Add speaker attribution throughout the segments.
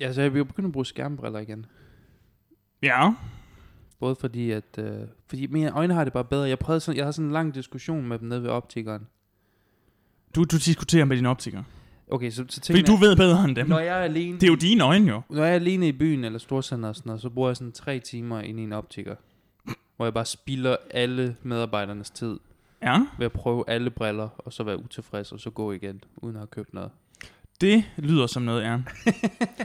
Speaker 1: Ja, så jeg vil jo begynde at bruge skærmbriller igen.
Speaker 2: Ja.
Speaker 1: Både fordi, at... Øh, fordi mine øjne har det bare bedre. Jeg, prøvede sådan, jeg havde sådan en lang diskussion med dem nede ved optikeren.
Speaker 2: Du, du diskuterer med dine optikere.
Speaker 1: Okay, så, så
Speaker 2: Fordi
Speaker 1: tænker
Speaker 2: du ved bedre end dem.
Speaker 1: jeg, når jeg er alene...
Speaker 2: Det er jo dine øjne, jo.
Speaker 1: Når jeg er alene i byen eller storcenter og sådan noget, så bruger jeg sådan tre timer inde i en optiker. Hvor jeg bare spilder alle medarbejdernes tid
Speaker 2: Ja.
Speaker 1: ved at prøve alle briller, og så være utilfreds, og så gå igen, uden at have købt noget.
Speaker 2: Det lyder som noget, ja.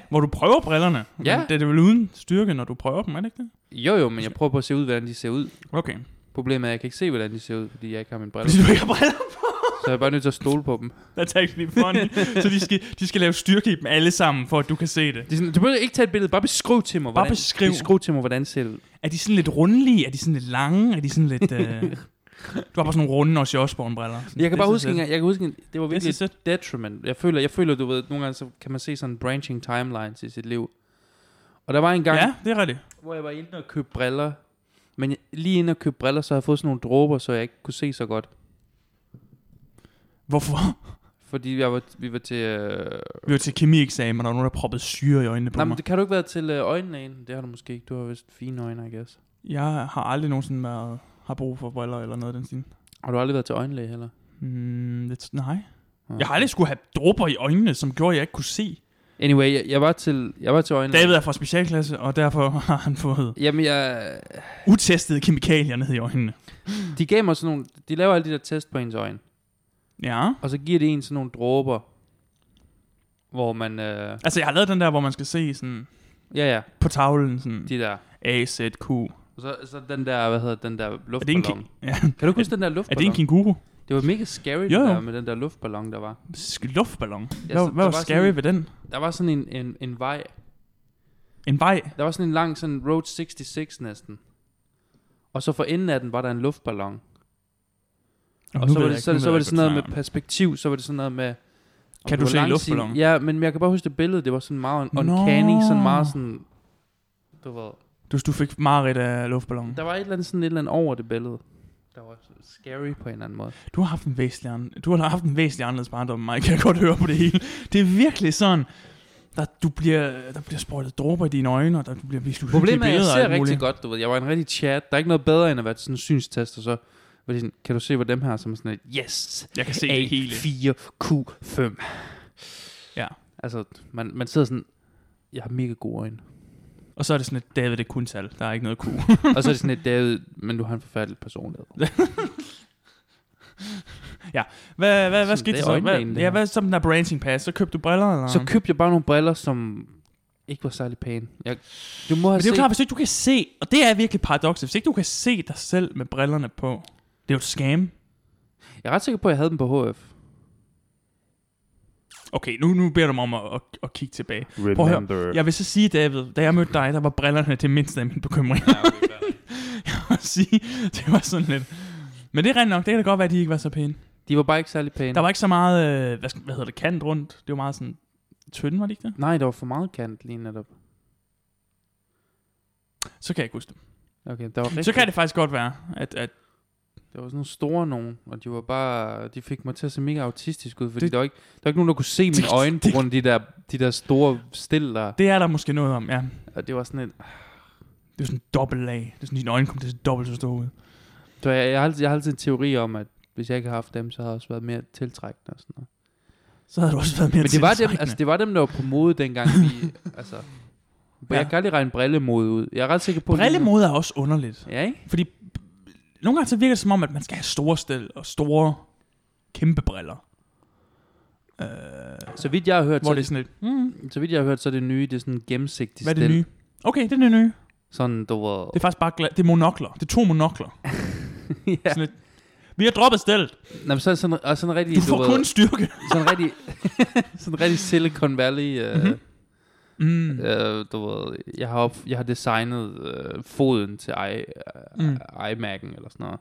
Speaker 2: Hvor du prøver brillerne. Men
Speaker 1: Ja.
Speaker 2: Det er det vel uden styrke, når du prøver dem, er det ikke det?
Speaker 1: Jo jo, men jeg prøver på at se ud, hvordan de ser ud.
Speaker 2: Okay.
Speaker 1: Problemet er, at jeg kan ikke se, hvordan de ser ud, fordi jeg ikke har mine briller.
Speaker 2: Fordi du ikke har briller på.
Speaker 1: Så jeg er bare nødt til at stole på dem.
Speaker 2: That's actually funny. Så de skal, de skal lave styrke i dem alle sammen, for at du kan se det.
Speaker 1: Det er sådan, du behøver ikke tage et billede, bare beskriv til mig,
Speaker 2: Bare
Speaker 1: hvordan,
Speaker 2: beskriv.
Speaker 1: beskriv til mig, hvordan ser det ud.
Speaker 2: Er de sådan lidt rundlige? Er de sådan lidt lange? Er de sådan lidt... Øh... Du har bare sådan nogle runde og Osborne-briller.
Speaker 1: Jeg kan bare huske, en gang, jeg kan huske, en- det var
Speaker 2: Det
Speaker 1: virkelig
Speaker 2: er
Speaker 1: et
Speaker 2: sæt.
Speaker 1: detriment. Jeg føler, jeg føler, du ved, nogle gange så kan man se sådan branching timelines i sit liv. Og der var en gang,
Speaker 2: Ja, det er rigtigt.
Speaker 1: hvor jeg var inde og købe briller. Men jeg, lige inde og købe briller, så har jeg fået sådan nogle dråber, så jeg ikke kunne se så godt.
Speaker 2: Hvorfor?
Speaker 1: Fordi jeg var, vi var til... Øh...
Speaker 2: Vi var til kemieksamen, og der var nogen, der proppede syre i øjnene på
Speaker 1: Nej,
Speaker 2: mig.
Speaker 1: men det kan du ikke være til øh, øjenlægen. Det har du måske ikke. Du har vist fine øjne, I guess.
Speaker 2: Jeg har aldrig nogensinde været, har brug for briller eller noget af den stil.
Speaker 1: Har du aldrig været til øjenlæge heller?
Speaker 2: Mm, det, nej.
Speaker 1: Ja.
Speaker 2: Jeg har aldrig skulle have dråber i øjnene, som gjorde, at jeg ikke kunne se.
Speaker 1: Anyway, jeg, jeg, var til, jeg var til øjenlæge.
Speaker 2: David er fra specialklasse, og derfor har han fået
Speaker 1: Jamen, jeg,
Speaker 2: utestede kemikalier ned i øjnene.
Speaker 1: de gav mig sådan nogle... De laver alle de der test på ens øjne.
Speaker 2: Ja.
Speaker 1: Og så giver de en sådan nogle dråber, hvor man... Øh,
Speaker 2: Altså, jeg har lavet den der, hvor man skal se sådan
Speaker 1: ja, ja,
Speaker 2: på tavlen, sådan
Speaker 1: de der.
Speaker 2: A, Z, Q.
Speaker 1: Og så, så den der, hvad hedder den der
Speaker 2: Er det en,
Speaker 1: luftballon.
Speaker 2: ki- ja.
Speaker 1: Kan du ikke huske den der
Speaker 2: er det
Speaker 1: luftballon?
Speaker 2: en kenguru?
Speaker 1: Det var mega scary, det
Speaker 2: Jo, jo.
Speaker 1: der med den der luftballon, der var.
Speaker 2: Sk- Luftballon? Hvad,
Speaker 1: så
Speaker 2: hvad
Speaker 1: der
Speaker 2: var,
Speaker 1: var
Speaker 2: scary
Speaker 1: sådan-
Speaker 2: ved den?
Speaker 1: Der var sådan en, en, en vej.
Speaker 2: En vej?
Speaker 1: Der var sådan en lang sådan Road 66 næsten. Og så for enden af den var der en luftballon. Og, og så, var det, så, så var det sådan noget med perspektiv, så var det sådan noget med... om
Speaker 2: Kan du
Speaker 1: var
Speaker 2: se en
Speaker 1: langsigt-
Speaker 2: luftballon?
Speaker 1: Ja, men jeg kan bare huske det billede, det var sådan meget un-
Speaker 2: Nå.
Speaker 1: uncanny, sådan meget sådan... Du ved,
Speaker 2: Du, du fik mareridt af luftballonen.
Speaker 1: Mm. der var et eller andet, sådan et eller andet over det billede. Der var scary på en eller anden måde.
Speaker 2: Du har haft en væsentlig, an- du har haft en væsentlig anderledes barndom end mig, kan jeg godt høre på det hele. Det er virkelig sådan, der, du bliver, der bliver sprøjtet dråber i dine øjne, og der du bliver vist uhyggelige
Speaker 1: Problemet er,
Speaker 2: billeder.
Speaker 1: at jeg
Speaker 2: og
Speaker 1: ser
Speaker 2: alt muligt.
Speaker 1: rigtig godt, du ved. Jeg var en rigtig chat. Der er ikke noget bedre, end at være til sådan en synstest, og så... var de sådan, Kan du se, hvor dem her, som er sådan et, yes,
Speaker 2: Jeg kan se det hele.
Speaker 1: A4Q5.
Speaker 2: Ja.
Speaker 1: Altså, man, man sidder sådan, jeg har mega gode øjne.
Speaker 2: Og så er det sådan et David, det er kun tal. Der er ikke noget ku.
Speaker 1: og så er det sådan et, David, men du har en forfærdelig personlighed.
Speaker 2: Hvad, hvad,
Speaker 1: Sådan,
Speaker 2: hvad skete
Speaker 1: det
Speaker 2: der
Speaker 1: er
Speaker 2: så?
Speaker 1: øjenlægen,
Speaker 2: Hvad,
Speaker 1: det
Speaker 2: ja,
Speaker 1: her.
Speaker 2: hvad så med den der branching pass? Så købte du briller, eller?
Speaker 1: Så købte jeg bare nogle briller, som ikke var særlig pæne. Jeg, du må have
Speaker 2: Men det er
Speaker 1: set-
Speaker 2: jo klart, hvis ikke du kan se, og det er virkelig paradokset, hvis ikke du kan se dig selv med brillerne på, det er jo et scam.
Speaker 1: Jeg er ret sikker på, at jeg havde dem på HF.
Speaker 2: Okay, nu, nu beder du mig om at, at, at kigge tilbage. Prøv at
Speaker 1: Øh.
Speaker 2: høre. Jeg vil så sige, David, da jeg mødte dig, der var brillerne det mindste af min bekymring.
Speaker 1: Ja, okay, klar.
Speaker 2: Jeg må sige, det var sådan lidt... Men det er rent nok, det kan da godt være, at de ikke var så pæne.
Speaker 1: de var bare ikke særlig pæne.
Speaker 2: Der var ikke så meget, øh, hvad, skal- hvad hedder det, kant rundt. Det var meget sådan tynde, var det ikke det?
Speaker 1: Nej, der var for meget kant lige netop.
Speaker 2: Så kan jeg ikke huske det.
Speaker 1: Okay, der var rigtig,
Speaker 2: Så kan det faktisk godt være, at, at
Speaker 1: Der var sådan nogle store nogen, og de var bare... De fik mig til at se mega autistisk ud, fordi
Speaker 2: Det-
Speaker 1: det, der, var ikke, der var ikke nogen, der kunne se mine
Speaker 2: Det-
Speaker 1: øjne på
Speaker 2: det-
Speaker 1: grund af de der, de der store stil der.
Speaker 2: det er der måske noget om, ja.
Speaker 1: Og det var sådan en...
Speaker 2: Det er sådan en dobbelt lag. Det er sådan, dine øjne kom til at dobbelt så store ud.
Speaker 1: Så jeg, jeg, har altid, jeg har altid en teori om, at hvis jeg ikke havde haft dem, så havde jeg også været mere tiltrækkende og sådan noget.
Speaker 2: Så havde du også været mere
Speaker 1: Men det var, dem,
Speaker 2: tiltrækkende.
Speaker 1: altså, det var dem, der var på mode dengang. Vi, altså, ja. Jeg kan aldrig regne brillemode ud. Jeg er ret sikker på...
Speaker 2: Brillemode er også underligt.
Speaker 1: Ja, ikke?
Speaker 2: Fordi nogle gange så virker det som om, at man skal have store stel og store kæmpe briller. Øh,
Speaker 1: Så vidt jeg har hørt,
Speaker 2: hvor
Speaker 1: så,
Speaker 2: det er sådan lidt, mm,
Speaker 1: så vidt jeg har hørt, så er det nye, det er sådan en gennemsigtig
Speaker 2: hvad er det
Speaker 1: stil.
Speaker 2: nye? Okay, det er det nye.
Speaker 1: Sådan, du var...
Speaker 2: Det er faktisk bare gla- det er monokler. Det er to monokler.
Speaker 1: ja.
Speaker 2: Sådan lidt, vi har droppet stillet.
Speaker 1: Nå, men så er det sådan, og sådan rigtig,
Speaker 2: Du får
Speaker 1: ved,
Speaker 2: kun styrke.
Speaker 1: sådan rigtig, sådan rigtig Silicon Valley, øh,
Speaker 2: Mhm. Mm.
Speaker 1: øh, du ved, jeg har, op, jeg har designet øh, foden til I, øh,
Speaker 2: Mm.
Speaker 1: iMac'en eller sådan noget,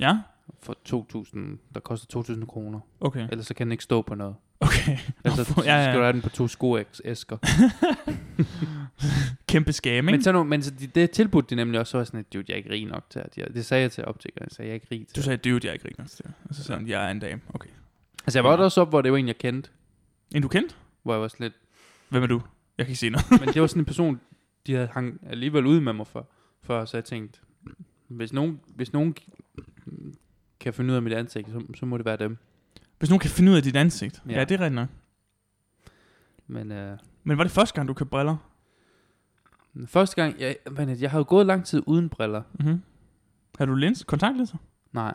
Speaker 2: Ja,
Speaker 1: for 2000, der koster 2.000 kroner,
Speaker 2: okay.
Speaker 1: ellers så kan den ikke stå på noget.
Speaker 2: Okay.
Speaker 1: Altså, så
Speaker 2: for- ja, ja.
Speaker 1: skal du have den på to skoæsker.
Speaker 2: Kæmpe skam,
Speaker 1: men
Speaker 2: ikke?
Speaker 1: så, nu, men så de, det tilbudte de nemlig også, så var jeg sådan, at dude, jeg er ikke rig nok til, at jeg, det sagde jeg til optikeren, jeg sagde, jeg er ikke rig til.
Speaker 2: Du sagde, det er jo, jeg ikke rigtig nok til. Og så sagde han, jeg er en dame. Okay.
Speaker 1: Altså, jeg var også op, hvor det var en, jeg kendte,
Speaker 2: En du kendt?
Speaker 1: hvor jeg var sådan lidt,
Speaker 2: Hvem er du? Jeg kan ikke se noget.
Speaker 1: Men det var sådan en person, de havde hang alligevel ud med mig for, før, så jeg tænkte, hvis nogen, hvis nogen kan finde ud af mit ansigt, så, så må det være dem.
Speaker 2: Hvis nogen kan finde ud af dit ansigt. Ja,
Speaker 1: Ja.
Speaker 2: ja det er rigtigt nok.
Speaker 1: Men øh,
Speaker 2: Men var det første gang, du købte briller?
Speaker 1: første gang, jeg, men jeg havde jo gået lang tid uden briller.
Speaker 2: Mm-hmm. Har du lins? Kontaktlinser?
Speaker 1: Nej.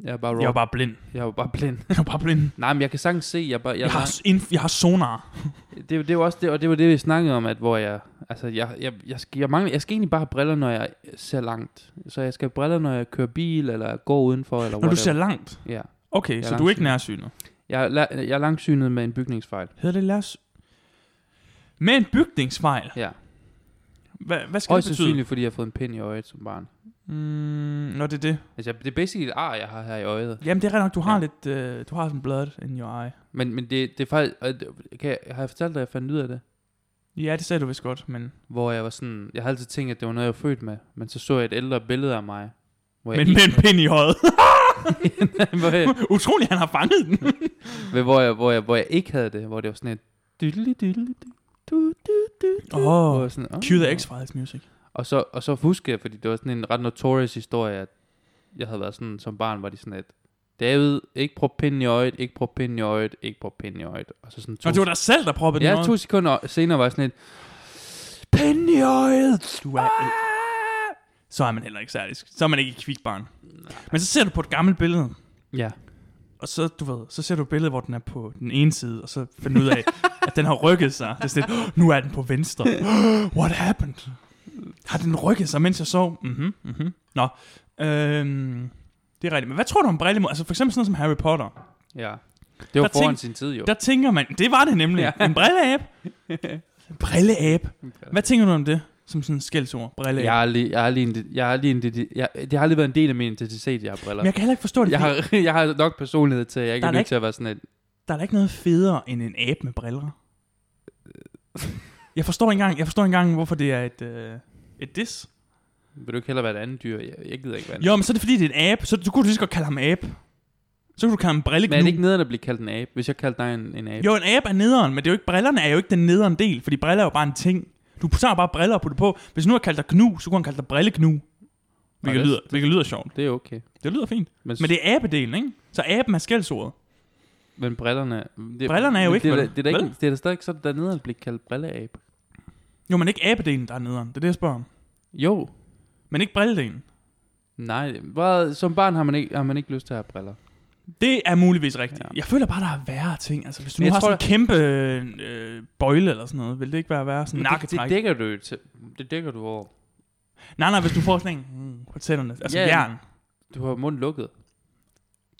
Speaker 1: Jeg er bare, raw.
Speaker 2: Jeg var bare blind.
Speaker 1: jeg var bare blind.
Speaker 2: Jeg var bare blind.
Speaker 1: Nej, men jeg kan sagtens se, jeg, er bare, jeg,
Speaker 2: Jeg, har,
Speaker 1: jeg
Speaker 2: s- inf- jeg har sonar.
Speaker 1: det, er jo- det, er jo også det, og det var det, vi snakkede om, at hvor jeg, altså jeg, jeg, jeg, skal, jeg, mangler, jeg skal egentlig bare have briller, når jeg ser langt. Så jeg skal have briller, når jeg kører bil, eller går udenfor, eller
Speaker 2: Når du
Speaker 1: whatever.
Speaker 2: ser langt.
Speaker 1: Ja.
Speaker 2: Okay,
Speaker 1: er
Speaker 2: så du er ikke
Speaker 1: langsynet.
Speaker 2: nærsynet.
Speaker 1: Jeg, er la- jeg er langsynet med en bygningsfejl.
Speaker 2: Hedder det lærs... Med en bygningsfejl.
Speaker 1: Ja.
Speaker 2: Hva, hvad skal
Speaker 1: Højst
Speaker 2: det betyde?
Speaker 1: sandsynligt, fordi jeg har fået en pind i øjet som barn.
Speaker 2: Mm, når det er det.
Speaker 1: Altså, jeg- det er basically et ar, jeg har her i øjet.
Speaker 2: Jamen, det er rigtigt nok. Du har
Speaker 1: Ja.
Speaker 2: lidt... Øh, du har sådan blood in your eye.
Speaker 1: Men, men det, det er faktisk... og det- Kan jeg, har jeg fortalt dig, at jeg fandt ud af det?
Speaker 2: Ja, det sagde du vist godt, men...
Speaker 1: Hvor jeg var sådan... Jeg havde altid tænkt, at det var noget, jeg var født med. Men så så jeg et ældre billede af mig. Hvor
Speaker 2: Men med en pind i øjet.
Speaker 1: men, hvor, jeg,
Speaker 2: Utroligt, han har fanget den.
Speaker 1: men hvor, jeg, hvor, jeg, hvor jeg ikke havde det. Hvor det var sådan et... Dydelig, dydelig, du, du, du, du.
Speaker 2: Åh.
Speaker 1: Hvor jeg sådan, åh.
Speaker 2: Cue the X-Files music.
Speaker 1: Og så, og så husker jeg, fordi det var sådan en ret notorious historie, at jeg havde været sådan, som barn var de sådan, at David, ikke prøv pinden i øjet, ikke prøv pinden i øjet, ikke prøv pinden i øjet. Og så sådan to,
Speaker 2: Og det var dig selv, der proppede den i
Speaker 1: ja,
Speaker 2: øjet.
Speaker 1: to sekunder senere var jeg sådan et, pinden i øjet!
Speaker 2: Du er...
Speaker 1: Ah!
Speaker 2: Så er man heller ikke særlig... Så er man ikke et kvikbarn. Men så ser du på et gammelt billede,
Speaker 1: Ja,
Speaker 2: og så, du ved, så ser du et billede, hvor den er på den ene side, og så finder du ud af, at den har rykket sig. Det er sådan, lidt, nu er den på venstre. What happened? Har den rykket sig, mens jeg sov? Mhm, mhm. Nå, øhm, det er rigtigt. Men hvad tror du om brille? Altså for eksempel sådan noget som Harry Potter.
Speaker 1: ja. Det var
Speaker 2: Der
Speaker 1: foran
Speaker 2: tænk-
Speaker 1: sin tid jo.
Speaker 2: Der tænker man, det var det nemlig.
Speaker 1: Ja.
Speaker 2: En brilleabe. En brilleabe. Hvad tænker du om det? Som sådan en skældsord, brilleabe.
Speaker 1: jeg har aldrig, jeg har aldrig, en, jeg har aldrig en, jeg, det har aldrig været en del af min identitet, jeg har briller.
Speaker 2: Men jeg kan heller ikke forstå det.
Speaker 1: Jeg har,
Speaker 2: fordi-
Speaker 1: jeg har nok personlighed til, at jeg ikke
Speaker 2: Der
Speaker 1: er
Speaker 2: er
Speaker 1: nødt
Speaker 2: ikke-
Speaker 1: til at være sådan et,
Speaker 2: Der er da ikke noget federe end en abe med briller. Jeg forstår ikke engang, jeg forstår ikke engang hvorfor det er et, øh, et dis.
Speaker 1: vil du ikke hellere være et andet dyr? Jeg, jeg gider ikke være en
Speaker 2: Jo, men så er det fordi, det er en abe. Så du kunne lige så godt kalde ham abe. Så kunne du kalde ham brilleknu.
Speaker 1: Men er det ikke nederen at blive kaldt en abe, hvis jeg kaldte dig en, en abe?
Speaker 2: Jo, en abe er nederen, men det er jo ikke, brillerne er jo ikke den nederen del, fordi briller er jo bare en ting. Du tager bare briller og putter på. Hvis nu har kaldt dig gnu, så kunne han kalde dig brilleknu. Hvilket,
Speaker 1: det-
Speaker 2: lyder, hvilket lyder sjovt.
Speaker 1: Det er okay.
Speaker 2: Det lyder fint.
Speaker 1: Men,
Speaker 2: Men det er abedelen, ikke? Så aben er skældsordet.
Speaker 1: men brillerne... Det,
Speaker 2: Brillerne er jo
Speaker 1: men
Speaker 2: ikke,
Speaker 1: Det, er
Speaker 2: vel?
Speaker 1: da- det, er da
Speaker 2: Vel?
Speaker 1: ikke, det er da stadig sådan, der nede at blive kaldt brilleabe.
Speaker 2: Jo, men ikke abedelen, der er nederen. Det er det, jeg spørger om.
Speaker 1: Jo.
Speaker 2: Men ikke brilledelen.
Speaker 1: Nej, bare, som barn har man, ikke, har man ikke lyst til at have briller.
Speaker 2: Det er muligvis rigtigt. Ja.
Speaker 1: Ja.
Speaker 2: Jeg føler bare, der er værre ting. Altså, hvis du
Speaker 1: Men
Speaker 2: nu
Speaker 1: jeg
Speaker 2: har
Speaker 1: tror,
Speaker 2: sådan en kæmpe øh, bøjle eller sådan noget, vil det ikke være værre? Sådan en
Speaker 1: Men det, det,
Speaker 2: nakketræk?
Speaker 1: dækker du jo til, Det dækker du over.
Speaker 2: Nej, nej, hvis du får sådan en mm, på tænderne. Altså
Speaker 1: Ja,
Speaker 2: yeah. jern.
Speaker 1: Du har munden lukket.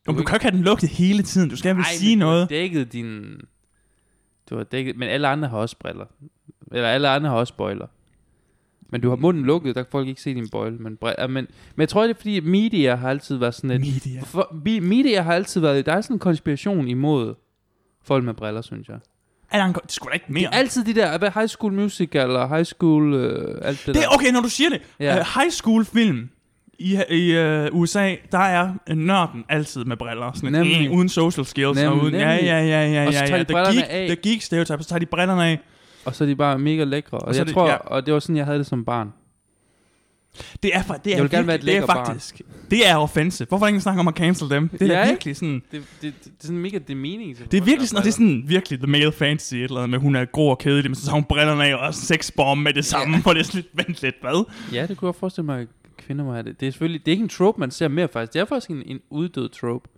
Speaker 2: Jo, men du kan jo ikke have den lukket hele tiden. Du skal vel sige
Speaker 1: men
Speaker 2: noget.
Speaker 1: Du har dækket din... Du har dækket... Men alle andre har også briller. Eller alle andre har også bøjler. Men du har munden lukket, der kan folk ikke se din bøjle. Men, briller, men, men jeg tror, det er fordi, media har altid været sådan et...
Speaker 2: Media.
Speaker 1: For, vi- media har altid været... Der er sådan en konspiration imod folk med briller, synes jeg.
Speaker 2: Er der en, det skulle da ikke mere.
Speaker 1: Ja. Altid de der hvad, high school musical eller high school... Øh, alt det,
Speaker 2: Det
Speaker 1: der.
Speaker 2: er okay, når du siger det.
Speaker 1: Ja.
Speaker 2: Yeah. Uh, high school film i, i øh, USA, der er nørden altid med briller. Sådan
Speaker 1: Nemlig.
Speaker 2: nemlig. uden social skills. og
Speaker 1: Nemlig,
Speaker 2: uden, ja,
Speaker 1: nemlig.
Speaker 2: ja, ja, ja, ja.
Speaker 1: Og så tager
Speaker 2: ja.
Speaker 1: de brillerne
Speaker 2: geek,
Speaker 1: af.
Speaker 2: The geek stereotype, så tager de brillerne af.
Speaker 1: Og så er de bare mega lækre. Og, og
Speaker 2: så er
Speaker 1: jeg
Speaker 2: det-
Speaker 1: det, tror...
Speaker 2: ja.
Speaker 1: Ja. Og det var sådan, jeg havde det som barn.
Speaker 2: Det er, fa- det er,
Speaker 1: Jeg vil gerne være et
Speaker 2: virkelig- det er
Speaker 1: lækker barn.
Speaker 2: faktisk, det er offensive. Hvorfor er der ingen snakker om at cancel dem? Det er
Speaker 1: Ja,
Speaker 2: ja,
Speaker 1: ikke?
Speaker 2: virkelig sådan,
Speaker 1: Det, det, det, det er sådan mega det mening.
Speaker 2: det er virkelig sådan, og det er sådan virkelig the male fantasy, et eller andet med, hun er grå og kedelig, men så tager hun brillerne af og sexbombe med det samme, yeah. for det er sådan lidt, vent lidt, hvad?
Speaker 1: Ja, det kunne jeg forestille mig, at kvinder må have det. Det er selvfølgelig det er ikke en trope, man ser mere faktisk. Det er faktisk en, en uddød trope.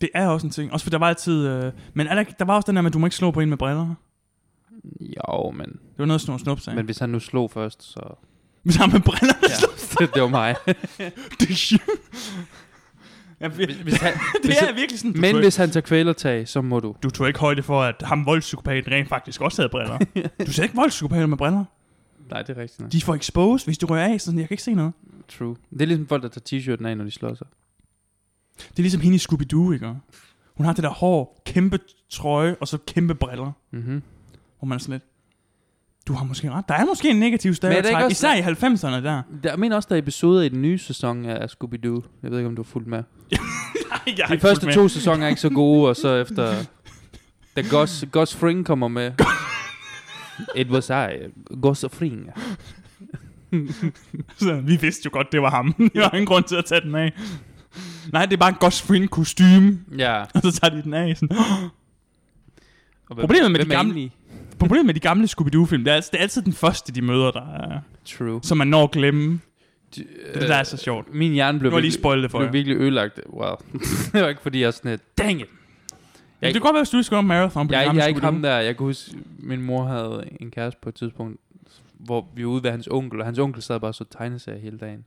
Speaker 2: Det er også en ting, også for der var altid, øh, men er der, ikke- der var også den der med, at du må ikke slå på en med briller.
Speaker 1: Jo, men,
Speaker 2: Det var noget, sådan nogle snup sagde.
Speaker 1: men
Speaker 2: Men
Speaker 1: hvis han nu slog først, så...
Speaker 2: hvis han med briller,
Speaker 1: Ja, det, det var mig.
Speaker 2: det er sjovt. Ja, vi-
Speaker 1: Hvis, hvis han,
Speaker 2: det
Speaker 1: hvis
Speaker 2: er virkelig sådan, du,
Speaker 1: men
Speaker 2: tog,
Speaker 1: hvis han tager kvælertag, så må du.
Speaker 2: du tog ikke højde for, at ham voldspsykopaten rent faktisk også havde briller. du ser ikke voldspsykopater med briller.
Speaker 1: Nej, det er rigtigt. nok.
Speaker 2: De får exposed, hvis du rører af, sådan, jeg kan ikke se noget.
Speaker 1: True. Det er ligesom folk, der tager t-shirten af, når de slår sig.
Speaker 2: Det er ligesom hende i Scooby-Doo, ikke? Hun har det der hår, kæmpe trøje og så kæmpe briller,
Speaker 1: Mm-hmm.
Speaker 2: hvor man er sådan lidt... Du har måske ret. Der er måske en negativ
Speaker 1: ikke
Speaker 2: stereotype,
Speaker 1: også-
Speaker 2: især i 90'erne der.
Speaker 1: Der, jeg mener også, der er episoder i den nye sæson af af Scooby-Doo. Jeg ved ikke, om du har fulgt med.
Speaker 2: Jeg har
Speaker 1: De
Speaker 2: ikke
Speaker 1: første
Speaker 2: fulgt
Speaker 1: to sæsoner er ikke så gode, og så efter... Da Gus, Gus Fring kommer med, It was I, Gosofringa.
Speaker 2: Så vi vidste jo godt, det var ham. Der var ingen grund til at tage den af. Nej, det er bare en Gosfrin kostume.
Speaker 1: Ja.
Speaker 2: Og så tager de den af. Sådan.
Speaker 1: Og hvem-
Speaker 2: Problemet med de
Speaker 1: hvem er
Speaker 2: gamle-
Speaker 1: egentlig-
Speaker 2: Problemet med de gamle Scooby-Doo-film, det er, altså- det er altid den første, de møder, der er,
Speaker 1: True.
Speaker 2: som man når at glemme.
Speaker 1: Det,
Speaker 2: Det der er så sjovt.
Speaker 1: Min hjerne Øh, blev,
Speaker 2: Nu har jeg lige
Speaker 1: virkelig-
Speaker 2: spoilet det for jer.
Speaker 1: blev virkelig ødelagt. Wow. det var ikke fordi, jeg er sådan et, dang it.
Speaker 2: Men det kan godt være, hvis du lige skal gøre en marathon på
Speaker 1: Jeg,
Speaker 2: de
Speaker 1: er ikke-
Speaker 2: gamle
Speaker 1: jeg er ikke
Speaker 2: Scooby-Doo.
Speaker 1: ham der. Jeg kan huske, min mor havde en kæreste på et tidspunkt, hvor vi var ude ved hans onkel, og hans onkel sad bare og så tegneserier hele dagen.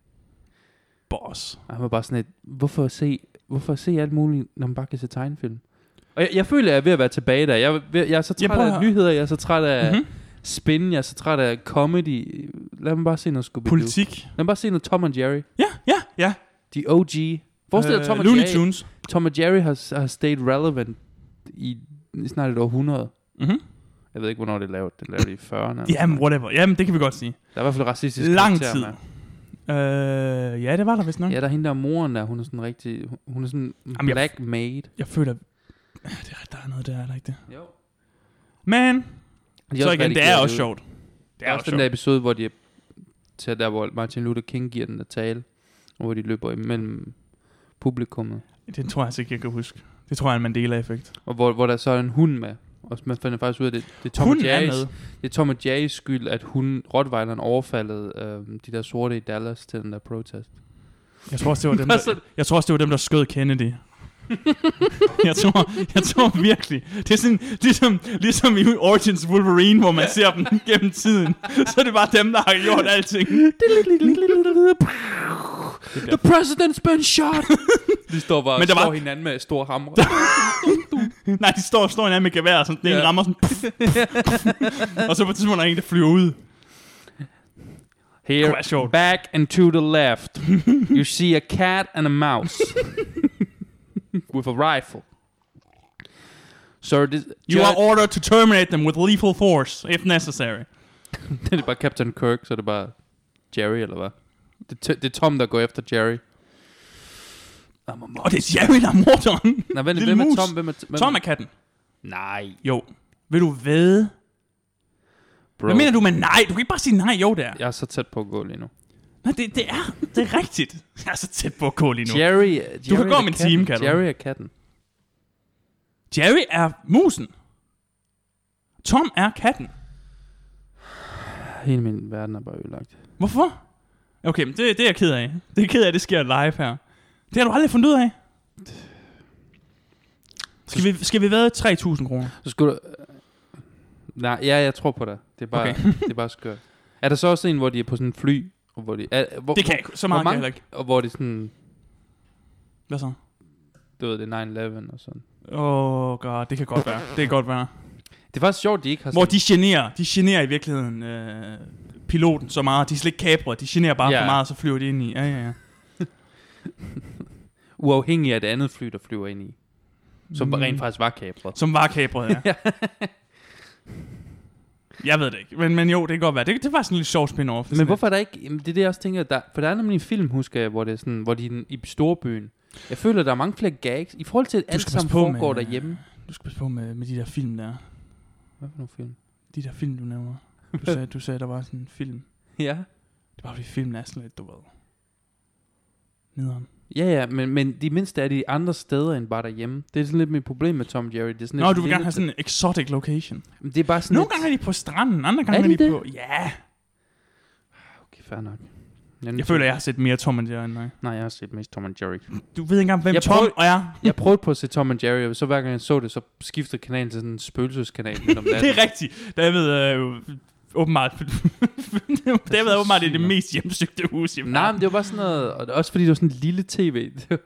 Speaker 2: Boss.
Speaker 1: Og han var bare sådan et, hvorfor se, hvorfor se alt muligt, når man bare kan se tegnefilm? Og jeg, jeg føler, jeg er ved at være tilbage der. Jeg, er ved- jeg er så
Speaker 2: Ja,
Speaker 1: træt
Speaker 2: prøv at
Speaker 1: af
Speaker 2: høre.
Speaker 1: nyheder, jeg er så træt af
Speaker 2: Mm-hmm.
Speaker 1: spin, jeg er så træt af comedy. Lad mig bare se noget Scooby-Doo.
Speaker 2: Politik.
Speaker 1: Lad mig bare se noget Tom and Jerry.
Speaker 2: Ja, ja, ja.
Speaker 1: De OG. Forestil dig,
Speaker 2: Øh,
Speaker 1: Tom and
Speaker 2: Looney
Speaker 1: Jerry.
Speaker 2: Tunes.
Speaker 1: Tom og Jerry har, har stayed relevant i snart et århundrede.
Speaker 2: Mm-hmm.
Speaker 1: Jeg ved ikke, hvornår det er lavet. Det er lavet i 40'erne. eller
Speaker 2: Jamen,
Speaker 1: sådan noget.
Speaker 2: whatever. Jamen, det kan vi godt sige.
Speaker 1: Der er i hvert fald racistisk
Speaker 2: Lang
Speaker 1: karakter
Speaker 2: tid.
Speaker 1: med.
Speaker 2: Øh, ja, det var der vist nok.
Speaker 1: Ja, der er hende der moren der, hun er sådan rigtig, hun- hun er sådan
Speaker 2: jeg-
Speaker 1: black maid.
Speaker 2: Jeg føler... Ja, det er- Der er noget der, er der ikke det?
Speaker 1: Jo.
Speaker 2: Men,
Speaker 1: De
Speaker 2: så igen, det er også sjovt.
Speaker 1: Det er også den der episode, hvor de tager der, hvor Martin Luther King giver den der tale, og hvor de løber imellem publikummet.
Speaker 2: Det tror jeg altså ikke, jeg kan huske. Det tror jeg er en Mandela-effekt.
Speaker 1: Og hvor, hvor der så er en hund med. Og man finder faktisk ud af, at det, det er Tom
Speaker 2: Hun
Speaker 1: og
Speaker 2: er
Speaker 1: Jerry's
Speaker 2: med.
Speaker 1: Det er Tom og Jerrys skyld, at hun, Rottweileren, overfaldede øh, de der sorte i Dallas til den der protest.
Speaker 2: Jeg tror, også, det var dem, der, jeg tror også, det var dem, der skød Kennedy. jeg, tror, jeg tror virkelig. Det er sådan, ligesom, ligesom i Origins Wolverine, hvor man ser dem gennem tiden. Så er det bare dem, der har gjort alting.
Speaker 1: The president's been shot! de står bare
Speaker 2: Men
Speaker 1: og
Speaker 2: der
Speaker 1: slår
Speaker 2: var-
Speaker 1: var... hinanden med store hamre.
Speaker 2: Nej, de står og slår hinanden med gevær, sådan den ene
Speaker 1: Ja.
Speaker 2: rammer sådan. Pff, pff, og så på et tidspunkt er der en, der flyver ud. Det var
Speaker 1: Here,
Speaker 2: sjovt.
Speaker 1: back and to the left, you see a cat and a mouse. with a rifle. Sir, this...
Speaker 2: You
Speaker 1: Judge-
Speaker 2: are ordered to terminate them with lethal force, if necessary.
Speaker 1: det er bare Captain Kirk, så er det bare Jerry, eller hvad? Det, er t- det er Tom, der går efter Jerry. I'm a
Speaker 2: Og det er Jerry, der er morderen.
Speaker 1: Nej, hvem,
Speaker 2: Lille
Speaker 1: hvem er
Speaker 2: mus.
Speaker 1: Tom? Hvem er, hvem
Speaker 2: Tom er katten.
Speaker 1: Nej,
Speaker 2: Jo. Vil du vide?
Speaker 1: bro.
Speaker 2: Hvad mener du med nej? Du kan ikke bare sige nej, jo, det er.
Speaker 1: Jeg er så tæt på at gå lige nu.
Speaker 2: Nej, det, det er. Det er rigtigt. Jeg er så tæt på at gå lige nu. Jerry,
Speaker 1: Jerry, Jerry
Speaker 2: kan gå
Speaker 1: er
Speaker 2: om en
Speaker 1: katten.
Speaker 2: time, kan du.
Speaker 1: Jerry er katten.
Speaker 2: Jerry er musen. Tom er katten.
Speaker 1: Hele min verden er bare ødelagt.
Speaker 2: Hvorfor? Okay, men det, det er jeg ked af. Det er jeg ked af, at det sker live her. Det har du aldrig fundet ud af. Skal vi, skal vi være 3.000 kroner?
Speaker 1: Så skulle du... Nej, ja, jeg tror på dig. Det er bare,
Speaker 2: Okay.
Speaker 1: det er bare skørt. Er der så også en, hvor de er på sådan en fly? Og hvor de, er, hvor,
Speaker 2: Det kan jeg ikke. Så meget
Speaker 1: hvor
Speaker 2: kan jeg heller
Speaker 1: mange-
Speaker 2: ikke.
Speaker 1: Og hvor det sådan...
Speaker 2: Hvad så?
Speaker 1: Du ved, det er 9-11 og sådan.
Speaker 2: Åh, oh god, det kan godt være. Det kan godt være.
Speaker 1: Det er faktisk sjovt, de ikke har...
Speaker 2: Hvor
Speaker 1: sådan-
Speaker 2: de generer, de generer i virkeligheden øh, piloten så meget. De er slet ikke kabre, de generer bare
Speaker 1: Ja.
Speaker 2: for meget, og så flyver de ind i. Ja, ja, ja.
Speaker 1: Uafhængig af det andet fly, der flyver ind i. Som mm. rent faktisk var kabret.
Speaker 2: Som var kabret, ja. Jeg ved det ikke, men, men jo, det kan godt være. Det, det var sådan en lidt sjov spin-off.
Speaker 1: Men hvorfor er der ikke... Jamen, det er det, jeg også tænker. Der, for der er nemlig en film, husker jeg, hvor, det er sådan, hvor de er i storbyen. Jeg føler, der er mange flere gags. I forhold til, at alt
Speaker 2: skal
Speaker 1: sammen
Speaker 2: passe på
Speaker 1: foregår
Speaker 2: med-
Speaker 1: derhjemme.
Speaker 2: Du skal passe på med, med de der film der.
Speaker 1: Hvad for nogle film?
Speaker 2: De der film, du nævner. Du sagde, du sagde der var sådan en film.
Speaker 1: Ja.
Speaker 2: Det var fordi filmen er sådan lidt, du ved. Nederen.
Speaker 1: Ja, ja, men, men de mindste er de andre steder end bare derhjemme. Det er sådan lidt mit problem med Tom og Jerry. Det er sådan
Speaker 2: Nå,
Speaker 1: lidt
Speaker 2: du vil gerne
Speaker 1: lille-
Speaker 2: have sådan en exotic location.
Speaker 1: Men Det er bare sådan
Speaker 2: Nogle
Speaker 1: lidt-
Speaker 2: gange er de på stranden, andre gange
Speaker 1: Er
Speaker 2: er
Speaker 1: de
Speaker 2: de,
Speaker 1: det?
Speaker 2: på... Ja.
Speaker 1: Okay, fair nok.
Speaker 2: Jeg
Speaker 1: Mm.
Speaker 2: føler, jeg har set mere Tom end Jerry end dig.
Speaker 1: Nej, jeg har set mest Tom og Jerry.
Speaker 2: Du ved ikke engang, hvem
Speaker 1: Jeg
Speaker 2: jeg Tom
Speaker 1: prøvede-
Speaker 2: er.
Speaker 1: Jeg prøvede på at se Tom og Jerry, og så hver gang jeg så det, så skiftede kanalen til sådan en spøgelseskanal midt om natten.
Speaker 2: det er rigtigt. David er øh, åbenbart... David er åbenbart i det mest hjemsøgte hus i
Speaker 1: Nej, men det var bare sådan noget, og det- også fordi det var sådan en lille tv. Det var-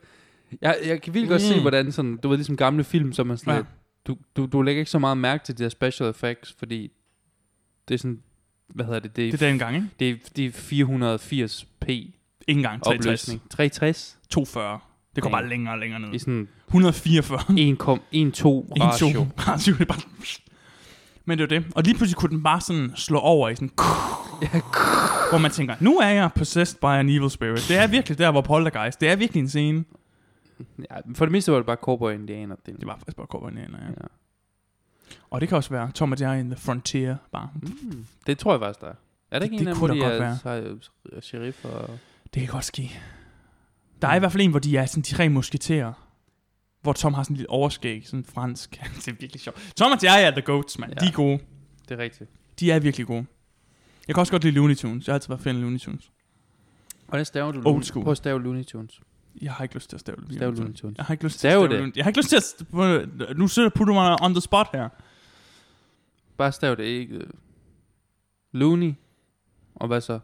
Speaker 1: jeg, jeg kan virkelig godt se,
Speaker 2: Mm.
Speaker 1: hvordan sådan, du ved, ligesom gamle film, som man sådan,
Speaker 2: Ja.
Speaker 1: ja. du, du, du lægger ikke så meget mærke til de der special effects, fordi det er sådan, hvad hedder det, det er,
Speaker 2: Det er den gang, ikke?
Speaker 1: det er, det er 480p
Speaker 2: Ikke engang 63.
Speaker 1: opløsning. 360
Speaker 2: 240. Det går
Speaker 1: Ja.
Speaker 2: bare længere og længere ned.
Speaker 1: i sådan
Speaker 2: 144. 1-2.
Speaker 1: 1,12 ratio.
Speaker 2: Ratio, det er bare... Men det var det. Og lige pludselig kunne den bare sådan slå over i sådan... Hvor man tænker, nu er jeg possessed by an evil spirit. Det er virkelig der, hvor poltergeist. Det er virkelig en scene.
Speaker 1: Ja, for det meste var det bare cowboy indianer. Det
Speaker 2: Det var faktisk bare Cowboy Indianer, ja.
Speaker 1: Ja.
Speaker 2: Og det kan også være Tom og Jerry in the Frontier, bare.
Speaker 1: Mm. Det tror jeg faktisk, der er. Er der
Speaker 2: Det-
Speaker 1: ikke en
Speaker 2: det
Speaker 1: af dem, hvor
Speaker 2: kunne
Speaker 1: de
Speaker 2: da godt
Speaker 1: er, er sheriff og...
Speaker 2: Det kan godt ske. Der er i hvert fald en, hvor de er sådan de tre musketerer. Hvor Tom har sådan en lille overskæg, sådan fransk. det er virkelig sjovt. Tom og Jerry er the goats, mand.
Speaker 1: Ja.
Speaker 2: Ja. De er gode.
Speaker 1: Det er rigtigt.
Speaker 2: De er virkelig gode. Jeg kan også godt lide Looney Tunes. Jeg har altid været fan af Looney Tunes.
Speaker 1: Hvordan staver du
Speaker 2: Old
Speaker 1: Looney-
Speaker 2: school.
Speaker 1: Prøv at stave Looney Tunes.
Speaker 2: Jeg har ikke lyst til at stave Looney
Speaker 1: Stav
Speaker 2: Tunes.
Speaker 1: Looney Tunes.
Speaker 2: Jeg har ikke lyst til at
Speaker 1: Stav
Speaker 2: stave
Speaker 1: det.
Speaker 2: Looney Jeg har ikke lyst til at... st- Nu sidder putter mig on the spot her.
Speaker 1: Bare stav det ikke. øh, Looney. Og hvad så?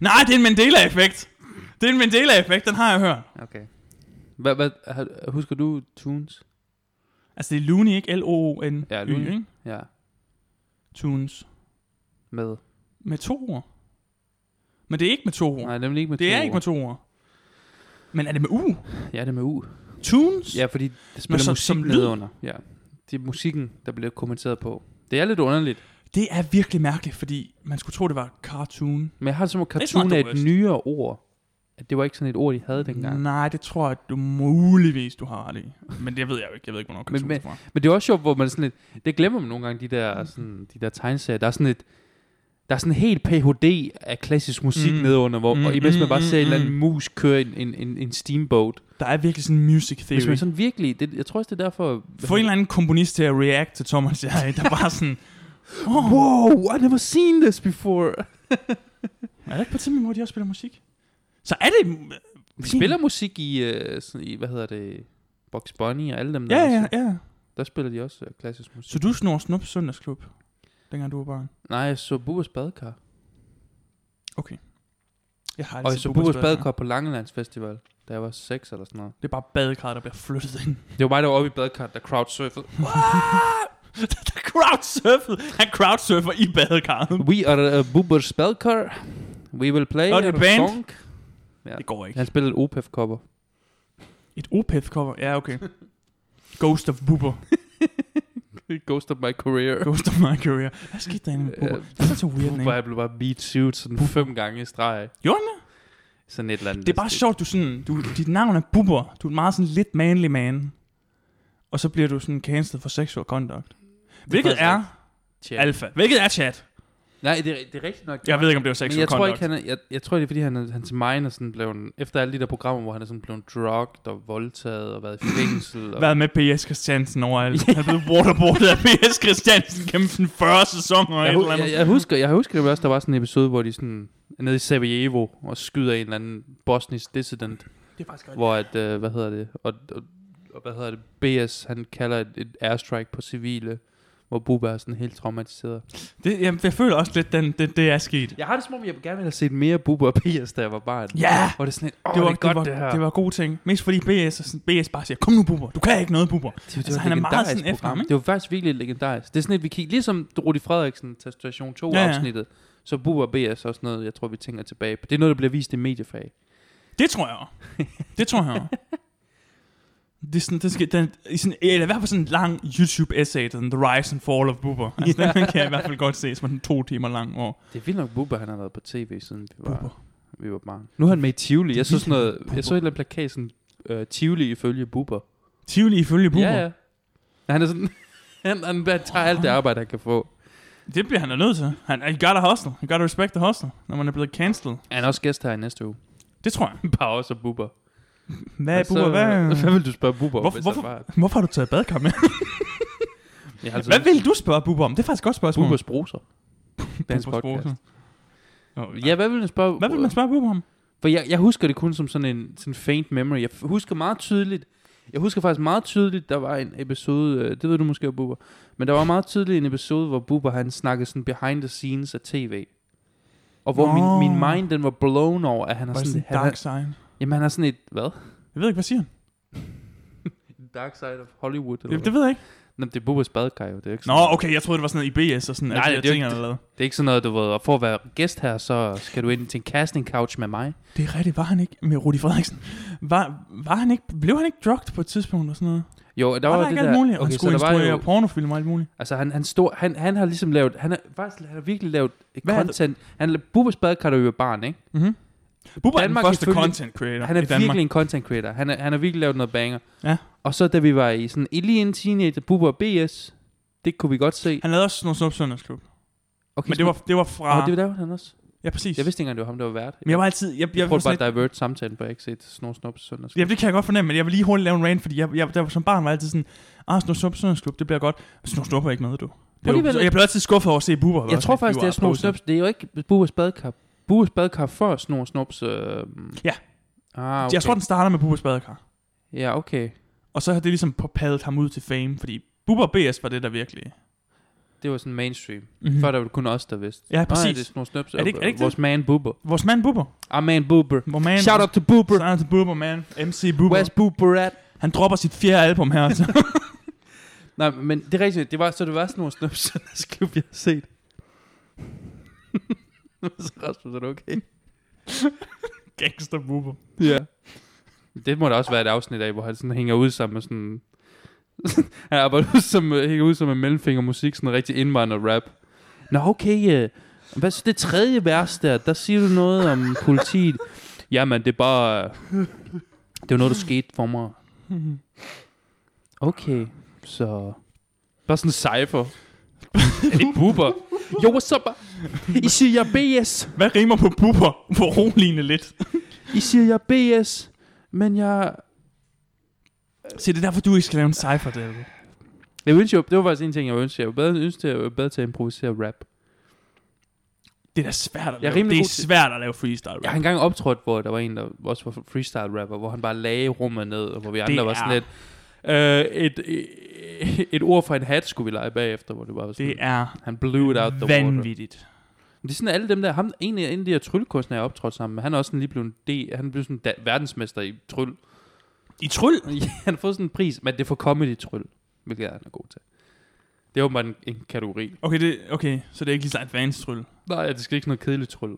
Speaker 2: Nej, det er en Mandela-effekt. Det er en Mandela-effekt, den har jeg hørt.
Speaker 1: Okay. Hvad, hvad, har- husker du Tunes?
Speaker 2: Altså, det er Looney, ikke? L-O-O-N.
Speaker 1: Ja, Looney.
Speaker 2: Ikke?
Speaker 1: Ja.
Speaker 2: Tunes.
Speaker 1: Med.
Speaker 2: Med to ord. Men det er ikke med to ord.
Speaker 1: Nej, nemlig ikke med
Speaker 2: det
Speaker 1: to
Speaker 2: er ikke med to ord. Men er det med U?
Speaker 1: Ja, det er med U.
Speaker 2: Tunes?
Speaker 1: Ja, fordi det spiller
Speaker 2: som-
Speaker 1: musik
Speaker 2: som lyd?
Speaker 1: nedenunder. Ja. Det er musikken, der bliver kommenteret på. Det er lidt underligt.
Speaker 2: Det er virkelig mærkeligt, fordi man skulle tro, det var cartoon.
Speaker 1: Men jeg har det som om,
Speaker 2: not
Speaker 1: cartoon
Speaker 2: the
Speaker 1: er et
Speaker 2: worst.
Speaker 1: nyere ord. At det var ikke sådan et ord, de havde
Speaker 2: Mm.
Speaker 1: dengang.
Speaker 2: Nej, det tror jeg, du muligvis du har ret i. Men det ved jeg jo ikke. Jeg ved ikke, hvornår cartoon
Speaker 1: men-
Speaker 2: er fra.
Speaker 1: Men det er også sjovt, hvor man sådan lidt, det glemmer man nogle gange, de
Speaker 2: Mm.
Speaker 1: der, sådan, de der tegneserier. Der er sådan et, der er sådan en helt Ph.D. af klassisk musik mm.
Speaker 2: Mm.
Speaker 1: nedenunder, hvor, mm,
Speaker 2: Mm,
Speaker 1: og imens man
Speaker 2: mm,
Speaker 1: bare
Speaker 2: mm,
Speaker 1: ser en eller
Speaker 2: mm.
Speaker 1: anden mus køre en, en, en, en steamboat.
Speaker 2: Der er virkelig sådan en music
Speaker 1: Hvis
Speaker 2: theory.
Speaker 1: man sådan virkelig, det, jeg tror også, det er derfor...
Speaker 2: Få en eller anden komponist til at react til Thomas Jerry, der bare sådan... Oh,
Speaker 1: Wow, I've never seen this before.
Speaker 2: er der ikke på tiden, hvor de også spiller musik? Så er det...
Speaker 1: Vi spiller musik i, uh, sådan, i hvad hedder det, Box Bunny og alle dem der.
Speaker 2: Ja,
Speaker 1: også.
Speaker 2: ja, ja.
Speaker 1: Der spiller de også uh, klassisk musik.
Speaker 2: Så du snor snup søndagsklub, dengang du var barn?
Speaker 1: Nej, jeg så Bubbers Badekar.
Speaker 2: Jeg har
Speaker 1: Og jeg så Bubbers Badekar på Langelands Festival, da jeg var 6 eller sådan noget.
Speaker 2: Det er bare badekar, der bliver flyttet ind.
Speaker 1: Det var mig, der var oppe i badekarret, der crowdsurfede.
Speaker 2: der crowdsurfede. Han crowdsurfer i badekarret.
Speaker 1: We are
Speaker 2: uh,
Speaker 1: a Bubbers Belkar. We will play
Speaker 2: Og det er
Speaker 1: a
Speaker 2: band.
Speaker 1: song.
Speaker 2: Det går ikke.
Speaker 1: Han spillede et
Speaker 2: E
Speaker 1: OPEF-cover.
Speaker 2: Et opeth cover Ja, okay. Ghost of Boober.
Speaker 1: Ghost of my career.
Speaker 2: Ghost of my career. Hvad skete der egentlig med Boober?
Speaker 1: Øh,
Speaker 2: Det er så weird
Speaker 1: Hvor
Speaker 2: name.
Speaker 1: jeg blev bare beat shoot sådan fem gange i streg.
Speaker 2: Gjorde
Speaker 1: Sådan et eller andet.
Speaker 2: Det er bare sjovt, du sådan... Du, dit navn er Boober. Du er en meget sådan lidt manly man. Og så bliver du sådan cancelled for sexual conduct. Hvilket
Speaker 1: faktisk
Speaker 2: er
Speaker 1: Tja.
Speaker 2: alfa. Hvilket er chat.
Speaker 1: Nej, det er, det er rigtigt nok.
Speaker 2: Jeg ved ikke, om det var
Speaker 1: men
Speaker 2: sexual
Speaker 1: jeg
Speaker 2: conduct.
Speaker 1: tror ikke, han er, jeg, jeg tror, det er, fordi han, er- hans mind er sådan blevet... Efter alle de der programmer, hvor han er sådan blevet drugged og voldtaget og været i fængsel. og,
Speaker 2: været med P.S. Christiansen overalt. Han er blevet waterboardet af P.S. Christiansen gennem sådan 40 sæsoner og et
Speaker 1: jeg,
Speaker 2: eller
Speaker 1: hu- jeg,
Speaker 2: andet.
Speaker 1: jeg, husker, jeg husker det også, der var sådan en episode, hvor de sådan er nede i Sarajevo og skyder en eller anden bosnisk dissident.
Speaker 2: Det er faktisk godt.
Speaker 1: hvor at, øh, hvad hedder det, og, og, og hvad hedder det, BS, han kalder et, et airstrike på civile, hvor Bubba er sådan helt traumatiseret.
Speaker 2: Det, jeg, jeg føler også lidt, den, det, det er sket.
Speaker 1: Jeg har det som om, jeg gerne ville have set mere Bubba og BS, da jeg var barn.
Speaker 2: Ja!
Speaker 1: Hvor det er sådan lidt, åh,
Speaker 2: Det var,
Speaker 1: det er godt,
Speaker 2: det, var,
Speaker 1: det her.
Speaker 2: det var gode ting. Mest fordi BS, er sådan, BS bare siger, kom nu, Bubber, du kan ikke noget, Bubber.
Speaker 1: det, det
Speaker 2: altså,
Speaker 1: et
Speaker 2: han er meget
Speaker 1: legendarisk
Speaker 2: sådan efter
Speaker 1: program.
Speaker 2: ham, ikke?
Speaker 1: Det var faktisk virkelig et legendarisk. Det er sådan et, vi kigger, ligesom Rudi Frederiksen til Station 2
Speaker 2: Ja, ja.
Speaker 1: afsnittet, så Bubba og BS er også noget, jeg tror, vi tænker tilbage på. Det er noget, der bliver vist i mediefag.
Speaker 2: Det tror jeg. Det tror jeg. Det er sådan, det skal, den, i sådan, eller i hvert fald sådan en lang YouTube-essay, den The Rise and Fall of Bubber. Altså, yeah. den kan jeg i hvert fald godt se, som er sådan to timer lang. Hvor
Speaker 1: Det er vildt nok Bubba, han har været på tv, siden vi var,
Speaker 2: Bubber.
Speaker 1: vi var barn. Nu er han med i Tivoli. Jeg så
Speaker 2: vildt,
Speaker 1: sådan noget,
Speaker 2: Bubba.
Speaker 1: jeg så et eller andet plakat, sådan, øh, Tivoli ifølge Bubba.
Speaker 2: Tivoli ifølge Bubber.
Speaker 1: Ja, ja. Han er sådan... Han, han tager alt det arbejde, han kan få.
Speaker 2: Det bliver han da nødt til. Han, you gotta hustle. You gotta respect the hustle, når man er blevet cancelled.
Speaker 1: Han er også gæst her i næste uge.
Speaker 2: Det tror jeg.
Speaker 1: Bare også Bubber.
Speaker 2: Hvad
Speaker 1: Altså,
Speaker 2: er Bubber? Hvad,
Speaker 1: Hvad vil du spørge Bubber om,
Speaker 2: Hvorfor-
Speaker 1: hvis han var?
Speaker 2: hvorfor har du taget badkar med?
Speaker 1: Jeg har altid
Speaker 2: Hvad vil du spørge Bubber om? Det er faktisk et godt spørgsmål.
Speaker 1: Altså, Bubbers bruser. Dansk podcast. Ja, hvad vil du spørge?
Speaker 2: Hvad vil man spørge Bubber om?
Speaker 1: For jeg, jeg husker det kun som sådan en sådan faint memory. Jeg f- husker meget tydeligt, jeg husker faktisk meget tydeligt, der var en episode, øh, det ved du måske, Bubber, men der var meget tydeligt en episode, hvor Bubber han snakkede sådan behind the scenes af tv. Og hvor
Speaker 2: Nå.
Speaker 1: min, min mind, den var blown over, at han har
Speaker 2: Var det
Speaker 1: sådan,
Speaker 2: sådan
Speaker 1: han,
Speaker 2: dark
Speaker 1: har-
Speaker 2: sign?
Speaker 1: jamen, han har sådan et, hvad?
Speaker 2: Jeg ved ikke, hvad siger han?
Speaker 1: Dark Side of Hollywood. Eller
Speaker 2: Det,
Speaker 1: det, det,
Speaker 2: det ved jeg ikke.
Speaker 1: Nå, det er Bubbas badekar jo. Det er jo ikke
Speaker 2: Nå,
Speaker 1: sådan,
Speaker 2: okay, jeg troede, det var sådan noget IBS og sådan
Speaker 1: Nej,
Speaker 2: alle de
Speaker 1: det
Speaker 2: der
Speaker 1: er jo
Speaker 2: ting,
Speaker 1: ikke-
Speaker 2: han har lavet.
Speaker 1: Det er ikke sådan noget, du ved, og for at være gæst her, så skal du ind til en casting couch med mig.
Speaker 2: Det er rigtigt, var han ikke med Rudi Frederiksen? Var, var han ikke, blev han ikke drugt på et tidspunkt og sådan noget?
Speaker 1: Jo, der
Speaker 2: var,
Speaker 1: var,
Speaker 2: der
Speaker 1: det
Speaker 2: ikke
Speaker 1: der,
Speaker 2: alt muligt? Okay,
Speaker 1: Okay,
Speaker 2: han
Speaker 1: så
Speaker 2: skulle
Speaker 1: der var
Speaker 2: instruere
Speaker 1: jo,
Speaker 2: jo... pornofilm og alt muligt.
Speaker 1: altså han, han, stod, han, han har ligesom lavet, han har faktisk han har virkelig lavet
Speaker 2: Hvad
Speaker 1: Hvad
Speaker 2: er det?
Speaker 1: content. Han, Bubbas badekar er jo et barn, ikke?
Speaker 2: Mm-hmm. Bubber er den
Speaker 1: Danmark
Speaker 2: første
Speaker 1: ifølge-
Speaker 2: content creator
Speaker 1: Han er
Speaker 2: i Danmark.
Speaker 1: virkelig en content creator. Han, er, han har virkelig lavet noget banger.
Speaker 2: Ja.
Speaker 1: Og så da vi var i sådan, lige en teenager, Bubba og BS, Det kunne vi godt se.
Speaker 2: Han lavede også Snow Snow Søndagsklub.
Speaker 1: Okay,
Speaker 2: Men det var, det var fra...
Speaker 1: Nå, det var der, han også.
Speaker 2: Ja, præcis.
Speaker 1: Jeg vidste ikke engang, det var ham, der var vært.
Speaker 2: Men jeg var altid... Jeg, jeg,
Speaker 1: Jeg
Speaker 2: var
Speaker 1: prøvede
Speaker 2: sådan
Speaker 1: bare at divert samtalen på X1 Snor Snop Søndag.
Speaker 2: lidt- Jamen, det kan jeg godt fornemme, men jeg vil lige hurtigt lave en rant, fordi jeg, jeg, der, var- som barn var jeg altid sådan, ah, Snow Snow Søndagsklub, det bliver godt. Snow Snow var ikke med, du. Det var,
Speaker 1: Alligevel-
Speaker 2: så jeg blev altid skuffet over at se Bubber.
Speaker 1: Jeg tror faktisk, det er Snor Snops. Det er jo ikke Buers badkar. Buers badkar før Snor Snops. Øh...
Speaker 2: Ja.
Speaker 1: Ah, okay.
Speaker 2: Okay. Jeg tror, den starter med Bubbers badekar.
Speaker 1: Ja, okay.
Speaker 2: Og så har det ligesom padlet ham ud til fame, fordi Bubber og BS var det, der virkelig...
Speaker 1: Det var sådan mainstream.
Speaker 2: Mm-hmm.
Speaker 1: Før der var det kun os, der vidste.
Speaker 2: Ja, præcis.
Speaker 1: Nej, det er Snor Snops.
Speaker 2: Er det ikke- er det ikke
Speaker 1: Vores man Boober.
Speaker 2: Vores mand Bubber.
Speaker 1: Ah, man Boober.
Speaker 2: Hvor man,
Speaker 1: Shout out to Boober.
Speaker 2: Shout out til Bubber, man. MC Bubber.
Speaker 1: Where's Boober at?
Speaker 2: Han dropper sit fjerde album her. altså. Så.
Speaker 1: Nej, men det er rigtigt. Det var, så det var Snor Snops Søndagsklub, jeg har set. så Rasmus, er du okay?
Speaker 2: Gangster Bubber.
Speaker 1: Ja. Det må da også være et afsnit af, hvor han sådan hænger ud sammen med sådan... han arbejder ud som, hænger ud som en mellemfingermusik, sådan en rigtig indvandrer rap. Nå, okay. øh, Hvad så det tredje vers der? Der siger du noget om politiet. Jamen, det er bare... øh, Det var noget, der skete for mig. Okay, så... Bare sådan en cypher. er det buber? Jo, så bare... I siger, jeg er BS.
Speaker 2: Hvad rimer på Bubber? På roligende lidt.
Speaker 1: I siger, jeg er BS. Men jeg
Speaker 2: Se, det er derfor, du ikke skal lave en cypher, David.
Speaker 1: Jeg ønsker, det var faktisk en ting, jeg ønskede. Jeg var bedre, ønskede, jeg var bedre til at improvisere rap.
Speaker 2: Det er da svært at
Speaker 1: Jeg er
Speaker 2: lave.
Speaker 1: rimelig
Speaker 2: det er
Speaker 1: god til-
Speaker 2: svært at lave freestyle rap.
Speaker 1: Jeg har engang optrådt, hvor der var en, der også var freestyle rapper, hvor han bare lagde rummet ned, og hvor vi andre var sådan
Speaker 2: er-
Speaker 1: lidt... Øh, et, øh, et ord fra en hat skulle vi lege bagefter, hvor det bare var sådan...
Speaker 2: Det er
Speaker 1: han blew it out the water.
Speaker 2: vanvittigt.
Speaker 1: Men Det er sådan alle dem der... Ham, en, af, en af de her tryllekunstnere, jeg optrådte sammen med, han er også sådan lige blevet en D, han blev sådan da, verdensmester i tryl.
Speaker 2: I tryl?
Speaker 1: Ja, han har fået sådan en pris, men det er for comedy-tryl, hvilket han er god til. Det er åbenbart en, en kategori.
Speaker 2: Okay, det, okay, så det er ikke lige så advanced tryl.
Speaker 1: Nej, det skal ikke sådan noget kedeligt tryl.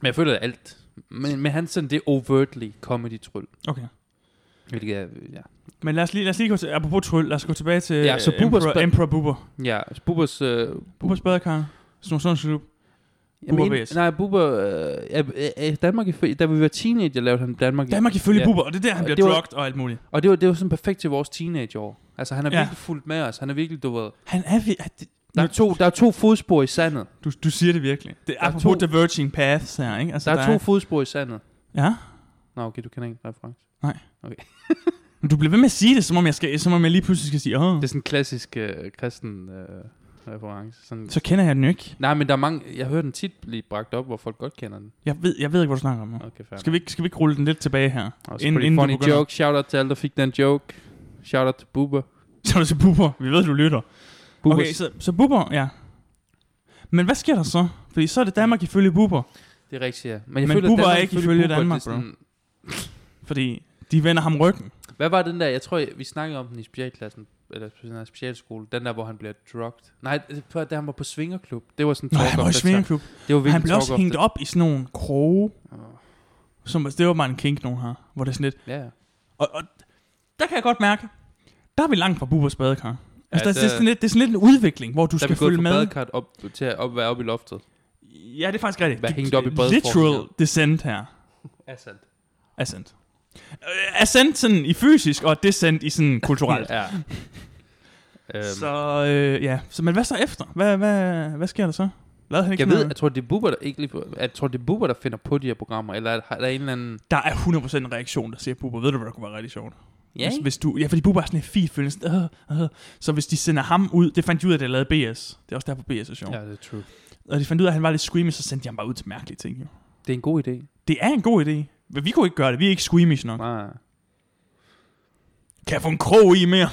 Speaker 1: Men jeg føler det er alt. Men, men han sådan det overtly comedy tryl.
Speaker 2: Okay.
Speaker 1: Hvilket er, øh, ja.
Speaker 2: Men lad os lige, lad os lige gå til, apropos tryl, lad os gå tilbage til
Speaker 1: Ja, så
Speaker 2: øh,
Speaker 1: Bubbers
Speaker 2: Emperor,
Speaker 1: bad-
Speaker 2: Emperor Bubber.
Speaker 1: Ja, altså Bubbers... Øh,
Speaker 2: Bubbers badekar. Snor Snow Snow Bubber
Speaker 1: en-
Speaker 2: VS.
Speaker 1: Nej, Bubber... Øh, ja, øh, øh, Danmark, ifølge- da vi var teenager, lavede han Danmark.
Speaker 2: Danmark ifølge
Speaker 1: Ja.
Speaker 2: Bubber, og det er der, han
Speaker 1: Og
Speaker 2: bliver
Speaker 1: det var-
Speaker 2: drugged og alt muligt.
Speaker 1: Og det var, det var sådan perfekt til vores teenageår. Altså, han har
Speaker 2: Ja.
Speaker 1: virkelig fulgt med os. Han er virkelig, du ved...
Speaker 2: Han er... vi- er det-
Speaker 1: Der er, to, der er to fodspor i sandet.
Speaker 2: Du, du siger det virkelig. Det er
Speaker 1: er
Speaker 2: apropos
Speaker 1: to-
Speaker 2: diverging paths her, ikke? Altså,
Speaker 1: Der er to fodspor i sandet.
Speaker 2: Ja,
Speaker 1: Nå, okay, du kender ikke reference.
Speaker 2: men du bliver ved med at sige det, som om jeg, skal, som om jeg lige pludselig skal sige, åh,
Speaker 1: Det er sådan en klassisk øh, kristen øh, reference. Sådan.
Speaker 2: så kender jeg den jo ikke.
Speaker 1: Nej, men der er mange... Jeg hører den tit blive bragt op, hvor folk godt kender den.
Speaker 2: Jeg ved, jeg ved ikke, hvad du snakker om nu.
Speaker 1: Okay, fair.
Speaker 2: Skal vi, ikke, skal vi ikke rulle den lidt tilbage her?
Speaker 1: Også inden, inden
Speaker 2: du
Speaker 1: funny
Speaker 2: begynder?
Speaker 1: joke. Shout out til alle, der fik den joke. Shout out til Bubber.
Speaker 2: Så er du til Bubber. Vi ved, du lytter.
Speaker 1: Bubbers.
Speaker 2: Okay, så, så Bubber, ja. Men hvad sker der så? Fordi så er det Danmark ifølge Bubber.
Speaker 1: Det er rigtigt, ja. Men, jeg
Speaker 2: Men
Speaker 1: føler, at
Speaker 2: Bubber er
Speaker 1: Danmark
Speaker 2: ikke ifølge
Speaker 1: Bubber, det er
Speaker 2: Danmark,
Speaker 1: sådan-
Speaker 2: Fordi de vender ham ryggen.
Speaker 1: Hvad var den der? Jeg tror, jeg- vi snakkede om den i specialklassen. Eller special- specialskole. Den der, hvor han bliver drugged. Nej, det var, da han var på svingerklub. Det var sådan
Speaker 2: Nå,
Speaker 1: talk
Speaker 2: han
Speaker 1: of
Speaker 2: var i
Speaker 1: the
Speaker 2: svingerklub.
Speaker 1: town. Det var virkelig
Speaker 2: Han blev
Speaker 1: talk
Speaker 2: også
Speaker 1: of
Speaker 2: hængt
Speaker 1: the-
Speaker 2: op i sådan nogle kroge.
Speaker 1: Åh,
Speaker 2: Som, det var bare en kink, nogen har. Hvor det er sådan lidt.
Speaker 1: Ja, ja.
Speaker 2: Og, og der kan jeg godt mærke, der er vi langt fra Bubbers badekar. Altså,
Speaker 1: Ja,
Speaker 2: ja, der, det, er
Speaker 1: der-
Speaker 2: sådan lidt, det er sådan lidt en udvikling, hvor du
Speaker 1: Der er vi
Speaker 2: skal
Speaker 1: gået
Speaker 2: følge
Speaker 1: fra
Speaker 2: med.
Speaker 1: badekart op, til at op, være oppe i loftet.
Speaker 2: Ja, det er faktisk rigtigt.
Speaker 1: Hvad
Speaker 2: Du-
Speaker 1: hængt op i badeformen,
Speaker 2: Literal
Speaker 1: ja.
Speaker 2: descent her.
Speaker 1: Er sandt.
Speaker 2: Ascent. Øh, Ascent sådan i fysisk, og descent i sådan kulturelt.
Speaker 1: Ja. øhm,
Speaker 2: Så øh, ja, så, men hvad så efter? Hvad, hvad, hvad sker der så? Lad han ikke
Speaker 1: jeg
Speaker 2: sådan
Speaker 1: ved,
Speaker 2: noget?
Speaker 1: jeg tror, det er Bubber, der ikke lige... Jeg tror, det er Bubber, der finder på de her programmer. Eller er der- er der en eller anden...
Speaker 2: Der er 100% en reaktion, der siger, Bubber, ved du, hvad der kunne være rigtig sjovt?
Speaker 1: Ja,
Speaker 2: hvis,
Speaker 1: ikke?
Speaker 2: hvis du, ja, fordi Bubber er sådan en fint følelse. Øh, øh. Så hvis de sender ham ud, det fandt de ud af, at jeg lavede BS. Det er også derfor, BS er sjovt. Ja.
Speaker 1: Ja, det er true.
Speaker 2: Og de fandt ud af, at han var lidt screamy, så sendte de ham bare ud til mærkelige ting. Jo.
Speaker 1: Det er en god idé.
Speaker 2: Det er en god idé. Men vi kunne ikke gøre det. Vi er ikke squeamish nok.
Speaker 1: Nej.
Speaker 2: Kan jeg få en krog i mere?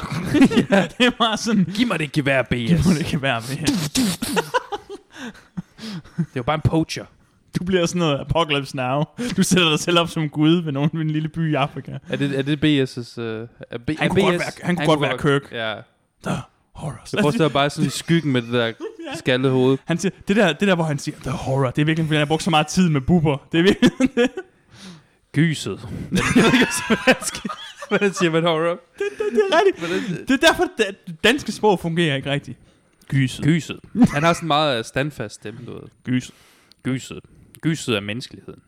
Speaker 2: ja. Det er bare sådan,
Speaker 1: Giv mig det gevær,
Speaker 2: yes.
Speaker 1: BS.
Speaker 2: det kan være med.
Speaker 1: det var bare en poacher.
Speaker 2: Du bliver sådan noget apocalypse now. Du sætter dig selv op som gud ved nogen ved en lille by i Afrika.
Speaker 1: Er det, er det BS's... Uh, er B-
Speaker 2: Han
Speaker 1: er
Speaker 2: kunne
Speaker 1: BS,
Speaker 2: godt være- han kunne godt være Kirk.
Speaker 1: Ja.
Speaker 2: The horror.
Speaker 1: Jeg forestiller mig bare sådan i skyggen med det der skaldede hoved.
Speaker 2: Han siger, det, der, det der, hvor han siger, the horror, det er virkelig, fordi han har brugt så meget tid med buber. Det er virkelig,
Speaker 1: Gyset. jeg ved ikke, hvad skal- Hvordan siger man horror?
Speaker 2: det er rigtigt.
Speaker 1: Hvordan-
Speaker 2: Det er derfor, det det danske sprog fungerer ikke rigtigt. Gyset.
Speaker 1: Gyset. Han har sådan meget øh, standfast stemme, du ved.
Speaker 2: Gyset.
Speaker 1: Gyset. Gyset er menneskeligheden.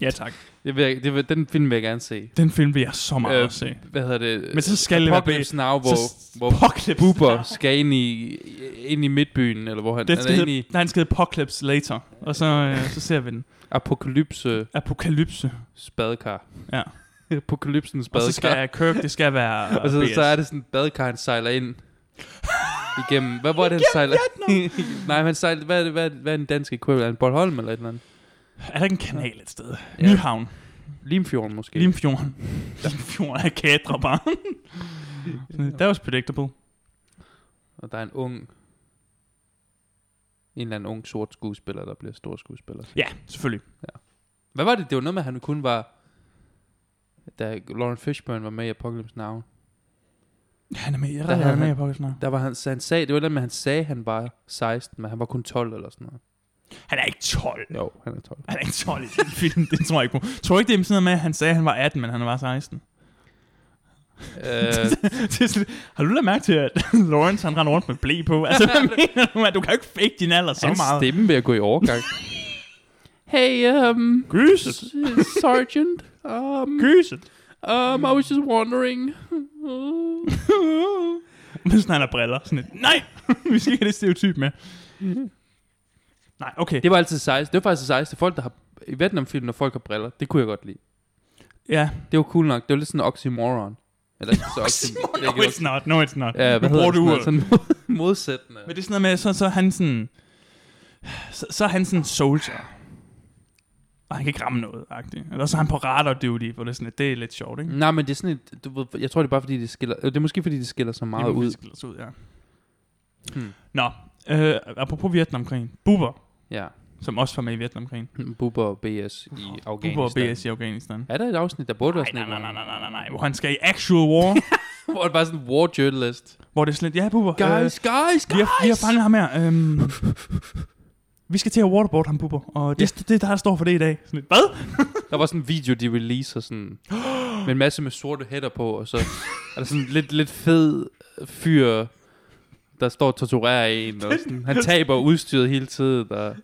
Speaker 2: Ja, tak.
Speaker 1: Det vil, jeg- det vil, den film vil jeg gerne se.
Speaker 2: Den film vil jeg så meget
Speaker 1: Øh,
Speaker 2: øh, at se.
Speaker 1: Hvad hedder det?
Speaker 2: Men så skal det være
Speaker 1: Apocalypse Now, hvor,
Speaker 2: Så-
Speaker 1: hvor
Speaker 2: Apocalypse.
Speaker 1: Boober skal ind i, ind i midtbyen, eller hvor han,
Speaker 2: Det
Speaker 1: han
Speaker 2: skal
Speaker 1: er inde
Speaker 2: hedde,
Speaker 1: i
Speaker 2: nej, den skal hedde Apocalypse Later. Og så, øh, så ser vi den.
Speaker 1: apokalypse
Speaker 2: Apokalypse.
Speaker 1: spadekar.
Speaker 2: Ja.
Speaker 1: Apokalypsens
Speaker 2: Og
Speaker 1: badekar.
Speaker 2: så skal Kirk, det skal være
Speaker 1: og så,
Speaker 2: BS.
Speaker 1: så er det sådan, badekar, han sejler ind igennem. Hvad var det, han sejler? Nej, men han sejler, hvad, er det, hvad, er det- hvad er den danske equivalent? Er det Bornholm eller et eller andet?
Speaker 2: Er der ikke en kanal et sted?
Speaker 1: Ja.
Speaker 2: Ja. Nyhavn.
Speaker 1: Limfjorden måske.
Speaker 2: Limfjorden. Limfjorden er kædre bare. That was predictable.
Speaker 1: Og der er en ung, en eller anden ung sort skuespiller, der bliver stor skuespiller.
Speaker 2: Ja, selvfølgelig.
Speaker 1: Hvad var det? Det var noget med, at han kun var... Da Lauren Fishburne var med i Apocalypse Now,
Speaker 2: Han er med. Jeg
Speaker 1: Der
Speaker 2: der
Speaker 1: havde
Speaker 2: er med i
Speaker 1: han-
Speaker 2: Apocalypse Now.
Speaker 1: der var han, så han sagde, det var det med, at han sagde, at han var 16, men han var kun 12 eller sådan noget.
Speaker 2: Han er ikke 12.
Speaker 1: Jo, han er 12.
Speaker 2: Han er ikke 12 i den film. Det tror jeg ikke på. Tror du ikke, det er sådan noget med, at han sagde, at han var 18, men han var 16?
Speaker 1: øh,
Speaker 2: Det er sådan- har du lagt mærke til, at Lawrence han render rundt med blæ på? Altså, hvad mener du, man? Du kan jo ikke fake din alder så
Speaker 1: hans
Speaker 2: meget.
Speaker 1: stemme ved at gå i overgang. hey, um,
Speaker 2: Gyset.
Speaker 1: Sergeant, um,
Speaker 2: Gyset.
Speaker 1: um, I was just wondering.
Speaker 2: Men sådan han har briller. Sådan et, nej, vi skal ikke have det stereotyp med. Nej, okay.
Speaker 1: Det var altid sejst. Det var faktisk sejst. Folk, der har i Vietnamfilm, når folk har briller, det kunne jeg godt lide.
Speaker 2: Ja,
Speaker 1: Det var cool nok. Det var lidt sådan en oxymoron. Eller ikke så oxymoron.
Speaker 2: no, it's not. No, it's not.
Speaker 1: Ja, hvad
Speaker 2: Nu bruger
Speaker 1: hedder
Speaker 2: du
Speaker 1: det?
Speaker 2: ordet.
Speaker 1: Sådan noget? Sådan modsættende.
Speaker 2: Men det er sådan noget med, så, så er han sådan... Så, så er han sådan soldier. Og han kan ikke ramme noget, agtigt. Eller så er han på radar duty, hvor det er sådan, at det er lidt sjovt, ikke?
Speaker 1: Nej, men det er sådan et, du ved, jeg tror, det er bare fordi, det skiller, øh, det er måske fordi, det skiller så meget
Speaker 2: Det må vi
Speaker 1: ud.
Speaker 2: skille os ud, ja.
Speaker 1: Hmm.
Speaker 2: Nå, øh, apropos Vietnamkrigen. Buber,
Speaker 1: Ja,
Speaker 2: som også var med i Vietnamkrigen.
Speaker 1: Bubber og BS i Afghanistan.
Speaker 2: Buber og BS i Afghanistan.
Speaker 1: Er der et afsnit, der burde være
Speaker 2: Nej,
Speaker 1: sådan
Speaker 2: nej,
Speaker 1: et,
Speaker 2: nej, nej, nej, nej, nej, hvor han skal i actual war,
Speaker 1: Hvor det bare er sådan en war journalist.
Speaker 2: hvor det er slet, ja, Buber,
Speaker 1: Guys, guys,
Speaker 2: vi har, vi har
Speaker 1: guys!
Speaker 2: fanget ham her. Øhm, vi skal til at waterboard ham, Buber, og det, det, det er der, der står for det i dag. Sådan, lidt, Hvad?
Speaker 1: Der var sådan en video, de releaser sådan, med en masse med sorte hætter på, og så er der sådan en lidt, lidt fed fyr, der står og torturerer en, og sådan, han taber udstyret hele tiden, og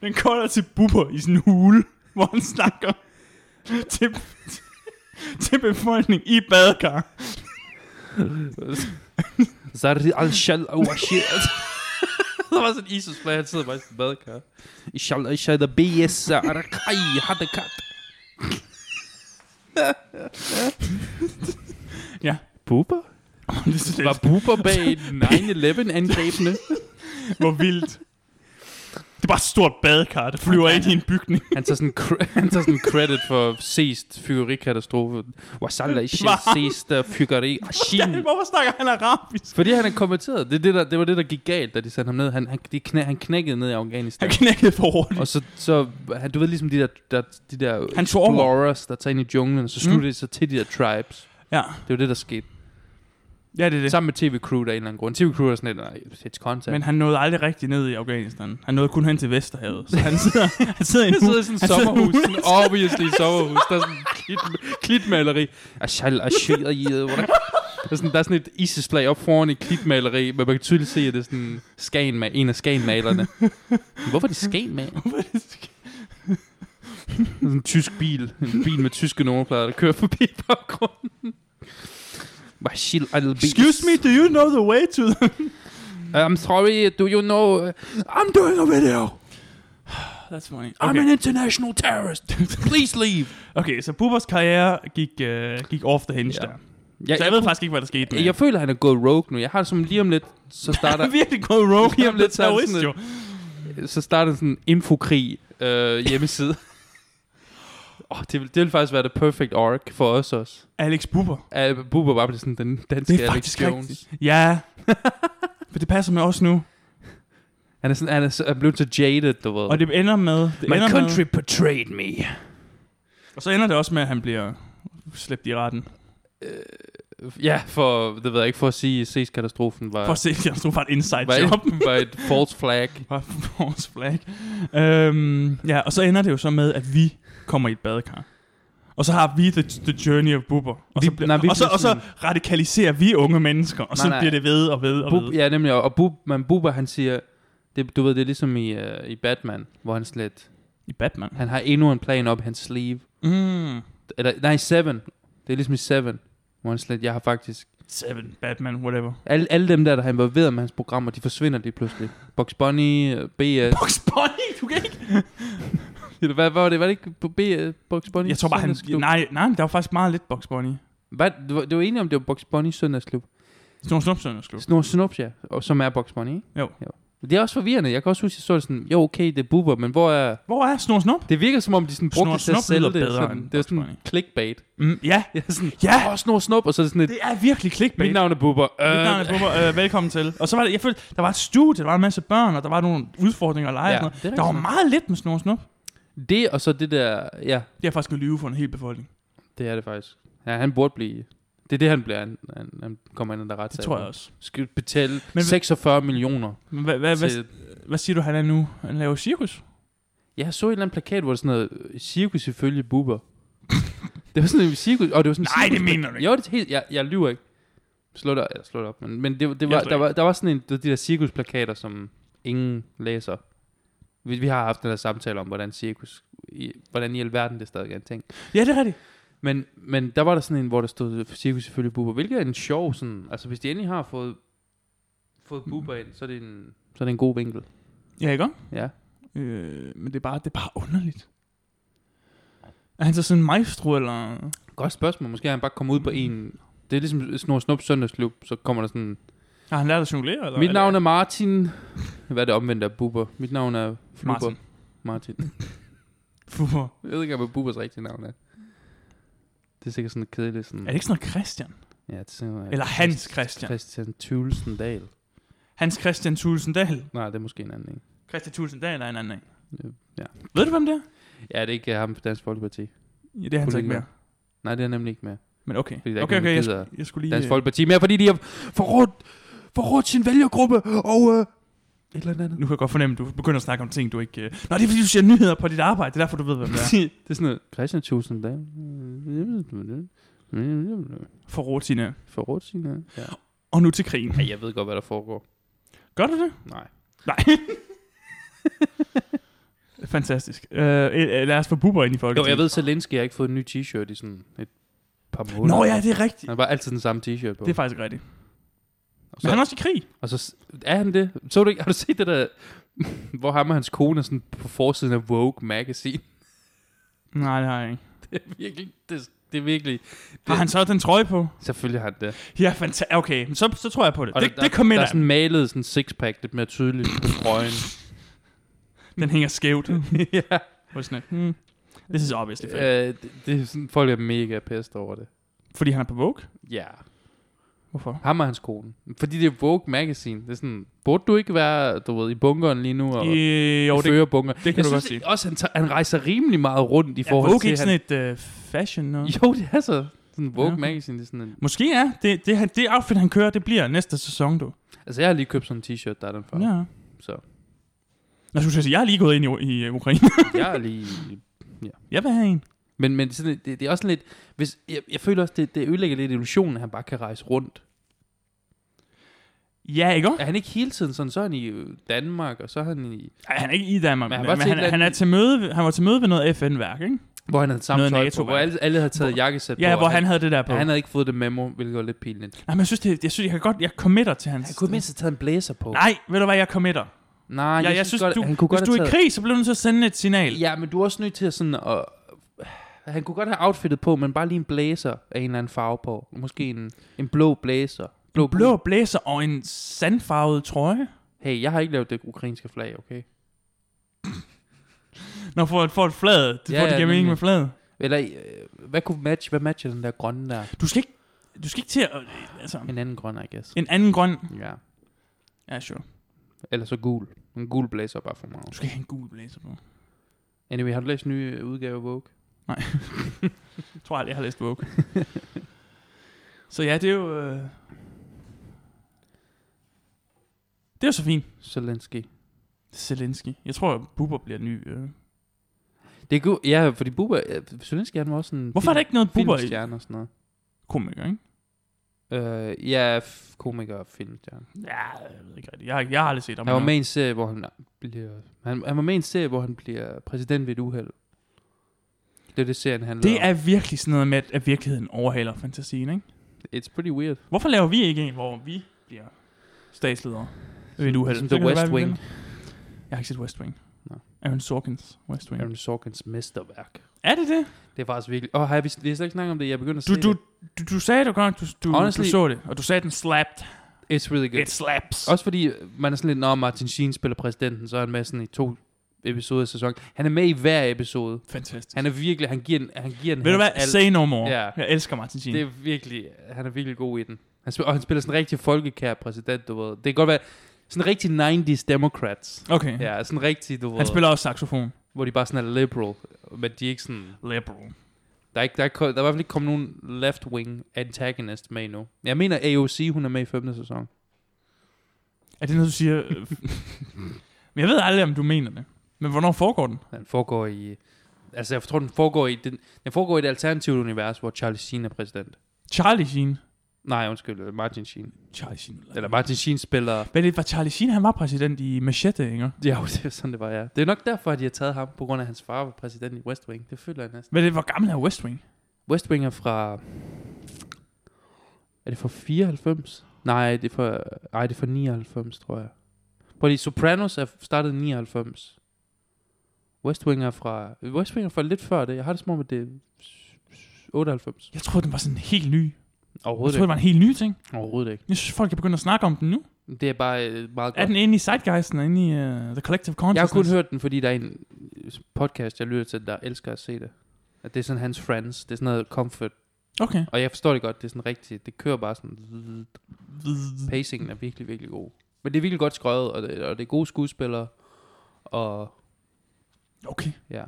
Speaker 2: Den kolder til Bubber i sådan en hule, hvor han snakker til, til befolkningen i badekar.
Speaker 1: Zari al-Shal al-Washir. Der var sådan en isis flag, han sidder bare i sin badekar. Ishal al-Shal da BS Arakai Hadakat.
Speaker 2: Ja.
Speaker 1: Buber?
Speaker 2: Det er så
Speaker 1: Var
Speaker 2: lidt,
Speaker 1: Buber bag 9-11-angrebene?
Speaker 2: hvor vildt. Det er bare et stort badekar, der flyver ind i en bygning.
Speaker 1: Han tager sådan, cre- han tager sådan credit for sidst fyrerikatastrofe. Wasalla ishil
Speaker 2: Var-
Speaker 1: sidst fyreri. Ashin.
Speaker 2: Hvorfor snakker han arabisk?
Speaker 1: Ah, Fordi han er kommenteret. Det, er det, der, det var det, der gik galt, da de sendte ham ned. Han, han, de knæ, han knækkede ned i Afghanistan.
Speaker 2: Han knækkede for hurtigt.
Speaker 1: Og så, så han, du ved ligesom de der, der, de der
Speaker 2: Han tog over. Mm.
Speaker 1: explorers, der tager ind i junglen, og så slutter de sig til de der tribes.
Speaker 2: Ja,
Speaker 1: Det var det, der skete.
Speaker 2: ja det er det.
Speaker 1: Sammen med TV-crew, der er en eller anden grund. TV-crew er sådan lidt, nej, it's contact.
Speaker 2: Men han nåede aldrig rigtig ned i Afghanistan. Han nåede kun hen til Vesterhavet. Så han sidder, han sidder i en
Speaker 1: Han sidder i sådan et
Speaker 2: han sidder i en
Speaker 1: sommerhus,
Speaker 2: hule.
Speaker 1: sådan obviously et sommerhus. Der er sådan et klit, klitmaleri. Ashal, ashir, i, øh, hvordan- der er, sådan, der er sådan et ISIS-flag op foran et klitmaleri, men man kan tydeligt se, at det er sådan Skagen, en af Skagen-malerne. Hvorfor er det Skagen-maler? Sådan en tysk bil. En bil med tyske nummerplader, der kører forbi i baggrunden. Ashil al-Bis.
Speaker 2: Excuse me, do you know the way to the...
Speaker 1: I'm sorry, do you know... I'm doing a video.
Speaker 2: That's funny.
Speaker 1: I'm
Speaker 2: Okay,
Speaker 1: an international terrorist. Please leave.
Speaker 2: Ah, okay så Bubbers karriere gik, uh, gik off the hinge
Speaker 1: Ja.
Speaker 2: ja. der. Så jeg ved faktisk ikke, hvad der skete med
Speaker 1: Jeg føler, han er gået rogue nu. Jeg har det som lige om lidt, så starter,
Speaker 2: Han er virkelig gået rogue.
Speaker 1: Lige om lidt, så er
Speaker 2: så
Speaker 1: han
Speaker 2: er
Speaker 1: sådan
Speaker 2: jo.
Speaker 1: så starter sådan en infokrig øh, hjemmeside. oh, det, vil, det vil faktisk være the perfect arc for os også.
Speaker 2: Alex Bubber.
Speaker 1: At Bubber bare bliver sådan den danske
Speaker 2: Det er
Speaker 1: Alex
Speaker 2: faktisk
Speaker 1: Jones.
Speaker 2: rigtigt. Ja. For det passer med os nu.
Speaker 1: Han er, sådan, han er, så- er blevet så jaded, du ved.
Speaker 2: Og det ender med... Det
Speaker 1: My
Speaker 2: ender
Speaker 1: country betrayed me.
Speaker 2: Med, og så ender det også med, at han bliver slæbt i retten.
Speaker 1: Ja, for, det ved jeg ikke, for at sige, ses katastrofen var,
Speaker 2: For at se, jeg tror bare et inside
Speaker 1: var,
Speaker 2: job.
Speaker 1: et, var et false flag.
Speaker 2: Bare vores flag. Øhm, ja, og så ender det jo så med, at vi kommer i et badekar. Og så har vi The, the Journey of Bubber. Og,
Speaker 1: Vi-
Speaker 2: så, bliver,
Speaker 1: nej, vi
Speaker 2: og, så,
Speaker 1: bliver
Speaker 2: og så
Speaker 1: sådan-
Speaker 2: radikaliserer vi unge mennesker, og så
Speaker 1: Nej, nej.
Speaker 2: bliver det ved og ved og
Speaker 1: Bub,
Speaker 2: ved.
Speaker 1: ja, nemlig. Og Bub, men Bubba, han siger, det, du ved, det er ligesom i, uh, i Batman, øh, hvor han slet,
Speaker 2: I Batman.
Speaker 1: Han har endnu en plan op i hans sleeve.
Speaker 2: Mm.
Speaker 1: Eller, nej, Seven. Det er ligesom i Seven. Hvor han slet, jeg har faktisk...
Speaker 2: Seven, Batman, whatever.
Speaker 1: Alle, alle dem der, der har involveret med hans programmer, de forsvinder lige pludselig. Box Bunny, øh, BS...
Speaker 2: Bugs Bunny, du kan ikke...
Speaker 1: Eller Hvad, hvad var det? Var det ikke på B, Box Bunny?
Speaker 2: Jeg tror bare, han...
Speaker 1: Søndagsklub?
Speaker 2: Nej, nej, der var faktisk meget lidt Bugs Bunny.
Speaker 1: Hvad? Du, var- du var enig om, det var Box Bunny Søndagsklub.
Speaker 2: Snor Snupsøn, skulle
Speaker 1: Snor Snups, ja. Og, som er Box Bunny, ikke?
Speaker 2: Jo.
Speaker 1: jo. Men Det er også forvirrende. Jeg kan også huske, at jeg så det sådan, jo okay, det er buber, men hvor er...
Speaker 2: Hvor er Snor Snup?
Speaker 1: Det virker som om, de sådan brugte
Speaker 2: Snor
Speaker 1: det til at
Speaker 2: Snup lyder
Speaker 1: sælge det.
Speaker 2: bedre
Speaker 1: Sådan,
Speaker 2: end
Speaker 1: det er
Speaker 2: Bugs
Speaker 1: sådan
Speaker 2: Bunny.
Speaker 1: clickbait.
Speaker 2: Mm, ja,
Speaker 1: Jeg er sådan,
Speaker 2: Ja.
Speaker 1: åh, Snor Snup, og så er det sådan et,
Speaker 2: det er virkelig clickbait.
Speaker 1: mit navn er buber.
Speaker 2: Mit navn er Bubber. Øh, velkommen til. Og så var det, jeg følte, der var et studie, der var en masse børn, og der var nogle udfordringer og
Speaker 1: Øh,
Speaker 2: lege.
Speaker 1: Ja,
Speaker 2: Ja, og
Speaker 1: det er rigtigt
Speaker 2: sådan noget. Der var
Speaker 1: nok.
Speaker 2: meget lidt med Snor Snup.
Speaker 1: Det, og så det der, ja,
Speaker 2: Det er faktisk en lyve for en hel befolkning.
Speaker 1: det er det faktisk. Ja, han burde blive... Det er det, han bliver. Han, han, han kommer ind i retssag.
Speaker 2: Det tror jeg også.
Speaker 1: Skal betale
Speaker 2: Men-
Speaker 1: 46 millioner
Speaker 2: Men hvad, hvad, hvad,
Speaker 1: til...
Speaker 2: hvad siger du, han er nu? Han laver cirkus?
Speaker 1: Jeg så en eller anden plakat, hvor der sådan noget, øh, cirkus ifølge buber. det var sådan en cirkus, og det var sådan en
Speaker 2: Nej, det
Speaker 1: cirkus,
Speaker 2: mener du ikke.
Speaker 1: Jo, det er helt, jeg, jeg lyver ikke. Slå det, eller slå det op, men, men det, det var,
Speaker 2: tror
Speaker 1: der, var, der var sådan en, du ved, de der cirkusplakater, som ingen læser. Vi, vi har haft den der samtale om, hvordan cirkus, i, hvordan i alverden det stadig er en ting.
Speaker 2: Ja, det er rigtigt.
Speaker 1: Men, men der var der sådan en, hvor der stod cirkus ifølge Bubber, hvilket er en sjov sådan, altså hvis de endelig har fået, fået Bubber ind, så er, det en, så er det en god vinkel.
Speaker 2: Ja, ikke også?
Speaker 1: Ja.
Speaker 2: øh, Men det er, bare, det er bare underligt. Er han så sådan en maestro, eller...
Speaker 1: Godt spørgsmål, måske har han bare kommet ud på en, det er ligesom Snor Snup Søndagsklub, så kommer der sådan,
Speaker 2: Har han lært at jonglere? Eller?
Speaker 1: mit navn er Martin, hvad er det omvendt af Bubber? Mit navn er Flubber.
Speaker 2: Martin.
Speaker 1: Martin.
Speaker 2: Flubber.
Speaker 1: Jeg ved ikke, hvad Bubbers rigtige navn er. Det er sikkert sådan et kedeligt sådan...
Speaker 2: Er det ikke sådan noget Christian?
Speaker 1: Ja, det er sådan noget,
Speaker 2: Eller Hans Christian.
Speaker 1: Christian Thulesen Dahl.
Speaker 2: Hans Christian Tulsendal.
Speaker 1: Nej, det er måske en anden en.
Speaker 2: Christian Tulsendal er en anden en.
Speaker 1: Ja.
Speaker 2: Ved du, hvem det er?
Speaker 1: Ja, det er ikke øh, ham fra Dansk Folkeparti.
Speaker 2: Ja, det er han så ikke
Speaker 1: Politiker.
Speaker 2: mere.
Speaker 1: Nej, det er nemlig ikke med.
Speaker 2: Men okay.
Speaker 1: Fordi der
Speaker 2: okay,
Speaker 1: ikke
Speaker 2: okay, jeg,
Speaker 1: er nogen,
Speaker 2: sk- jeg skulle lige...
Speaker 1: Dansk
Speaker 2: øh,
Speaker 1: Folkeparti mere, fordi de har forrådt, forrådt sin vælgergruppe og øh, et eller andet.
Speaker 2: Nu kan jeg godt fornemme, at du begynder at snakke om ting, du ikke... Øh... Nå, det er fordi, du ser nyheder på dit arbejde. Det er derfor, du ved, hvem det er.
Speaker 1: det er sådan noget. Christian Tusind Dahl.
Speaker 2: For rutine.
Speaker 1: Forrådt sine... øh, Ja.
Speaker 2: Og nu til krigen.
Speaker 1: Ej, jeg ved godt, hvad der foregår.
Speaker 2: Gør du det?
Speaker 1: Nej.
Speaker 2: Fantastisk. Øh, øh, lad os få buber ind i
Speaker 1: Jo,
Speaker 2: folketinget.
Speaker 1: jeg ved, Zelensky har ikke fået en ny t-shirt i sådan et par måneder.
Speaker 2: Nå ja, det er rigtigt.
Speaker 1: Han har bare altid den samme t-shirt på.
Speaker 2: Det er faktisk rigtigt.
Speaker 1: og,
Speaker 2: Men
Speaker 1: så,
Speaker 2: han er også i krig.
Speaker 1: og så s- er han det. Så du ikke, har du set det der, hvor ham og hans kone er sådan på forsiden af Vogue magazine?
Speaker 2: Nej, det har jeg ikke.
Speaker 1: Det er virkelig, det, det er virkelig,
Speaker 2: Har han så den trøje på?
Speaker 1: selvfølgelig har han det.
Speaker 2: Ja, fantastisk. Okay, men så, så tror jeg på det.
Speaker 1: Og
Speaker 2: det,
Speaker 1: der,
Speaker 2: det kommer
Speaker 1: der, der
Speaker 2: ind
Speaker 1: er sådan malet sådan sixpack lidt mere tydeligt på trøjen.
Speaker 2: Den hænger skævt.
Speaker 1: ja.
Speaker 2: På sådan et, hmm. This is obviously fake.
Speaker 1: Mm. Øh, det, det, er sådan, folk er mega pissed over det.
Speaker 2: Fordi han er på Vogue?
Speaker 1: Ja.
Speaker 2: Hvorfor?
Speaker 1: Ham og hans kone. Fordi det er Vogue magazine. Det er sådan, burde du ikke være, du ved, i bunkeren lige nu? Og,
Speaker 2: Øh, jo,
Speaker 1: og
Speaker 2: det,
Speaker 1: føre bunker.
Speaker 2: det kan
Speaker 1: jeg
Speaker 2: du
Speaker 1: synes
Speaker 2: godt sige.
Speaker 1: Også, han, tager, han rejser rimelig meget rundt i
Speaker 2: er
Speaker 1: forhold
Speaker 2: Vogue
Speaker 1: til...
Speaker 2: ikke
Speaker 1: han,
Speaker 2: sådan et øh, fashion noget?
Speaker 1: Jo, det er så. Sådan Vogue
Speaker 2: Ja, okay.
Speaker 1: Magazine, det er sådan en...
Speaker 2: Måske er. Det, det, han- det outfit, han kører, det bliver næste sæson, du.
Speaker 1: Altså, jeg har lige købt sådan en t-shirt, der er den fra. Ja.
Speaker 2: Ja.
Speaker 1: Så
Speaker 2: Nå, skulle jeg sige, jeg er lige gået ind i, i øh, Ukraine.
Speaker 1: jeg er lige...
Speaker 2: jeg vil have en.
Speaker 1: Men, men sådan, det, det er også sådan lidt... Hvis, jeg, jeg føler også, det, det ødelægger lidt illusionen, at han bare kan rejse rundt.
Speaker 2: Ja, ikke også?
Speaker 1: Er han ikke hele tiden sådan, så er han i øh, Danmark, og så er han i...
Speaker 2: Ej, han er ikke i Danmark,
Speaker 1: Men han
Speaker 2: men, han,
Speaker 1: var
Speaker 2: men
Speaker 1: til et
Speaker 2: han,
Speaker 1: eller
Speaker 2: han, er til møde, ved- han var til møde ved noget FN-værk, ikke?
Speaker 1: Hvor han havde samme
Speaker 2: Noget
Speaker 1: tøj på,
Speaker 2: NATO,
Speaker 1: hvor
Speaker 2: mand.
Speaker 1: alle, alle havde taget jakkesæt på.
Speaker 2: Ja,
Speaker 1: og
Speaker 2: hvor han havde det der på.
Speaker 1: han, han havde ikke fået det memo, hvilket var lidt pinligt.
Speaker 2: Nej, men jeg synes, det, jeg synes, jeg kan godt, jeg committer til hans...
Speaker 1: Han kunne mindst have taget en blæser på.
Speaker 2: Nej, ved du hvad, jeg committer.
Speaker 1: Nej
Speaker 2: Ja,
Speaker 1: jeg,
Speaker 2: jeg synes,
Speaker 1: godt,
Speaker 2: du,
Speaker 1: han kunne
Speaker 2: hvis
Speaker 1: godt
Speaker 2: du
Speaker 1: have
Speaker 2: er i
Speaker 1: taget...
Speaker 2: krig, så bliver du nødt til at sende et signal.
Speaker 1: Ja, men du er også nødt til at sådan at... Han kunne godt have outfittet på, men bare lige en blazer af en eller anden farve på. Måske en, en blå blazer. Blå,
Speaker 2: Blå blæser og en sandfarvet trøje.
Speaker 1: Hey, jeg har ikke lavet det ukrainske flag, okay?
Speaker 2: Når får får et flad, det
Speaker 1: Ja,
Speaker 2: ja, får det
Speaker 1: ja,
Speaker 2: giver mening
Speaker 1: nemlig.
Speaker 2: med fladet.
Speaker 1: Eller, øh, hvad kunne matche, hvad matcher den der grønne der?
Speaker 2: Du skal ikke, du skal ikke til at... Altså,
Speaker 1: En anden grøn, I guess.
Speaker 2: en anden grøn...
Speaker 1: Ja.
Speaker 2: Ja, sure.
Speaker 1: Eller så gul. En gul blazer bare for mig.
Speaker 2: Du skal ikke have en gul blæser på.
Speaker 1: Anyway, har du læst nye øh, udgave af Vogue?
Speaker 2: Jeg tror aldrig, jeg har læst Vogue. så ja, det er jo... Øh... Det er jo så fint.
Speaker 1: Zelensky.
Speaker 2: Zelensky. Jeg tror, at Bubber bliver ny. Øh...
Speaker 1: Det er god, ja, fordi Bubba, øh, Zelensky han var også en
Speaker 2: Hvorfor er der ikke noget Bubber i
Speaker 1: filmstjerne og sådan noget.
Speaker 2: komiker, ikke?
Speaker 1: Øh, ja, f- komiker og filmstjerne.
Speaker 2: Ja, jeg ved ikke rigtigt. Jeg har, jeg har aldrig set ham.
Speaker 1: Han var med i en serie, hvor han bliver... Han, han var med i en serie, hvor han bliver præsident ved et uheld. Det er det, serien handler
Speaker 2: Det er virkelig sådan noget med, at- at virkeligheden overhaler fantasien, ikke?
Speaker 1: om. It's pretty weird.
Speaker 2: Hvorfor laver vi ikke en, hvor vi bliver statsledere? Ved et uheld.
Speaker 1: Som
Speaker 2: Så kan
Speaker 1: The
Speaker 2: det være,
Speaker 1: West
Speaker 2: vi
Speaker 1: Wing.
Speaker 2: vinder. Jeg har ikke set West Wing.
Speaker 1: Nå.
Speaker 2: Aaron Sorkins West Wing.
Speaker 1: Aaron Sorkins mesterværk.
Speaker 2: Er det det?
Speaker 1: Det er faktisk virkelig... Åh, oh, har vi, vi har slet ikke snakket om det. Jeg begynder at
Speaker 2: Du,
Speaker 1: se
Speaker 2: du,
Speaker 1: det.
Speaker 2: du, du sagde det godt, du, du,
Speaker 1: Honestly-
Speaker 2: du så det, og du sagde, den slapped.
Speaker 1: It's really good.
Speaker 2: It slaps.
Speaker 1: Også fordi øh, man er sådan lidt, når Martin Sheen spiller præsidenten, så er han med sådan i to episoder af sæsonen. Han er med i hver episode.
Speaker 2: Fantastisk.
Speaker 1: Han er virkelig, han giver en, han giver en
Speaker 2: Ved du hvad?
Speaker 1: alt.
Speaker 2: Say no more.
Speaker 1: Ja.
Speaker 2: Jeg elsker Martin Sheen.
Speaker 1: Det er virkelig, han er virkelig god i den. Han spiller, og han spiller sådan en rigtig folkekær præsident, du ved. Det kan godt være sådan en rigtig 90's Democrats.
Speaker 2: Okay.
Speaker 1: Ja, sådan en rigtig, du ved,
Speaker 2: Han spiller også saxofon.
Speaker 1: hvor de bare sådan er liberal, men de er ikke sådan,
Speaker 2: Liberal.
Speaker 1: der er, ikke, der, er, ko- der er i hvert fald ikke kommet nogen left-wing antagonist med endnu. Jeg mener AOC, hun er med i femte sæson.
Speaker 2: Er det noget, du siger? øh, Men jeg ved aldrig, om du mener det. Men hvornår foregår den?
Speaker 1: Den foregår i, altså jeg tror, den foregår i, den, den foregår i et alternativt univers, hvor Charlie Sheen er præsident.
Speaker 2: Charlie Sheen.
Speaker 1: Nej, undskyld, Martin Sheen.
Speaker 2: Charlie Sheen.
Speaker 1: Eller Martin Sheen spiller,
Speaker 2: Hvad er det, var Charlie Sheen, han var præsident i Machete, ikke?
Speaker 1: ja, det er sådan det var, ja. Det er nok derfor, at de har taget ham, på grund af at hans far var præsident i West Wing. Det føler jeg næsten.
Speaker 2: Hvad er det, hvor gammel er West Wing?
Speaker 1: West Wing er fra... Er det fra 94? Nej, det er fra, ej, det er fra 99, tror jeg. Prøv lige, Sopranos er startet i 99. West Wing er fra... West Wing er fra lidt før det. Jeg har det som om, at det er 98.
Speaker 2: Jeg troede, den var sådan helt ny. Jeg
Speaker 1: Overhovedet
Speaker 2: troede, det var en helt ny ting.
Speaker 1: ikke. Overhovedet ikke.
Speaker 2: Jeg synes, folk er begyndt at snakke om den nu.
Speaker 1: Det er bare øh, meget
Speaker 2: Er
Speaker 1: godt.
Speaker 2: den inde i Zeitgeisten og inde i uh, The Collective Consciousness?
Speaker 1: Jeg har kun hørt den, fordi der er en øh, podcast, jeg lytter til, der elsker at se det. At det er sådan hans friends. Det er sådan noget comfort.
Speaker 2: Okay.
Speaker 1: Og jeg forstår det godt. Det er sådan rigtigt. Det kører bare sådan... Pacingen er virkelig, virkelig god. Men det er virkelig godt skrevet, og det, og det er gode skuespillere. Og
Speaker 2: Okay.
Speaker 1: ja.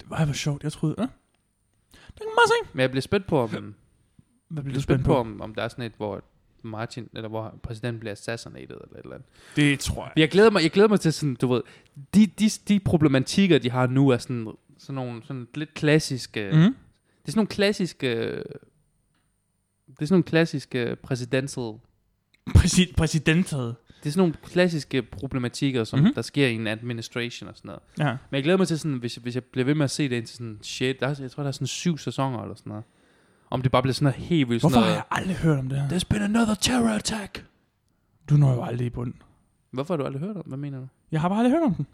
Speaker 2: Det var, hvor sjovt. Jeg troede, ja. Den kan man bare se.
Speaker 1: Men jeg bliver spændt på, om,
Speaker 2: Hvad bliver
Speaker 1: bliver
Speaker 2: du
Speaker 1: spændt
Speaker 2: spændt
Speaker 1: på,
Speaker 2: på?
Speaker 1: om, om der er sådan et, hvor Martin, eller hvor præsidenten bliver assassinated, eller et eller andet.
Speaker 2: Det tror jeg.
Speaker 1: Men jeg glæder mig, jeg glæder mig til sådan, du ved, de, de, de problematikker, de har nu, er sådan, sådan nogle sådan lidt klassiske, mm. det
Speaker 2: Mm.
Speaker 1: er sådan nogle klassiske, det er sådan nogle klassiske presidential
Speaker 2: Præsid- præsidentet.
Speaker 1: det er sådan nogle klassiske problematikker, som
Speaker 2: Mhm.
Speaker 1: mm-hmm. der sker i en administration og sådan noget.
Speaker 2: Ja.
Speaker 1: Men jeg glæder mig til sådan, hvis jeg, hvis jeg bliver ved med at se det indtil sådan, shit, der er, jeg tror, der er sådan syv sæsoner eller sådan noget. Om det bare bliver sådan noget helt vildt
Speaker 2: Hvorfor
Speaker 1: sådan
Speaker 2: har
Speaker 1: noget.
Speaker 2: jeg aldrig hørt om det her?
Speaker 1: There's been another terror attack.
Speaker 2: Du når jo aldrig i bunden.
Speaker 1: Hvorfor har du aldrig hørt om? Hvad mener du?
Speaker 2: Jeg har bare aldrig hørt om den.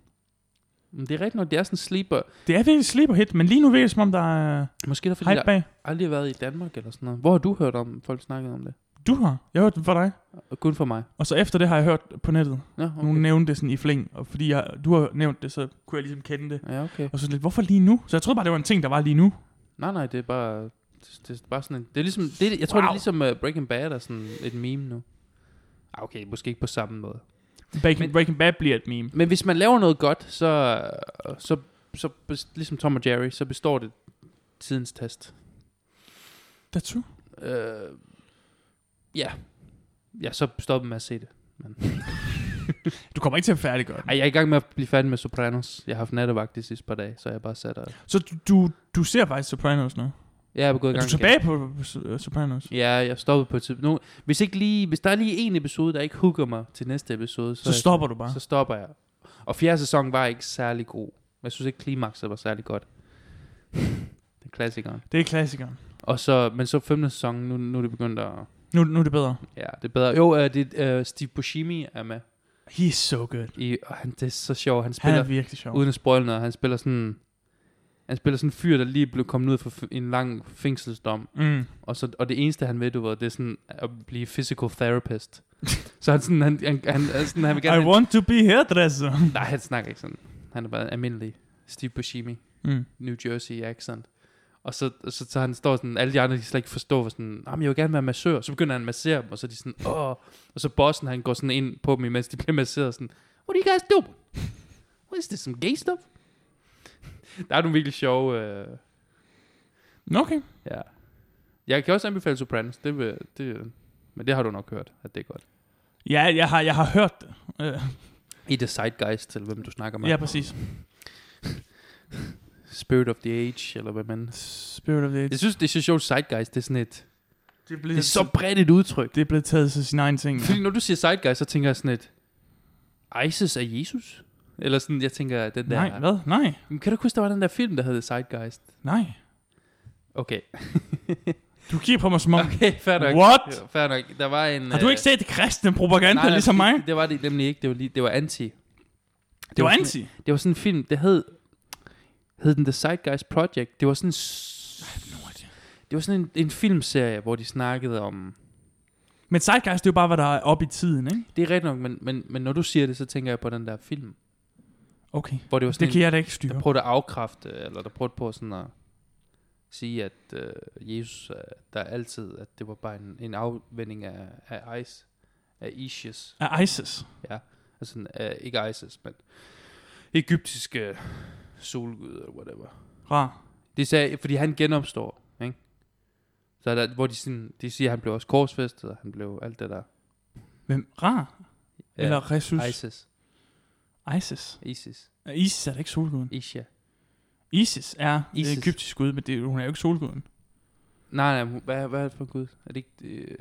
Speaker 1: Men det er rigtigt nok, det er sådan sleeper.
Speaker 2: Det er virkelig sleeper hit, men lige nu virker det, som om der er
Speaker 1: Måske er det, fordi
Speaker 2: hype
Speaker 1: der
Speaker 2: bag.
Speaker 1: aldrig har været i Danmark eller sådan noget. Hvor har du hørt om, folk snakkede om det?
Speaker 2: Du har. Jeg har hørt den fra dig.
Speaker 1: Og kun for mig.
Speaker 2: Og så efter det har jeg hørt på nettet.
Speaker 1: Nå,
Speaker 2: Okay. Nogen
Speaker 1: okay.
Speaker 2: nævnte det sådan i flæng, og fordi jeg, du har nævnt det, så kunne jeg ligesom kende det.
Speaker 1: Ja, okay.
Speaker 2: Og så lidt, hvorfor lige nu? Så jeg troede bare, det var en ting, der var lige nu.
Speaker 1: Nej, nej, det er bare... Det, det er bare sådan en, Det er ligesom... Det er, jeg tror, wow. det
Speaker 2: Wow.
Speaker 1: er ligesom uh, Breaking Bad er sådan et meme nu. Ah, okay, måske ikke på samme måde.
Speaker 2: Breaking,
Speaker 1: Men-
Speaker 2: men, Breaking Bad bliver et meme.
Speaker 1: Men hvis man laver noget godt, så, øh, så, så bes- ligesom Tom og Jerry, så består det tidens test.
Speaker 2: That's true.
Speaker 1: Øh, ja. Ja, så stopper man med at se det.
Speaker 2: Du kommer ikke til at færdiggøre den.
Speaker 1: Ej, jeg er i gang med at blive færdig med Sopranos. Jeg har haft nattevagt de sidste par dage, så jeg bare sat og...
Speaker 2: Så du, du, du ser faktisk Sopranos nu?
Speaker 1: Jeg er gået i
Speaker 2: Er
Speaker 1: gang
Speaker 2: du tilbage på uh, Sopranos?
Speaker 1: Igen. Ja, jeg stoppede på et tidspunkt. Nu, hvis, ikke lige, hvis der er lige en episode, der ikke hooker mig til næste episode, så,
Speaker 2: Så
Speaker 1: er jeg-
Speaker 2: stopper du bare.
Speaker 1: så stopper jeg. Og fjerde sæson var ikke særlig god. Jeg synes ikke, klimakset var særlig godt. det er klassikeren.
Speaker 2: Det er klassikeren.
Speaker 1: Og så, men så femte sæson, nu, nu er det begyndt at...
Speaker 2: Nu, nu er det bedre.
Speaker 1: Ja, det er bedre. Jo, uh, det, uh, Steve Buscemi er med.
Speaker 2: He's so good.
Speaker 1: I, og han, det er så sjovt. Han
Speaker 2: Han
Speaker 1: spiller,
Speaker 2: er
Speaker 1: han
Speaker 2: virkelig sjov.
Speaker 1: uden at spoil noget, han spiller sådan... Han spiller sådan en fyr, der lige blev kommet ud for en lang fængselsdom.
Speaker 2: Mm.
Speaker 1: Og, så, og det eneste, han ved, du ved, det er sådan at blive physical therapist. så han, sådan, han, han, han, er sådan, han vil
Speaker 2: I
Speaker 1: gerne...
Speaker 2: want to be hairdresser.
Speaker 1: nej, han snakker ikke sådan. Han er bare almindelig. Steve Buscemi.
Speaker 2: Mm.
Speaker 1: New Jersey accent. Og så, og så, så han står sådan, alle de andre, de slet ikke forstår, hvor sådan, jamen jeg vil gerne være massør. Så begynder han at massere dem, og så er de sådan, åh. Og så bossen, han går sådan ind på dem, imens de bliver masseret, sådan, what do you guys do? What is this, some gay stuff? Der er nogle virkelig sjove, øh,
Speaker 2: Nå, Okay.
Speaker 1: ja. Jeg kan også anbefale Sopranos, det, vil, det, men det har du nok hørt, at det er godt.
Speaker 2: Ja, jeg har, jeg har hørt det. Uh,
Speaker 1: I The Zeitgeist, til hvem du snakker med.
Speaker 2: ja, præcis.
Speaker 1: Spirit of the Age, eller hvad man...
Speaker 2: Spirit of the Age.
Speaker 1: Jeg synes, det er så sjovt, Zeitgeist, det er sådan et,
Speaker 2: Det er
Speaker 1: det er
Speaker 2: blevet,
Speaker 1: så bredt et udtryk.
Speaker 2: det er blevet taget til sin egen ting.
Speaker 1: Fordi når du siger zeitgeist, så tænker jeg sådan et, ISIS er Jesus? Eller sådan, jeg tænker, den der...
Speaker 2: Nej, hvad? Nej,
Speaker 1: Men Kan du ikke huske, der var den der film, der hed Zeitgeist?
Speaker 2: nej.
Speaker 1: Okay.
Speaker 2: Du kigger på mig som om...
Speaker 1: Okay, fair nok.
Speaker 2: What?
Speaker 1: Ja, Fair nok. Der var en...
Speaker 2: Har du
Speaker 1: øh,
Speaker 2: ikke set kristne propaganda
Speaker 1: nej, nej,
Speaker 2: ligesom mig?
Speaker 1: Det var det nemlig ikke. Det var, lige, det var anti. Det,
Speaker 2: Det var
Speaker 1: sådan-
Speaker 2: anti.
Speaker 1: Det var sådan en film, det hed... Hed den The Zeitgeist Project. Det var sådan... s- Det var sådan en, en filmserie, hvor de snakkede om...
Speaker 2: Men Zeitgeist, det er jo bare, hvad der er oppe i tiden, ikke?
Speaker 1: Det er rigtigt nok, men, men, men når du siger det, så tænker jeg på den der film.
Speaker 2: Okay.
Speaker 1: Hvor det var sådan
Speaker 2: Det kan
Speaker 1: en,
Speaker 2: jeg da ikke styre.
Speaker 1: der prøvede at afkræfte, eller der prøvede på sådan at sige, at øh, Jesus, øh, der altid, at det var bare en, en afvending af, af Ice, af Isis.
Speaker 2: Af ISIS.
Speaker 1: Altså, sådan, øh, ikke ISIS, men egyptiske solgud, eller whatever.
Speaker 2: Rar.
Speaker 1: De sagde, fordi han genopstår, ikke? Så er der, hvor de, sådan, de siger, at han blev også korsfæstet, og han blev alt det der.
Speaker 2: Hvem? Rar?
Speaker 1: Ja,
Speaker 2: Eller Jesus?
Speaker 1: ISIS.
Speaker 2: ISIS.
Speaker 1: ISIS.
Speaker 2: Ja, ISIS er da ikke solguden.
Speaker 1: Isha.
Speaker 2: ISIS er
Speaker 1: ISIS.
Speaker 2: ISIS. egyptisk gud, men det, hun er jo ikke solguden.
Speaker 1: Nej, nej, hun- hvad, hvad er det for en gud? Er det ikke... Øh...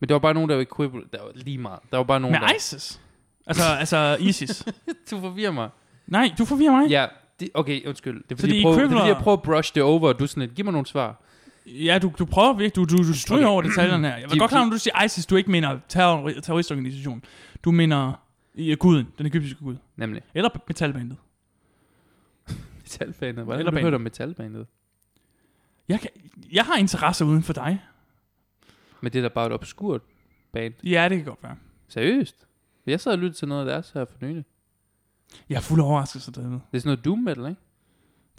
Speaker 1: Men der var bare nogen, der var equivalent. Der var lige meget. Der var bare nogen,
Speaker 2: Men
Speaker 1: der...
Speaker 2: ISIS? Altså, altså ISIS.
Speaker 1: Du forvirrer mig.
Speaker 2: Nej, du forvirrer mig.
Speaker 1: Ja, det, okay, undskyld. Det er fordi,
Speaker 2: Fordi
Speaker 1: jeg prøver, det er, fordi
Speaker 2: equivalent-
Speaker 1: jeg prøver at brush det over, og du er sådan lidt, giv mig nogle svar.
Speaker 2: Ja, du, du prøver virkelig, du, du, du stryger
Speaker 1: Okay.
Speaker 2: over detaljerne her. Jeg
Speaker 1: De-
Speaker 2: var godt klar,
Speaker 1: de-
Speaker 2: når du siger ISIS, du ikke mener terror, terroristorganisation. Du mener ja, guden, den egyptiske gud.
Speaker 1: Nemlig.
Speaker 2: Eller metalbandet.
Speaker 1: Metalbandet. Hvordan har
Speaker 2: Eller
Speaker 1: du
Speaker 2: banen.
Speaker 1: hørt om metalbandet?
Speaker 2: Jeg, kan, jeg har interesser uden for dig.
Speaker 1: Men det er da bare et obskurt band.
Speaker 2: Ja, det kan godt være.
Speaker 1: Seriøst? Jeg sad og lyttede til noget af deres her for nylig.
Speaker 2: Jeg er fuld af overraskelser dernede.
Speaker 1: Det er sådan noget doom metal, ikke?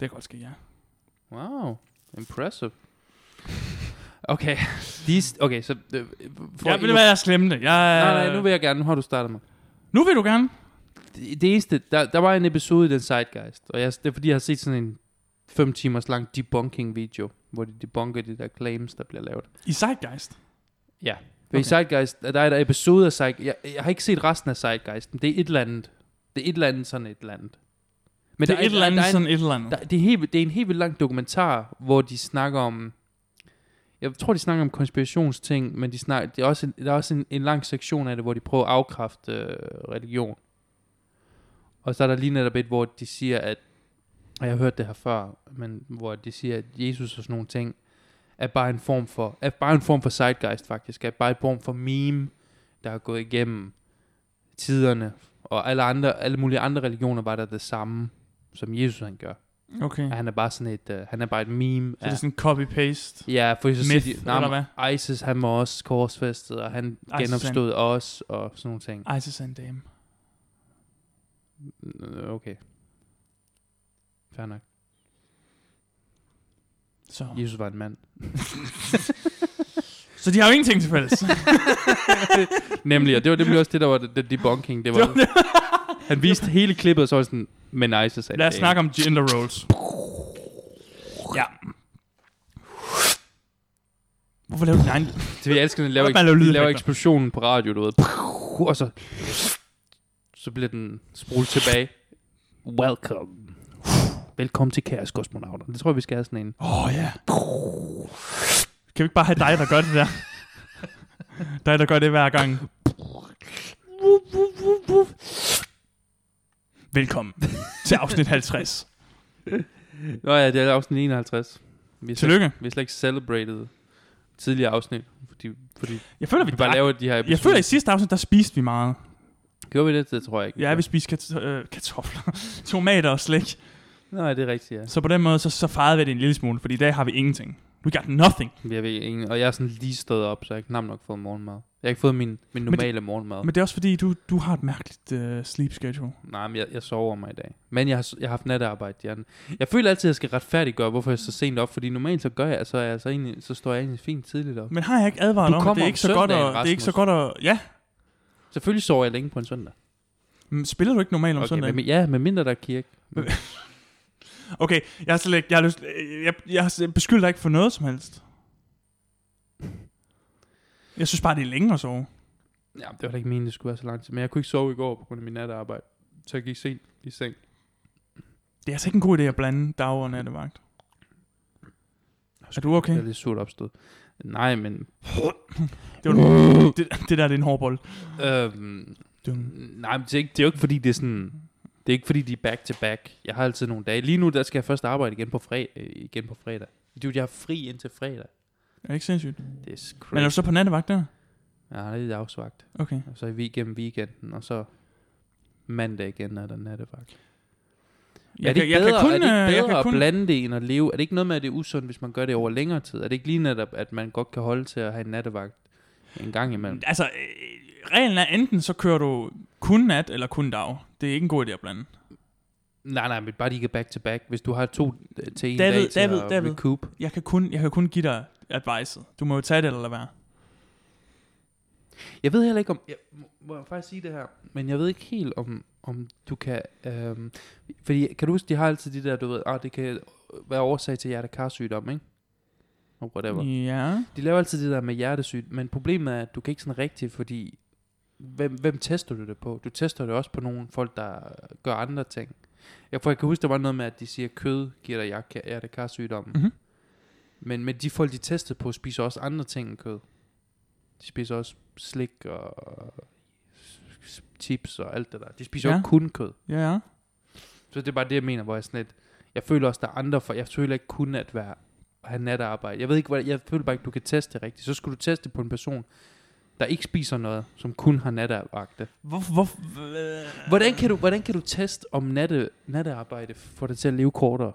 Speaker 2: Det kan godt ske, ja.
Speaker 1: Wow, impressive. Okay, de, er st- okay så... Øh, for
Speaker 2: Jeg vil være, jeg slemme det. Jeg,
Speaker 1: Nej, nej, nu vil jeg gerne. Nu har du startet mig.
Speaker 2: nu vil du gerne.
Speaker 1: Det, det eneste... Der, der var en episode i den Sidegeist, og jeg, det er fordi, jeg har set sådan en 5 timers lang debunking-video, hvor de debunker de der claims, der bliver lavet.
Speaker 2: I Zeitgeist.
Speaker 1: Ja. Okay. I
Speaker 2: Okay.
Speaker 1: Sidegeist, der er der episode af Sidegeist. Jeg, jeg har ikke set resten af Sidegeist, men det er et eller andet. Det er et eller andet sådan et eller andet. Men
Speaker 2: Men det er
Speaker 1: der
Speaker 2: et eller andet,
Speaker 1: der er en-
Speaker 2: sådan et eller andet.
Speaker 1: Der, det, er helt, vildt- det er en helt vildt lang dokumentar, hvor de snakker om... Jeg tror, de snakker om konspirationsting, men de snakker, det er også en, der er også en, en lang sektion af det, hvor de prøver at afkræfte øh, religion. Og så er der lige netop et, hvor de siger, at... Og jeg har hørt det her før, men hvor de siger, at Jesus og sådan nogle ting, er bare en form for... Er bare en form for zeitgeist, faktisk. Er bare en form for meme, der er gået igennem tiderne. Og alle, andre, alle mulige andre religioner var der det samme, som Jesus han gør.
Speaker 2: Okay.
Speaker 1: Ja, Han er bare sådan et, uh, han er bare et meme.
Speaker 2: Mm. Så det
Speaker 1: af-
Speaker 2: er sådan copy-paste.
Speaker 1: ja, for så
Speaker 2: myth,
Speaker 1: siger de, nah,
Speaker 2: eller
Speaker 1: hvad? ISIS, han var også korsfæstet, og han
Speaker 2: han-
Speaker 1: genopstod os, og sådan nogle ting.
Speaker 2: ISIS er en dame.
Speaker 1: Øh, Okay. Fair nok.
Speaker 2: Så.
Speaker 1: Jesus var en mand.
Speaker 2: så de har jo ingenting til fælles.
Speaker 1: Nemlig, og det var nemlig også det, der var det, det debunking. Det var,
Speaker 2: Det
Speaker 1: han viste hele klippet, og så var jeg sådan, men ISIS er
Speaker 2: Lad os snakke om gender roles. Ja. Hvorfor laver du din egen...
Speaker 1: Det jeg elsker, når de laver,
Speaker 2: Hvad man laver
Speaker 1: eks- de laver
Speaker 2: lydeffekter.
Speaker 1: eksplosionen på radio, du ved. Og så, så bliver den sprudt tilbage. Welcome. Velkommen til Kæres Kosmonauter. Det tror jeg, vi skal have sådan en.
Speaker 2: Åh, oh, ja. Kan vi ikke bare have dig, der gør det der? dig, der gør det hver gang. Velkommen til afsnit 50.
Speaker 1: Nå ja, det er afsnit 51. Vi er slet,
Speaker 2: Tillykke.
Speaker 1: vi er slet ikke celebrated tidligere afsnit, fordi, fordi
Speaker 2: Jeg føler, vi
Speaker 1: vi bare
Speaker 2: drak-
Speaker 1: laver de her episoder.
Speaker 2: jeg føler, i sidste afsnit, der spiste vi meget.
Speaker 1: Gjorde vi det? Det tror jeg ikke.
Speaker 2: Ja, vi spiste kat- øh, kartofler, tomater og slik.
Speaker 1: Nej, det er rigtigt, ja.
Speaker 2: Så på den måde, så, så fejrede vi det en lille smule, fordi i dag har vi ingenting. We got nothing.
Speaker 1: Vi er ved ingen, og jeg er sådan lige stået op, så jeg har knap nok fået morgenmad. Jeg har ikke fået min, min
Speaker 2: Men det-
Speaker 1: normale morgenmad.
Speaker 2: Men det er også fordi, du, du har et mærkeligt øh, sleep schedule.
Speaker 1: Nej, men jeg, jeg sover mig i dag. Men jeg har, s- jeg har haft natarbejde. Jeg, jeg føler altid, at jeg skal retfærdiggøre, hvorfor jeg er så sent op. Fordi normalt så gør jeg, så, er jeg, så, egentlig, så står jeg egentlig fint tidligt op.
Speaker 2: Men har jeg ikke advaret
Speaker 1: Du
Speaker 2: om, at
Speaker 1: kommer
Speaker 2: det er
Speaker 1: om
Speaker 2: ikke så godt
Speaker 1: søndagen,
Speaker 2: at, det er ikke så
Speaker 1: Rasmus.
Speaker 2: godt at, ja,
Speaker 1: Selvfølgelig sover jeg længe på en søndag.
Speaker 2: Mm, Spiller du ikke normalt om okay,
Speaker 1: Okay,
Speaker 2: søndagen?
Speaker 1: men, ja, med mindre der er kirke.
Speaker 2: Okay, jeg har slet ikke, jeg har lyst, øh, jeg, jeg, har- jeg beskylder dig ikke for noget som helst. Jeg synes bare, det er længe at sove.
Speaker 1: Ja, det var da ikke meningen, det skulle være så lang tid. Men jeg kunne ikke sove i går på grund af min natarbejde. Så jeg gik sent i seng.
Speaker 2: Det er altså ikke en god idé at blande dag og nattevagt. Er du okay?
Speaker 1: Jeg er lidt surt opstået. Nej, men...
Speaker 2: Det, var, det, det der, det er en hård bold.
Speaker 1: Øhm,
Speaker 2: Dum.
Speaker 1: nej, men det er, ikke, det er jo ikke fordi, det er sådan... Det er ikke fordi, de er back to back. Jeg har altid nogle dage. Lige nu, der skal jeg først arbejde igen på, fre- øh, igen på fredag. Dude, jeg har fri indtil fredag.
Speaker 2: Er
Speaker 1: Hmm.
Speaker 2: det ikke sindssygt?
Speaker 1: Det er crazy.
Speaker 2: Men er du så på nattevagt der?
Speaker 1: Jeg har lidt afsvagt.
Speaker 2: Okay.
Speaker 1: Og så i weekend, weekenden, og så mandag igen er der nattevagt.
Speaker 2: Jeg,
Speaker 1: er det ikke bedre, er det
Speaker 2: øh, jeg
Speaker 1: ikke
Speaker 2: kan
Speaker 1: bedre at
Speaker 2: kun-
Speaker 1: blande det end at leve? Er det ikke noget med, at det er usundt, hvis man gør det over længere tid? Er det ikke lige netop, at man godt kan holde til at have en nattevagt en gang imellem?
Speaker 2: Altså, øh, reglen er enten så kører du kun nat eller kun dag. Det er ikke en god idé at blande.
Speaker 1: Nej, nej, men bare de ikke back to back. Hvis du har to øh, til en
Speaker 2: David,
Speaker 1: dag til
Speaker 2: David,
Speaker 1: at
Speaker 2: David.
Speaker 1: recoup.
Speaker 2: Jeg kan kun, jeg kan kun give dig advice. Du må jo tage det eller lade være.
Speaker 1: Jeg ved heller ikke om... Jeg må- må jeg faktisk sige det her? Men jeg ved ikke helt om, om du kan... Øhm, fordi kan du huske, de har altid de der, du ved... Ah, det kan være årsag til hjertekarsygdom, ikke? Og whatever.
Speaker 2: Ja.
Speaker 1: De laver altid det der med hjertesygt, men problemet er, at du kan ikke sådan rigtigt, fordi hvem, hvem tester du det på? Du tester det også på nogle folk, der gør andre ting. Jeg, for jeg kan huske, der var noget med, at de siger, at kød giver dig hjerte- hjertekarsygdommen.
Speaker 2: Mhm.
Speaker 1: Mm-hmm. Men, men de folk, de testede på, spiser også andre ting end kød. De spiser også slik og s- chips og alt det der. De spiser
Speaker 2: Ja.
Speaker 1: ja. ikke kun kød.
Speaker 2: Ja, ja.
Speaker 1: Så det er bare det, jeg mener, hvor jeg sådan lidt, jeg føler også, der er andre, for jeg føler ikke kun at være, at have natarbejde. Jeg ved ikke, hvordan, jeg føler bare ikke, du kan teste det rigtigt. Så skulle du teste på en person, der ikke spiser noget, som kun har natarbejde.
Speaker 2: Hvor, hvor, øh,
Speaker 1: Hvordan kan du, hvordan kan du teste, om natte, nattearbejde får dig til at leve kortere?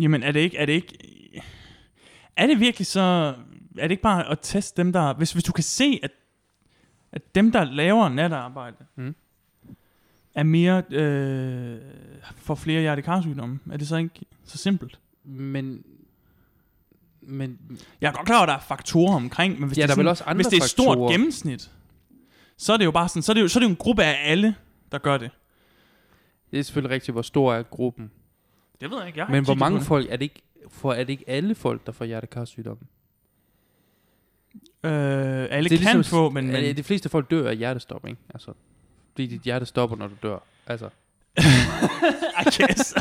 Speaker 2: Jamen, er det ikke... Er det ikke er det virkelig så... Er det ikke bare at teste dem, der... Hvis, hvis du kan se, at, at dem, der laver natarbejde,
Speaker 1: Mm.
Speaker 2: er mere... Øh, får flere hjertekarsygdomme, er det så ikke så simpelt?
Speaker 1: Men, men
Speaker 2: Jeg er godt klar over, at der er faktorer omkring, men hvis
Speaker 1: Ja,
Speaker 2: det
Speaker 1: der
Speaker 2: er,
Speaker 1: er vel også andre
Speaker 2: hvis det er et stort
Speaker 1: faktorer.
Speaker 2: gennemsnit, så er det jo bare sådan, så er det jo, så er det jo en gruppe af alle, der gør det.
Speaker 1: det er selvfølgelig rigtigt, hvor stor er gruppen.
Speaker 2: Det ved jeg ikke, jeg har
Speaker 1: Men
Speaker 2: ikke
Speaker 1: hvor
Speaker 2: kigget
Speaker 1: mange
Speaker 2: på det.
Speaker 1: folk er det ikke, for er det ikke alle folk, der får hjertekarsygdommen?
Speaker 2: Øh, alle det kan få, men... men
Speaker 1: øh, De fleste folk dør af hjertestop, ikke? Altså, fordi dit hjerte stopper, når du dør. Altså,
Speaker 2: I guess.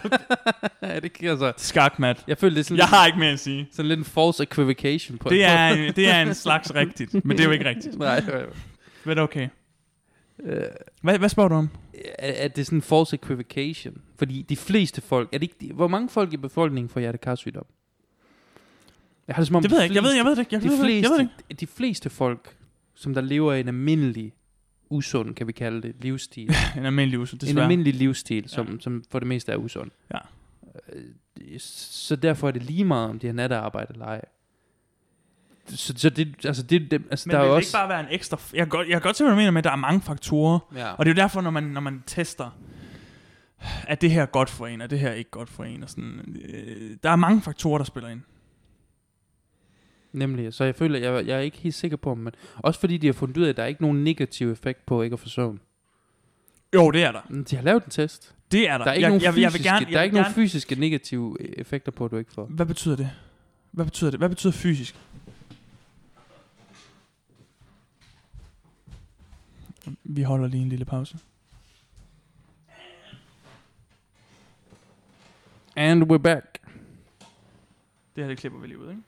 Speaker 1: ja, det kan altså...
Speaker 2: Skak, Matt.
Speaker 1: Jeg føler, det er sådan,
Speaker 2: Jeg
Speaker 1: lidt,
Speaker 2: har ikke mere at sige.
Speaker 1: sådan lidt en false equivocation på
Speaker 2: Det er, en- det er en slags rigtigt, men det er jo ikke rigtigt.
Speaker 1: Nej, nej, nej.
Speaker 2: Men okay.
Speaker 1: Øh,
Speaker 2: Hvad, hvad spørger du om?
Speaker 1: er, er det sådan en false equivocation? Fordi de fleste folk... Er det ikke, de, hvor mange folk i befolkningen får hjertekarsygdom? Jeg har det som om...
Speaker 2: Det ved jeg ikke. Jeg ved, jeg ved det ikke. Jeg,
Speaker 1: de,
Speaker 2: ved, det ikke.
Speaker 1: fleste,
Speaker 2: jeg ved det ikke.
Speaker 1: de fleste folk, som der lever af en almindelig usund, kan vi kalde det, livsstil.
Speaker 2: En almindelig uso,
Speaker 1: en
Speaker 2: desværre.
Speaker 1: almindelig livsstil, som, ja. som for det meste er usund.
Speaker 2: Ja.
Speaker 1: Øh, det- Så derfor er det lige meget, om de har nattearbejde eller ej. Så, så det, altså det, det altså
Speaker 2: Men
Speaker 1: der er
Speaker 2: det
Speaker 1: jo
Speaker 2: vil
Speaker 1: også...
Speaker 2: ikke bare være en ekstra... F- jeg, kan godt, jeg kan godt se, hvad du mener med, at der er mange faktorer.
Speaker 1: Ja.
Speaker 2: Og det er jo derfor, når man, når man tester, er det her godt for en, er det her ikke godt for en, og sådan, øh, der er mange faktorer, der spiller ind.
Speaker 1: Nemlig, så jeg føler, jeg, jeg er ikke helt sikker på, om man... Også fordi de har fundet ud af, at der er ikke nogen negativ effekt på ikke at få søvn.
Speaker 2: Jo, det er der.
Speaker 1: Men De har lavet en test.
Speaker 2: Det er der.
Speaker 1: Der er ikke
Speaker 2: jeg,
Speaker 1: nogen
Speaker 2: jeg,
Speaker 1: fysiske,
Speaker 2: jeg vil gerne, jeg
Speaker 1: der er
Speaker 2: vil
Speaker 1: ikke nogen fysiske negative øh, effekter på, at du ikke får.
Speaker 2: gerne, Hvad betyder det? Hvad betyder det? Hvad betyder fysisk? Vi holder lige en lille pause.
Speaker 1: And we're back.
Speaker 2: Det her, det klipper vi lige ud, ikke?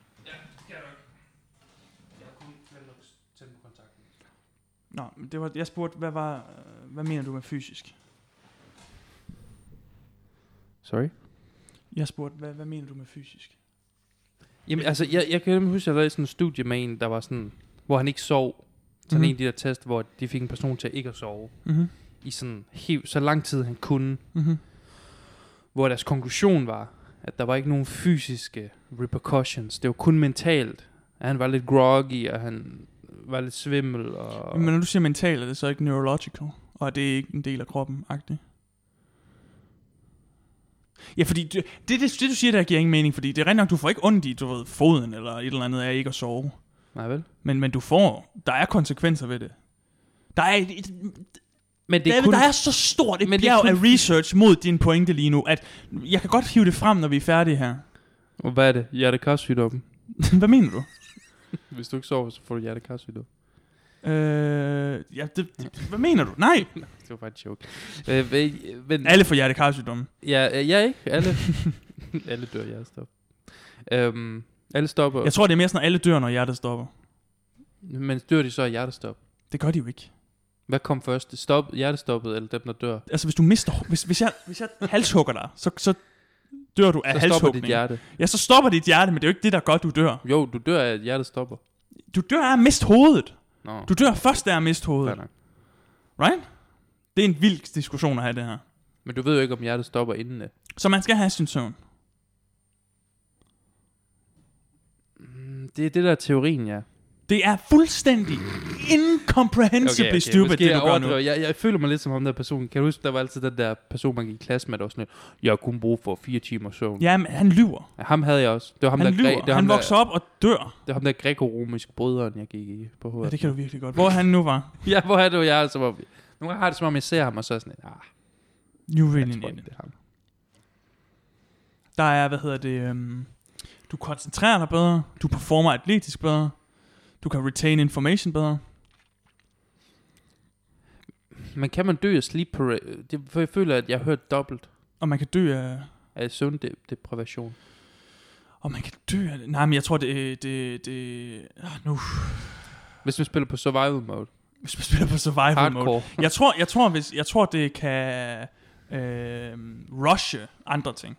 Speaker 2: Nå, men det var, jeg spurgte, hvad, var, øh, hvad mener du med fysisk?
Speaker 1: Sorry.
Speaker 2: Jeg spurgte, hvad, hvad mener du med fysisk?
Speaker 1: Jamen, altså, jeg, jeg kan nemlig huske, at jeg lavede sådan en studie med en, der var sådan, hvor han ikke sov. Sådan
Speaker 2: Mhm.
Speaker 1: mm-hmm. en af de der test, hvor de fik en person til ikke at sove
Speaker 2: Mhm.
Speaker 1: i sådan helt, så lang tid han kunne.
Speaker 2: Mhm.
Speaker 1: Hvor deres konklusion var, at der var ikke nogen fysiske repercussions. Det var kun mentalt. At han var lidt groggy, og han var lidt svimmel. Og...
Speaker 2: Men når du siger mental, er det så ikke neurological? Og er det ikke en del af kroppen, agtigt? Ja, fordi det, det, det, det, du siger, der giver ingen mening, fordi det er rent nok, du får ikke ondt i, du ved, foden eller et eller andet af ikke at sove.
Speaker 1: Nej, vel?
Speaker 2: Men, men du får, der er konsekvenser ved det. Der er, et, et,
Speaker 1: Men
Speaker 2: det er, kun, der er så stort et
Speaker 1: Men det er
Speaker 2: bjerg
Speaker 1: kun-
Speaker 2: af research mod din pointe lige nu, at jeg kan godt hive det frem, når vi er færdige her.
Speaker 1: Og hvad er det? Hjertekarsygdommen.
Speaker 2: Hvad mener du?
Speaker 1: Hvis du ikke sover, så får du hjertekarsygdom.
Speaker 2: Øh, ja, det, det, hvad mener du? Nej,
Speaker 1: Det var bare en joke. Øh, men- men,
Speaker 2: alle får hjertekarsygdomme.
Speaker 1: Ja, øh, ja ikke? Alle, alle dør hjertestop. Øhm, alle stopper,
Speaker 2: Jeg tror, det er mere sådan, at alle dør, når hjertet stopper.
Speaker 1: men dør de så af hjertestop?
Speaker 2: Det gør de jo ikke.
Speaker 1: Hvad kom først? Stop, hjertestoppet eller dem, der dør?
Speaker 2: Altså, hvis du mister... Hvis, hvis, jeg, hvis jeg halshugger dig, så, så dør du af
Speaker 1: Så stopper dit
Speaker 2: halshugning.
Speaker 1: hjerte.
Speaker 2: Ja, så stopper dit hjerte, men det er jo ikke det, der gør, du dør.
Speaker 1: Jo, du dør af, at hjertet stopper.
Speaker 2: Du dør af at miste hovedet.
Speaker 1: Nå,
Speaker 2: Du dør først af at miste
Speaker 1: fair
Speaker 2: hovedet.
Speaker 1: nok.
Speaker 2: Right? Det er en vild diskussion at have det her.
Speaker 1: Men du ved jo ikke, om hjertet stopper inden øh. det.
Speaker 2: Så man skal have sin søvn.
Speaker 1: Mm, Det er det, der er teorien, ja.
Speaker 2: Det er fuldstændig incomprehensibly okay, okay. stupid,
Speaker 1: Måske
Speaker 2: det
Speaker 1: jeg
Speaker 2: du gør nu.
Speaker 1: overdriver. Jeg, jeg føler mig lidt som ham der person. Kan du huske, der var altid den der person, man gik i klasse med, der var sådan lidt, jeg har kun brug for fire timer søvn.
Speaker 2: Jamen, han lyver.
Speaker 1: Ja. Ham havde jeg også. Det var ham,
Speaker 2: Han
Speaker 1: der gre-
Speaker 2: lyver.
Speaker 1: det var
Speaker 2: Han
Speaker 1: ham, der,
Speaker 2: vokser op og dør.
Speaker 1: det var ham der græko-romisk brøderen, jeg gik i på
Speaker 2: Ja,
Speaker 1: hovedet.
Speaker 2: det kan du virkelig godt. Hvor han nu var.
Speaker 1: Ja, hvor er det jo, jeg er som om... Nogle gange har jeg det, som om jeg ser ham, og så er jeg sådan lidt, ah,
Speaker 2: You really
Speaker 1: jeg tror
Speaker 2: need
Speaker 1: ikke,
Speaker 2: it.
Speaker 1: det er ham.
Speaker 2: Der er, hvad hedder det, øhm, du koncentrerer dig bedre, du performer atletisk bedre, du kan retain information bedre.
Speaker 1: Men kan man dø af sleep parade? Det, for jeg føler, at jeg har hørt dobbelt
Speaker 2: Og man kan dø af...
Speaker 1: af søvndeprivation.
Speaker 2: Og man kan dø af... Nej, men jeg tror, det... det, det ah, nu...
Speaker 1: Hvis man spiller på survival mode.
Speaker 2: Hvis man spiller på survival mode.
Speaker 1: Hardcore.
Speaker 2: Jeg tror, jeg tror, hvis, jeg tror det kan øh, rushe andre ting.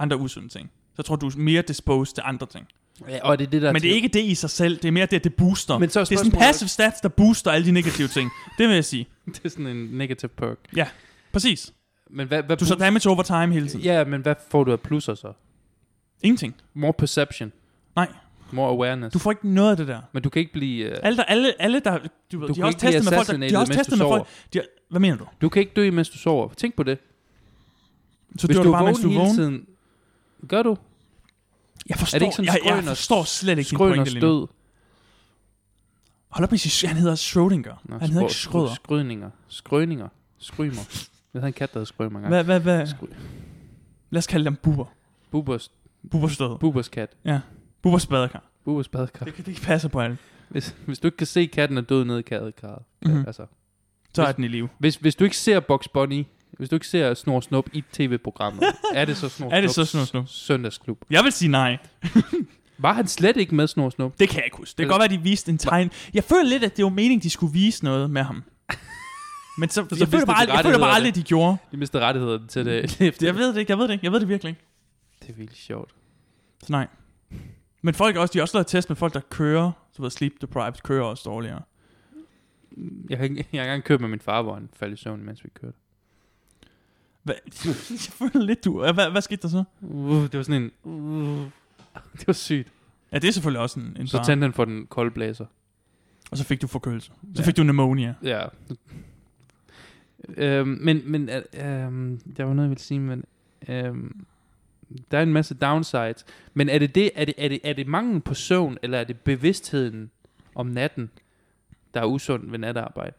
Speaker 2: Andre usunde ting. Så jeg tror, du er mere disposed til andre ting.
Speaker 1: Ja, og det er det, der
Speaker 2: Men det er ikke det i sig selv. Det er mere det, at det booster.
Speaker 1: Men så er
Speaker 2: det er sådan
Speaker 1: spørgsmålet-
Speaker 2: passive stats, der booster alle de negative ting. Det vil jeg sige.
Speaker 1: det er sådan en negative perk.
Speaker 2: Præcis.
Speaker 1: Men hvad, hvad
Speaker 2: Du så damage over time hele tiden.
Speaker 1: Ja, men hvad får du af plusser så?
Speaker 2: Ingenting.
Speaker 1: More perception.
Speaker 2: Nej.
Speaker 1: More awareness.
Speaker 2: Du
Speaker 1: Du
Speaker 2: får ikke noget af det der.
Speaker 1: men du kan ikke blive... Uh,
Speaker 2: Alle, der, alle, alle der... Du, ved,
Speaker 1: Du
Speaker 2: de
Speaker 1: kan
Speaker 2: har også
Speaker 1: ikke blive
Speaker 2: testet med folk, der, de
Speaker 1: assassineret,
Speaker 2: har også
Speaker 1: mens
Speaker 2: testet
Speaker 1: du
Speaker 2: med
Speaker 1: sover.
Speaker 2: folk... De har, hvad mener du?
Speaker 1: du kan ikke dø, mens du sover. Tænk på det.
Speaker 2: Så
Speaker 1: Hvis
Speaker 2: dør
Speaker 1: du
Speaker 2: du bare, mens du er
Speaker 1: hele
Speaker 2: vågen?
Speaker 1: tiden... Gør du?
Speaker 2: Jeg forstår,
Speaker 1: ikke sådan
Speaker 2: jeg, jeg
Speaker 1: Skrøners-
Speaker 2: forstår slet ikke din
Speaker 1: Skrøn og
Speaker 2: pointe lige nu.
Speaker 1: stød.
Speaker 2: Hold op med at sige, han hedder Schrödinger. han hedder ikke Schröder.
Speaker 1: Skrødninger. Skrøninger. Skrymer. Jeg havde en kat, der hed Skrømer engang.
Speaker 2: Hvad, hvad, hvad?
Speaker 1: Skry-
Speaker 2: Lad os kalde dem buber.
Speaker 1: Bubers,
Speaker 2: Bubers død.
Speaker 1: Bubers kat.
Speaker 2: Bubers badekar.
Speaker 1: Bubers badekar.
Speaker 2: Det, kan- det passer på alle.
Speaker 1: Hvis, hvis du ikke kan se katten er død nede i kadekarret.
Speaker 2: Mhm.
Speaker 1: Mm-hmm. Altså,
Speaker 2: Så er
Speaker 1: Hvis-
Speaker 2: den i live.
Speaker 1: hvis, hvis du ikke ser Box Bunny, hvis du ikke ser Snor Snup i tv-programmet, er det så Snor
Speaker 2: Er det
Speaker 1: Snups
Speaker 2: så Snor Snup?
Speaker 1: Søndagsklub.
Speaker 2: Jeg vil sige nej.
Speaker 1: Var han slet ikke med Snor Snup?
Speaker 2: Det kan jeg ikke huske. Det kan godt være, de viste en tegn. Jeg føler lidt, at det var meningen, de skulle vise noget med ham. Men så, så jeg,
Speaker 1: viste
Speaker 2: føler
Speaker 1: de
Speaker 2: bare, aldrig- jeg føler
Speaker 1: rettighederne.
Speaker 2: bare aldrig, de gjorde.
Speaker 1: De mistede rettigheden til det. det,
Speaker 2: Jeg ved det ikke, jeg ved det ikke, jeg ved det virkelig ikke.
Speaker 1: det er virkelig sjovt.
Speaker 2: Så nej. Men folk er også, de har også lavet test med folk, der kører. Så ved sleep deprived kører også dårligere.
Speaker 1: Jeg har, ikke- jeg har engang kørt med min far, hvor han faldt i søvn, mens vi kørte.
Speaker 2: Hvad? jeg føler lidt, du... Hvad, hvad skete der så?
Speaker 1: Uh, det var sådan en... Uh, det var sygt.
Speaker 2: Ja, det er selvfølgelig også en, en
Speaker 1: Så
Speaker 2: fare.
Speaker 1: tændte han for den kolde blæser.
Speaker 2: Og så fik du forkølelse. Så
Speaker 1: Ja.
Speaker 2: fik du pneumonia.
Speaker 1: Ja. øhm, men men øh, øhm, der var noget, jeg ville sige, men øhm, der er en masse downsides. Men er det, det, er, det, er, det, er det manglen på søvn, eller er det bevidstheden om natten, der er usund ved natarbejde?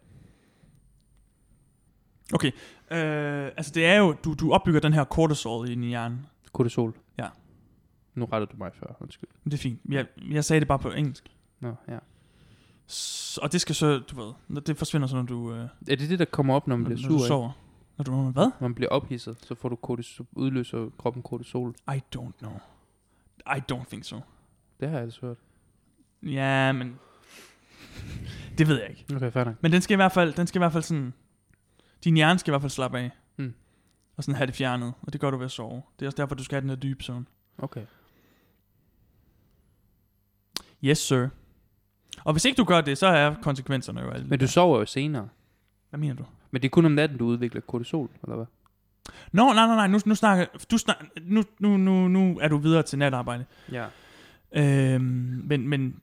Speaker 2: Øh, altså det er jo, du, du opbygger den her cortisol i din hjerne.
Speaker 1: Kortisol?
Speaker 2: Ja.
Speaker 1: Nu rettede du mig før, undskyld.
Speaker 2: Men det er fint. Jeg, jeg sagde det bare på engelsk.
Speaker 1: Nå, ja.
Speaker 2: S- og det skal så, du ved, når det forsvinder så, når du, øh, når,
Speaker 1: Er det det, der kommer op, når man
Speaker 2: når
Speaker 1: bliver
Speaker 2: du
Speaker 1: sur? ikke?
Speaker 2: sover. Når du når- hvad?
Speaker 1: Når man bliver ophidset, så får du kortisol, udløser kroppen kortisol.
Speaker 2: I don't know. I don't think so.
Speaker 1: Det har jeg altså hørt.
Speaker 2: Ja, men... Det ved jeg ikke.
Speaker 1: Okay, fair nok.
Speaker 2: Men den skal i hvert fald, den skal i hvert fald sådan... Din hjerne skal i hvert fald slappe af.
Speaker 1: Mm.
Speaker 2: Og sådan have det fjernet. Og det gør du ved at sove. Det er også derfor, du skal have den her dybe søvn.
Speaker 1: Okay.
Speaker 2: Yes, sir. Og hvis ikke du gør det, så er konsekvenserne jo alle.
Speaker 1: Men du sover jo senere.
Speaker 2: Hvad mener du?
Speaker 1: Men det er kun om natten, du udvikler kortisol, eller hvad?
Speaker 2: Nå, nej, nej, nej. Nu, nu snakker... Du snak, nu, nu, nu, nu er du videre til natarbejde.
Speaker 1: Ja.
Speaker 2: Øhm, men, men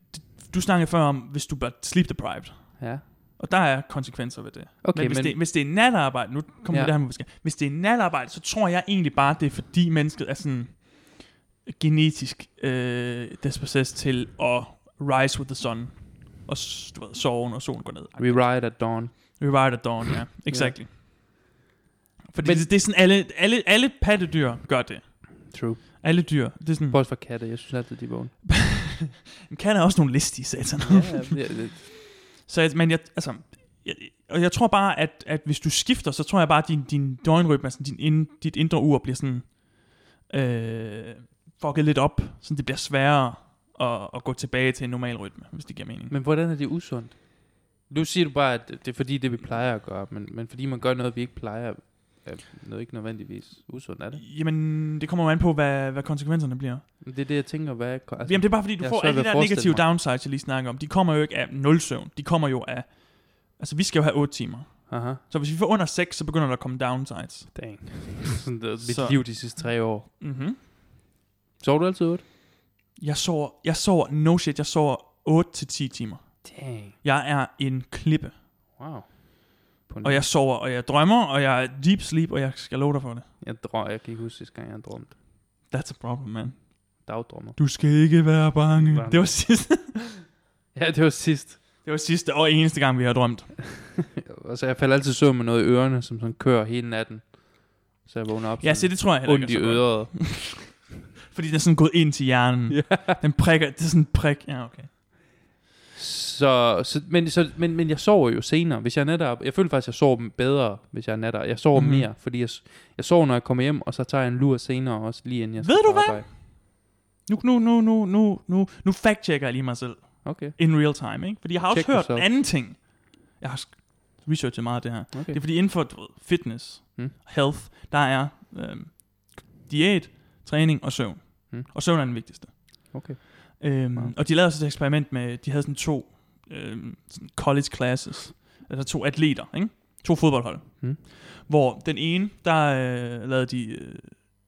Speaker 2: du snakkede før om, hvis du bliver sleep deprived.
Speaker 1: Ja.
Speaker 2: Og der er konsekvenser ved det.
Speaker 1: Okay,
Speaker 2: men, hvis,
Speaker 1: men-
Speaker 2: det, hvis det er natarbejde, nu
Speaker 1: Ja.
Speaker 2: kommer ja. det her med, forskel. hvis det er natarbejde, så tror jeg egentlig bare, det er fordi mennesket er sådan genetisk øh, dispossessed til at rise with the sun. Og s- du ved, sove, når solen går ned.
Speaker 1: We ride at dawn.
Speaker 2: Rewrite at dawn, ja. Exactly. Fordi men, det, det er sådan, alle, alle, alle pattedyr gør det.
Speaker 1: True.
Speaker 2: Alle dyr. Det er sådan,
Speaker 1: Bortset fra katte, jeg synes altid, de er vågne.
Speaker 2: men kan er også nogle listige satan.
Speaker 1: ja, det-
Speaker 2: Så, jeg- men jeg, altså, jeg, og jeg tror bare, at, at hvis du skifter, så tror jeg bare, at din, din døgnrytme, altså din, ind, dit indre ur bliver sådan, øh, fucket lidt op, så det bliver sværere at, at gå tilbage til en normal rytme, hvis det giver mening.
Speaker 1: men hvordan er det usundt? Nu siger du bare, at det er fordi, det vi plejer at gøre, men, men fordi man gør noget, vi ikke plejer, er noget ikke nødvendigvis usundt, er det?
Speaker 2: Jamen, det kommer jo an på, hvad, hvad konsekvenserne bliver.
Speaker 1: Men Det er det, jeg tænker, hvad er... Altså,
Speaker 2: Altså, Jamen det er bare fordi, du
Speaker 1: jeg har
Speaker 2: får
Speaker 1: svært
Speaker 2: alle
Speaker 1: ved
Speaker 2: de
Speaker 1: at
Speaker 2: der
Speaker 1: forestille
Speaker 2: negative
Speaker 1: mig.
Speaker 2: downsides, jeg lige snakker om. De kommer jo ikke af nul søvn. De kommer jo af... Altså vi skal jo have 8 timer.
Speaker 1: Aha,
Speaker 2: Så hvis vi får under 6, så begynder der at komme downsides.
Speaker 1: dang. Sådan det, er mit
Speaker 2: Så-
Speaker 1: liv de sidste tre år.
Speaker 2: Mm-hmm.
Speaker 1: Sov du altid 8?
Speaker 2: Jeg sover, jeg sover, no shit, jeg sover 8-10 timer.
Speaker 1: Dang.
Speaker 2: Jeg er en klippe.
Speaker 1: Wow. På en,
Speaker 2: Og jeg sover, og jeg drømmer, og jeg er deep sleep, og jeg skal love dig for det.
Speaker 1: jeg, drøm, jeg kan ikke huske sidste gang, jeg har drømt.
Speaker 2: That's a problem, man.
Speaker 1: Dagdrømmer.
Speaker 2: Du skal ikke være bange.
Speaker 1: Bange.
Speaker 2: Det var sidste,
Speaker 1: Ja, det var sidst.
Speaker 2: det var sidste og eneste gang, vi har drømt.
Speaker 1: Og så jeg falder altid i søvn med noget i ørerne, som sådan kører hele natten. Så jeg vågner op
Speaker 2: Ja, se,
Speaker 1: sådan
Speaker 2: det tror jeg heller
Speaker 1: ondt
Speaker 2: ikke
Speaker 1: i
Speaker 2: er så godt.
Speaker 1: øret.
Speaker 2: Fordi den er sådan gået ind til hjernen. Den prikker, det er sådan en prik. Ja, okay.
Speaker 1: Så, så, men, så men, men jeg sover jo senere, hvis jeg er natter. Jeg føler faktisk, at jeg sover bedre, hvis jeg er natter. Jeg sover
Speaker 2: Mhm.
Speaker 1: mm. mere, fordi jeg, s- jeg sover, når jeg kommer hjem, og så tager jeg en lur senere også, lige inden jeg skal
Speaker 2: Ved du
Speaker 1: på
Speaker 2: hvad?
Speaker 1: arbejde.
Speaker 2: Nu, nu, nu, nu, nu, nu, nu fact-checker jeg lige mig selv.
Speaker 1: Okay,
Speaker 2: In real time, ikke? Fordi jeg har også
Speaker 1: Check
Speaker 2: hørt
Speaker 1: yourself.
Speaker 2: en anden ting. Jeg har sk- researchet meget af det her.
Speaker 1: okay.
Speaker 2: Det er fordi inden for du ved, fitness,
Speaker 1: Mm.
Speaker 2: mm. health, der er øh, diæt, træning og søvn.
Speaker 1: Mm.
Speaker 2: Og søvn er den vigtigste.
Speaker 1: Okay.
Speaker 2: Øhm,
Speaker 1: Wow.
Speaker 2: Og de lavede så et eksperiment med, de havde sådan to øh, sådan college classes, altså to atleter, ikke? to fodboldhold.
Speaker 1: Mm.
Speaker 2: Hvor den ene, der øh, lavede de, øh,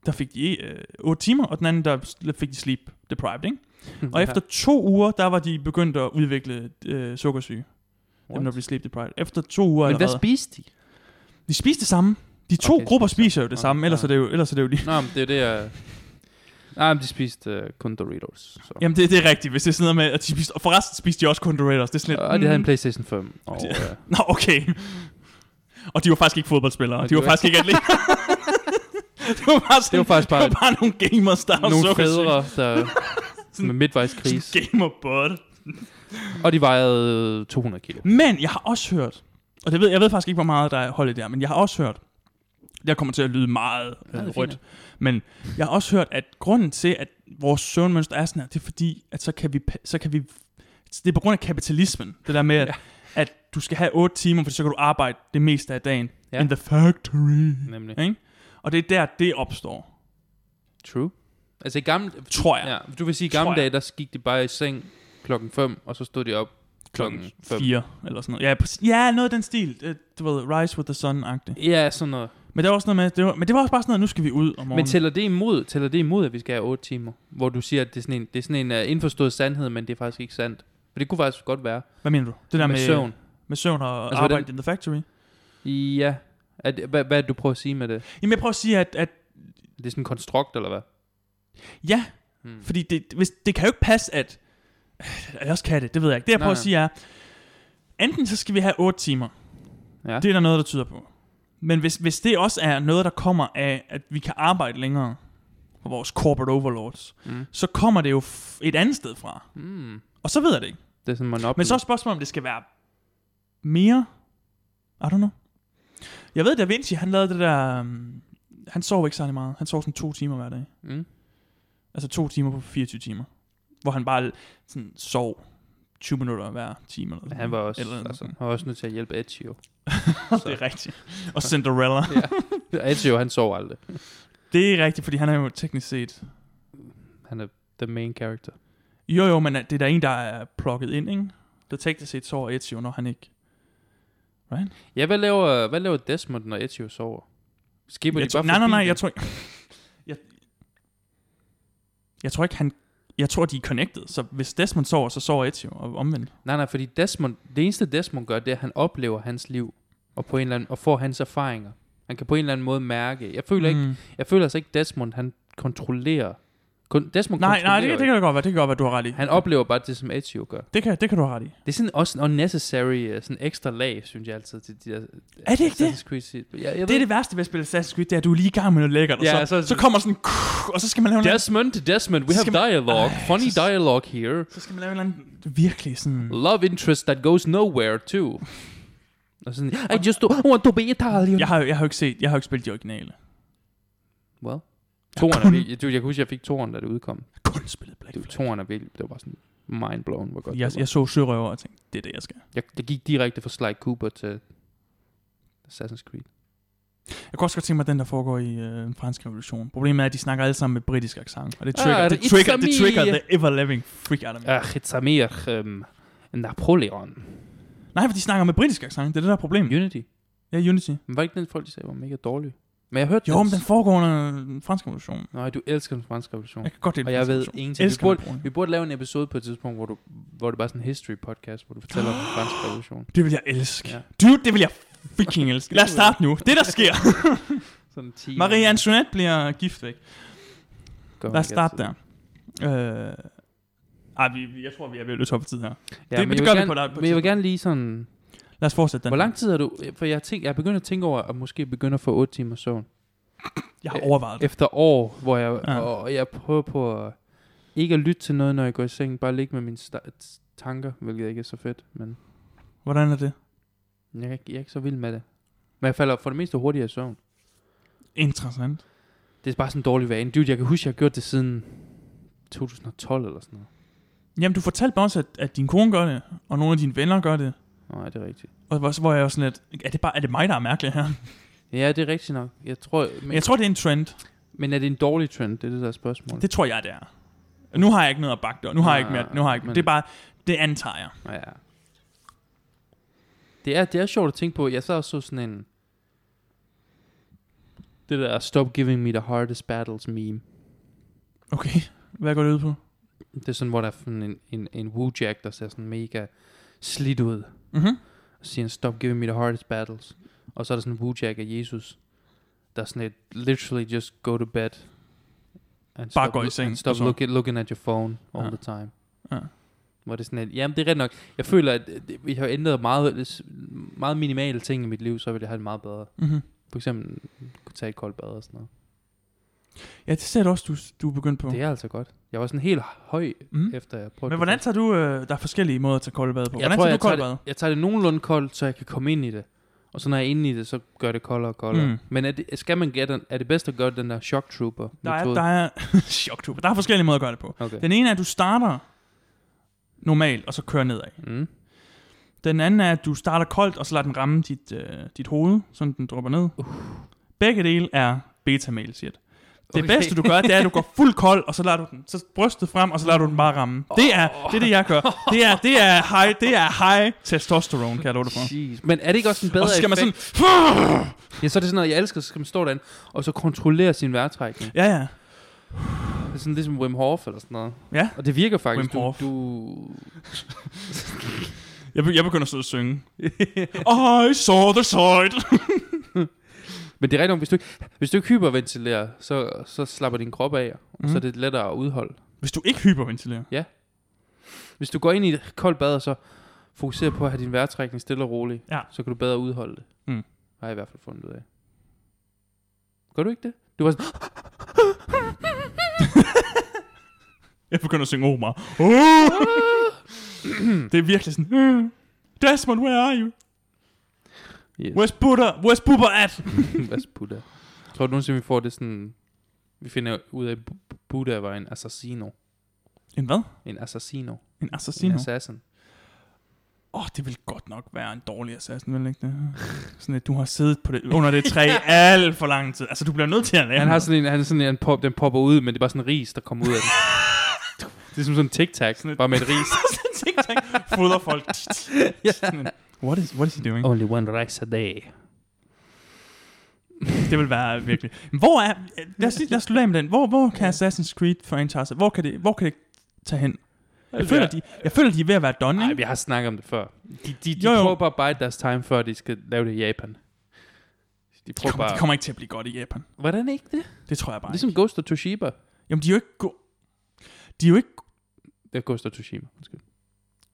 Speaker 2: der fik de øh, 8 timer, og den anden, der s- fik de sleep deprived. Ikke? Og efter to uger, der var de begyndt at udvikle øh, sukkersyge. Dem, der
Speaker 1: What?
Speaker 2: blev sleep deprived. Efter to uger
Speaker 1: Men hvad
Speaker 2: allerede.
Speaker 1: spiste de?
Speaker 2: De spiste det samme. De to
Speaker 1: Okay,
Speaker 2: okay, grupper
Speaker 1: spiste det
Speaker 2: spiser jo det
Speaker 1: samme.
Speaker 2: samme,
Speaker 1: Okay,
Speaker 2: ellers
Speaker 1: ja.
Speaker 2: er det jo, ellers er det jo lige...
Speaker 1: Nå, men det er det, jeg... Nej, men de spiste uh, kun Doritos. Så.
Speaker 2: Jamen, det, det er rigtigt, hvis det er sådan noget med, at de spiste... Og forresten spiste de også kun Doritos. Det er sådan lidt...
Speaker 1: og de havde en
Speaker 2: mm.
Speaker 1: Playstation 5. Og,
Speaker 2: Det-
Speaker 1: uh,
Speaker 2: Nå, okay. Og de var faktisk ikke fodboldspillere.
Speaker 1: Og
Speaker 2: De
Speaker 1: de
Speaker 2: var
Speaker 1: var-
Speaker 2: faktisk ikke atleter. det var bare
Speaker 1: det
Speaker 2: sådan...
Speaker 1: var faktisk
Speaker 2: det
Speaker 1: bare
Speaker 2: var bare nogle gamers, der var
Speaker 1: nogle
Speaker 2: sukkersyge.
Speaker 1: fædre, der med midtvejskris.
Speaker 2: Sådan gamer bud.
Speaker 1: Og de vejede 200 kilo.
Speaker 2: Men jeg har også hørt, og det ved, jeg ved faktisk ikke, hvor meget der er holdet der, men jeg har også hørt, jeg kommer til at lyde meget
Speaker 1: Ja, det er
Speaker 2: øh,
Speaker 1: fint
Speaker 2: rødt, men jeg har også hørt, at grunden til, at vores søvnmønster er sådan her, det er fordi, at så kan vi, pa- så kan vi det er på grund af kapitalismen, det der med, at,
Speaker 1: Ja.
Speaker 2: ja. at du skal have 8 timer, for så kan du arbejde det meste af dagen.
Speaker 1: Ja.
Speaker 2: Ja. In the factory.
Speaker 1: Nemlig.
Speaker 2: Ja. Og det er der, det opstår,
Speaker 1: True. Altså i gamle...
Speaker 2: tror jeg, ja.
Speaker 1: Ja, du vil sige, i
Speaker 2: Tror
Speaker 1: gamle
Speaker 2: jeg.
Speaker 1: dage, der gik de bare i seng klokken 5, og så stod de op klokken
Speaker 2: klokken
Speaker 1: 5.
Speaker 2: 4 eller sådan noget. Ja, præcis. ja, noget af den stil. Øh, Du ved, Rise with the Sun-agtigt.
Speaker 1: Ja, sådan noget.
Speaker 2: Men det var også noget med, det var, men det var også bare sådan noget, nu skal vi ud om morgenen.
Speaker 1: Men tæller det imod, tæller det imod at vi skal have 8 timer? Hvor du siger, at det er sådan en, det er sådan en uh, indforstået sandhed, men det er faktisk ikke sandt. For det kunne faktisk godt være.
Speaker 2: Hvad mener du? Det
Speaker 1: med,
Speaker 2: der med,
Speaker 1: med søvn.
Speaker 2: Med søvn og
Speaker 1: Altså,
Speaker 2: altså, arbejde
Speaker 1: hvordan-
Speaker 2: in the factory.
Speaker 1: Ja. Er det, hvad, hvad er det, du prøver at sige med det?
Speaker 2: Jamen jeg prøver at sige, at,
Speaker 1: Mm.
Speaker 2: at
Speaker 1: Det er sådan en konstrukt, eller hvad?
Speaker 2: ja,
Speaker 1: Hmm.
Speaker 2: fordi det, hvis, det kan jo ikke passe, at... Eller også kan det, det ved jeg ikke. Det jeg
Speaker 1: Nej,
Speaker 2: prøver at
Speaker 1: nej.
Speaker 2: sige er, enten så skal vi have 8 timer.
Speaker 1: Ja.
Speaker 2: Det er der noget, der tyder på. Men hvis, hvis det også er noget, der kommer af, at vi kan arbejde længere for vores corporate overlords,
Speaker 1: Mm.
Speaker 2: så kommer det jo f- et andet sted fra.
Speaker 1: Mm.
Speaker 2: Og så ved jeg det ikke.
Speaker 1: Det er sådan en
Speaker 2: Men så er spørgsmålet, om det skal være mere. I don't know. Jeg ved, Da Vinci, han lavede det der... Um, han sov ikke særlig meget. Han sov sådan to timer hver dag.
Speaker 1: Mm.
Speaker 2: Altså to timer på 24 timer. Hvor han bare sådan sov 20 minutter hver time. Eller
Speaker 1: Men Han var også,
Speaker 2: Eller,
Speaker 1: eller, altså,
Speaker 2: altså.
Speaker 1: han var også nødt til at hjælpe Ezio.
Speaker 2: det er rigtigt. Og Cinderella.
Speaker 1: Ezio, han sover aldrig.
Speaker 2: det er rigtigt, fordi han er jo teknisk set...
Speaker 1: Han er the main character.
Speaker 2: Jo jo, men øh, det er der en, der er plukket ind, ikke? Der teknisk set sover Ezio, når han ikke...
Speaker 1: Ja, hvad laver, hvad laver Desmond, når Ezio sover? Skipper
Speaker 2: Jeg
Speaker 1: de
Speaker 2: tror,
Speaker 1: bare
Speaker 2: nej, nej,
Speaker 1: forbi
Speaker 2: nej,
Speaker 1: det?
Speaker 2: jeg tror ikke... Jeg, jeg tror ikke, han... Jeg tror, de er connected, så hvis Desmond sover, så sover Ezio, og omvendt.
Speaker 1: Nej, nej, fordi Desmond, det eneste Desmond gør, det er, at han oplever hans liv, og, på en eller anden, og får hans erfaringer. Han kan på en eller anden måde mærke. Jeg føler, mm. ikke, jeg føler altså ikke, Desmond, han kontrollerer. Kon- Desmond
Speaker 2: Nej, nej,
Speaker 1: kontrollerer
Speaker 2: det, det kan da godt være, det kan godt være, du har ret i.
Speaker 1: ikke. Han oplever bare det, som Ezio gør.
Speaker 2: Det kan, det kan du have ret i.
Speaker 1: Det er sådan også en unnecessary, øh, sådan ekstra lag, synes jeg altid, til de der...
Speaker 2: Er det ikke det?
Speaker 1: Assassin's Creed sit- Jeg, jeg ved
Speaker 2: Det er det værste ved at spille Assassin's Creed, det er, at du er lige i gang med noget lækkert, og
Speaker 1: Ja,
Speaker 2: ja, altså, så,
Speaker 1: så-
Speaker 2: så, så kommer sådan, kuh, og så skal man lave noget,
Speaker 1: Desmond, Desmond, we
Speaker 2: Så
Speaker 1: have
Speaker 2: skal man-
Speaker 1: dialogue.
Speaker 2: Ej,
Speaker 1: Funny
Speaker 2: så-
Speaker 1: dialogue here.
Speaker 2: så skal man lave en eller anden virkelig sådan...
Speaker 1: Mm. Love interest that goes nowhere too. Og sådan, I just don't want to be Italian.
Speaker 2: Jeg har, jo- jeg har jo ikke set, jeg har jo ikke spillet de originale.
Speaker 1: Well.
Speaker 2: Jeg har
Speaker 1: Toren er
Speaker 2: kun-
Speaker 1: vild. Du, jeg kan huske, jeg fik toren, da det udkom.
Speaker 2: Kun spillet Black
Speaker 1: Det,
Speaker 2: Flag.
Speaker 1: toren er vild. Det var bare sådan, Mind blown, hvor godt
Speaker 2: Jeg,
Speaker 1: det var.
Speaker 2: jeg så Sørøver og tænkte, det er det, jeg skal.
Speaker 1: Jeg, jeg gik direkte fra Sly Cooper til Assassin's Creed.
Speaker 2: Jeg kunne også godt tænke mig den, der foregår i øh, den franske revolution. Problemet er, at de snakker alle sammen med britisk accent. Og det
Speaker 1: Ah,
Speaker 2: trigger, ah, det,
Speaker 1: it's
Speaker 2: det, trigger,
Speaker 1: a
Speaker 2: det
Speaker 1: me.
Speaker 2: trigger the ever living freak out of me. Ja.
Speaker 1: Ach, it's a mere um, Ah, Napoleon.
Speaker 2: Nej, for de snakker med britisk accent. Det er det, der er problemet.
Speaker 1: Unity.
Speaker 2: Ja, Unity.
Speaker 1: Men var ikke den folk, de sagde, var mega dårlig? Men jeg hørte
Speaker 2: Jo, men den foregår under den franske revolution.
Speaker 1: Nej, du elsker den franske revolution.
Speaker 2: Jeg kan godt lide
Speaker 1: Og
Speaker 2: den
Speaker 1: jeg
Speaker 2: franske
Speaker 1: ved
Speaker 2: revolution.
Speaker 1: ingenting. Vi
Speaker 2: Elsker
Speaker 1: burde,
Speaker 2: Napoleon.
Speaker 1: vi burde lave en episode på et tidspunkt, hvor, du, hvor det bare er sådan en history podcast, hvor du fortæller om den franske revolution.
Speaker 2: Det vil jeg elske.
Speaker 1: Ja.
Speaker 2: Ja. Dude, det vil jeg freaking elske. Lad os starte nu. Det, der sker.
Speaker 1: Sådan 10
Speaker 2: Marie Antoinette bliver gift væk.
Speaker 1: Godt,
Speaker 2: Lad
Speaker 1: man
Speaker 2: os
Speaker 1: kan
Speaker 2: starte
Speaker 1: altid.
Speaker 2: der. Øh, ej, vi, vi- jeg tror, vi er ved at løse op for tid her.
Speaker 1: Ja,
Speaker 2: Det-
Speaker 1: men
Speaker 2: det
Speaker 1: jeg vil
Speaker 2: gør vi
Speaker 1: gerne-
Speaker 2: på et- på et
Speaker 1: Men jeg vil gerne lige sådan...
Speaker 2: Lad os fortsætte den.
Speaker 1: Hvor lang tid har du... For jeg, tænk, jeg er begyndt at tænke over, at måske begynde at få 8 timer søvn.
Speaker 2: Jeg har overvejet det.
Speaker 1: Efter år, hvor jeg,
Speaker 2: Ja.
Speaker 1: og jeg prøver på at... Ikke at lytte til noget, når jeg går i seng. Bare ligge med mine sta- tanker, hvilket ikke er så fedt. Men Øh.
Speaker 2: Hvordan er det?
Speaker 1: jeg, er ikke- jeg er ikke så vild med det. Men jeg falder for det meste hurtigere i søvn.
Speaker 2: Interessant.
Speaker 1: Det er bare sådan en dårlig vane. Dude, jeg kan huske, jeg har gjort det siden 2012 eller sådan noget.
Speaker 2: Jamen, du fortalte mig også, at, at din kone gør det, og nogle af dine venner gør det.
Speaker 1: Nej, det er rigtigt.
Speaker 2: Og hvor, hvor jeg var sådan lidt, er det, bare, er det mig, der er mærkelig her?
Speaker 1: Ja, det er rigtigt nok. Jeg tror, men,
Speaker 2: Men jeg tror, det er en trend.
Speaker 1: men er det en dårlig trend? Det er det, der er spørgsmål.
Speaker 2: Det tror jeg, det er. Nu har jeg ikke noget at bakke det, og nu har jeg ikke mere. Nu har jeg ikke,
Speaker 1: Men-
Speaker 2: det er bare, det antager jeg.
Speaker 1: Ja. Det er, det er sjovt at tænke på. Jeg sad og så sådan en... Det der Stop Giving Me The Hardest Battles meme.
Speaker 2: Okay, hvad går det ud på?
Speaker 1: Det er sådan, hvor der er sådan en, en, en Wu-Jack, der ser sådan mega slidt ud.
Speaker 2: Mm-hmm.
Speaker 1: Og siger, Stop Giving Me The Hardest Battles. Og så er der sådan en Wu-Jack af Jesus, der er sådan et, literally just go to bed. And
Speaker 2: Bare
Speaker 1: stop
Speaker 2: gå i
Speaker 1: loo-
Speaker 2: seng,
Speaker 1: and
Speaker 2: og
Speaker 1: Stop
Speaker 2: så-
Speaker 1: look, looking at your phone all
Speaker 2: Ja.
Speaker 1: the time.
Speaker 2: Ja.
Speaker 1: Hvor det er sådan, at, jamen det er rigtigt nok. Jeg føler, at øh, det- vi har ændret meget, meget minimale ting i mit liv, så vil jeg have det meget bedre.
Speaker 2: Mm-hmm.
Speaker 1: For eksempel kunne tage et koldt bad og sådan noget.
Speaker 2: Ja, det ser du også, du, du er begyndt på.
Speaker 1: Det er altså godt. Jeg var sådan helt høj,
Speaker 2: Mhm.
Speaker 1: mm. efter jeg prøvede
Speaker 2: Men
Speaker 1: det
Speaker 2: hvordan
Speaker 1: først.
Speaker 2: tager du, øh, der er forskellige måder at tage koldbad på.
Speaker 1: jeg
Speaker 2: Hvordan
Speaker 1: tror,
Speaker 2: tager
Speaker 1: jeg
Speaker 2: du koldbad?
Speaker 1: tager, det, jeg tager det nogenlunde koldt, så jeg kan komme ind i det. Og så når jeg er inde i det, så gør det koldere og koldere.
Speaker 2: Mm.
Speaker 1: Mm. Men er det, skal man gætte, er det bedst at gøre den der shock trooper
Speaker 2: Der er, der er, choktuber. Der er forskellige måder at gøre det på.
Speaker 1: Okay.
Speaker 2: Den ene er, at du starter normalt, og så kører nedad.
Speaker 1: Mm.
Speaker 2: Den anden er, at du starter koldt, og så lader den ramme dit, øh, dit hoved, sådan den dropper ned. Uh. Begge dele er beta-mail, shit. Det
Speaker 1: Okay.
Speaker 2: bedste, du gør, det er, at du går fuld kold, og så lader du den så brystet frem, og så lader du den bare ramme. Det er det, er det jeg gør. Det er, det er high, det er high testosterone, kan jeg love dig for.
Speaker 1: Jeez. Men er det ikke også en bedre
Speaker 2: Og så skal man sådan...
Speaker 1: effekt? Ja, så er det sådan noget, jeg elsker, så skal man stå derinde, og så kontrollere sin vejrtrækning.
Speaker 2: Ja, ja.
Speaker 1: Det er sådan ligesom Wim Hof eller sådan noget.
Speaker 2: Ja.
Speaker 1: Og det virker faktisk. Du,
Speaker 2: Wim Hof.
Speaker 1: du...
Speaker 2: Jeg, be- jeg begynder at sidde og synge. Oh, I saw the sight.
Speaker 1: Men det er rigtigt, nok, hvis du ikke, hvis du ikke hyperventilerer, så, så slapper din krop af, og
Speaker 2: Mhm.
Speaker 1: Mm. så er det lettere at udholde.
Speaker 2: Hvis du ikke hyperventilerer.
Speaker 1: Hvis du går ind i et koldt bad, og så fokuserer på at have din vejrtrækning stille og rolig,
Speaker 2: Ja.
Speaker 1: så kan du bedre udholde det.
Speaker 2: Mm.
Speaker 1: Har jeg i hvert fald fundet ud af. Gør du ikke det? Du var sådan,
Speaker 2: Jeg begynder at synge Omar. Oh! det er virkelig sådan... "Øh, Desmond, where are you?
Speaker 1: yes,
Speaker 2: Where's Buddha? Where's Bubba at?
Speaker 1: Hvad Buddha? Tror du nogensinde, vi får det sådan... Vi finder ud af, at Bu- Buddha var en assassino.
Speaker 2: En hvad?
Speaker 1: En assassino.
Speaker 2: En
Speaker 1: En
Speaker 2: assassino? Åh,
Speaker 1: assassin.
Speaker 2: oh, det vil godt nok være en dårlig assassin, vil ikke det? Sådan at du har siddet på det, under det træ alt for lang tid. Altså, du bliver nødt til at lære
Speaker 1: Han har
Speaker 2: noget.
Speaker 1: sådan en, han er sådan en, han pop, den popper ud, men det er bare sådan en ris, der kommer ud af den. Det er som sådan en tic-tac, bare med et ris.
Speaker 2: sådan ting, fodrer folk. Sådan en, What is, what is he doing?
Speaker 1: Only one rice a day.
Speaker 2: Det vil være virkelig. Hvor er, lad os, lige- lad os slutte af med den. Hvor, hvor kan Assassin's Creed franchise, hvor kan det, hvor kan det tage hen? Jeg føler, de, jeg føler, de er ved at være done,
Speaker 1: Nej,
Speaker 2: ikke?
Speaker 1: vi har snakket om det før. De, de, de
Speaker 2: Jo, jo.
Speaker 1: prøver bare at bide deres time, før de skal lave det i Japan. De
Speaker 2: Det
Speaker 1: prøver
Speaker 2: kommer, det
Speaker 1: bare...
Speaker 2: kommer ikke til at blive godt i Japan.
Speaker 1: Hvordan ikke det?
Speaker 2: Det tror jeg bare ligesom,
Speaker 1: Ligesom
Speaker 2: ikke.
Speaker 1: Ghost of Tsushima.
Speaker 2: Jamen, de er jo ikke go- De er jo ikke...
Speaker 1: Det er Ghost of Tsushima. undskyld.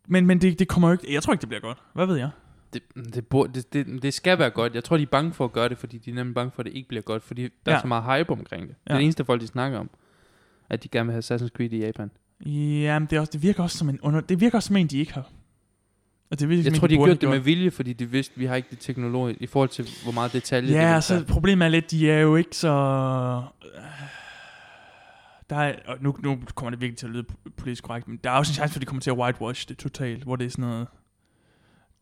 Speaker 2: Men, men det, det kommer jo ikke... Jeg tror ikke, det bliver godt. Hvad ved jeg?
Speaker 1: Det, det, burde- det, det, det skal være godt. Jeg tror, de er bange for at gøre det, fordi de er nemlig bange for, at det ikke bliver godt, fordi der
Speaker 2: Ja.
Speaker 1: er så meget hype omkring det. Det er
Speaker 2: Ja.
Speaker 1: det eneste folk, de snakker om. At de gerne vil have Assassin's Creed i Japan.
Speaker 2: Jamen, det, er også, det virker også som en under... Det virker også som en, de ikke har. Og det virker, som
Speaker 1: Jeg
Speaker 2: en,
Speaker 1: tror, de har
Speaker 2: burde
Speaker 1: gjort det
Speaker 2: have
Speaker 1: med vilje, fordi de vidste, vi har ikke det teknologi i forhold til, hvor meget detalje det
Speaker 2: Ja,
Speaker 1: vil
Speaker 2: så
Speaker 1: tage.
Speaker 2: problemet er lidt, de er jo ikke så... Der er, og nu, nu kommer det virkelig til at lyde po- politisk korrekt, men der er også en chance for, at de kommer til at whitewash det totalt, hvor det er sådan noget...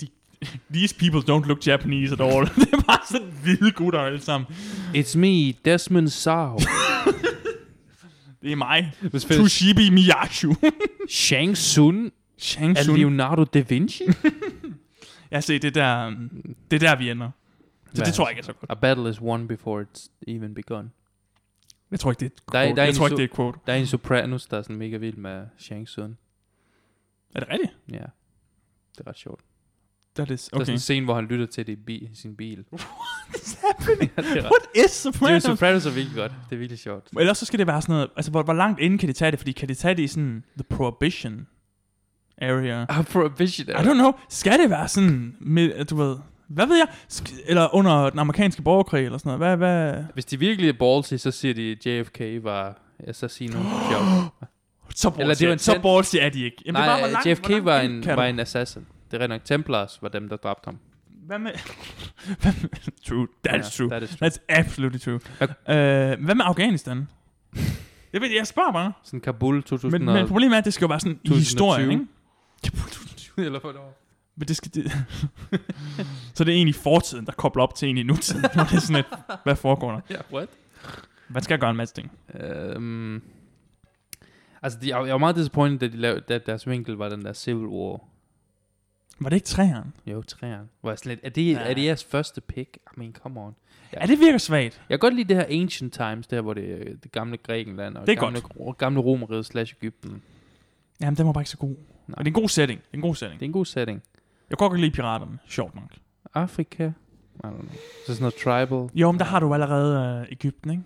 Speaker 2: De, these people don't look Japanese at all. det er bare sådan hvide gutter alle sammen.
Speaker 1: It's me, Desmond Sao.
Speaker 2: Det er mig.
Speaker 1: Hvis
Speaker 2: Toshibi Miyashu.
Speaker 1: Shang Tsung
Speaker 2: Shang
Speaker 1: er
Speaker 2: Tsung.
Speaker 1: Leonardo da Vinci.
Speaker 2: Jeg ser, det er der, um, det er der, vi ender. Så det tror jeg ikke er så godt.
Speaker 1: A battle is won before it's even begun.
Speaker 2: Jeg tror ikke, det er et
Speaker 1: Der er- der
Speaker 2: quote.
Speaker 1: er
Speaker 2: jeg
Speaker 1: en
Speaker 2: tror ikke,
Speaker 1: so-
Speaker 2: det er et quote.
Speaker 1: Der er en Sopranos, der er sådan mega vild med Shang Tsung.
Speaker 2: Er det rigtigt?
Speaker 1: Ja, det er ret sjovt. Okay.
Speaker 2: That is,
Speaker 1: Der er sådan
Speaker 2: okay.
Speaker 1: en scene, hvor han lytter til det i bi- sin bil.
Speaker 2: What is happening?
Speaker 1: Ja, det er ret-
Speaker 2: What
Speaker 1: Det
Speaker 2: is
Speaker 1: er
Speaker 2: Sopranos?
Speaker 1: Sopranos er virkelig godt. Det er virkelig sjovt.
Speaker 2: Ellers så skal det være sådan noget, altså hvor, hvor langt inden kan de tage det? Fordi kan de tage det i sådan the prohibition area?
Speaker 1: Ah, Prohibition.
Speaker 2: I don't know. Skal det være sådan, med, du ved, hvad ved jeg? Sk- eller under den amerikanske borgerkrig eller sådan noget. Hvad, hvad?
Speaker 1: Hvis de virkelig er ballsy, så siger de, at JFK var assassino. Sjovt.
Speaker 2: Så
Speaker 1: Eller det var en
Speaker 2: borgerlige, så
Speaker 1: tent-
Speaker 2: borgerlige er de ikke. Jamen, det er
Speaker 1: Nej,
Speaker 2: bare, hvor langt-
Speaker 1: JFK
Speaker 2: hvor langt
Speaker 1: var
Speaker 2: ind
Speaker 1: en,
Speaker 2: kan
Speaker 1: var
Speaker 2: du?
Speaker 1: en assassin. Det er rent nok Templars var dem, der dræbte ham.
Speaker 2: Hvad med... hvad med true. That is true.
Speaker 1: That is true.
Speaker 2: That's absolutely true.
Speaker 1: Hvad-
Speaker 2: Uh, hvad med Afghanistan? Jeg ved, jeg spørger bare.
Speaker 1: Sådan Kabul 2000
Speaker 2: Men, men problemet er, at det skal jo være sådan i
Speaker 1: 2020.
Speaker 2: historien, ikke?
Speaker 1: eller hvornår.
Speaker 2: Men det skal... Det så det er egentlig fortiden, der kobler op til egentlig nutiden. hvor det er sådan et, hvad foregår der?
Speaker 1: Ja, what?
Speaker 2: Man skal gøre en masse ting.
Speaker 1: Øhm, altså, de, jeg var- jeg var meget disappointed, da, de lavede, da deres vinkel var den der Civil War.
Speaker 2: Var det ikke træerne?
Speaker 1: Jo, træerne. Hvor jeg slet, er, det,
Speaker 2: Ja.
Speaker 1: er det jeres første pick? I mean, come on.
Speaker 2: Ja. ja, det virker svagt.
Speaker 1: Jeg kan godt lide det her Ancient Times, der hvor det, er det gamle Grækenland og
Speaker 2: Det er
Speaker 1: gamle, gamle Romeriet slash Ægypten.
Speaker 2: Jamen, den var bare ikke så god. Men det er en god setting. Det er en god setting.
Speaker 1: Det er en god setting.
Speaker 2: Jeg kunne godt lide piraterne. Sjovt nok.
Speaker 1: Afrika? I don't know. Så sådan noget tribal?
Speaker 2: Jo, men der har du allerede øh, Ægypten, ikke?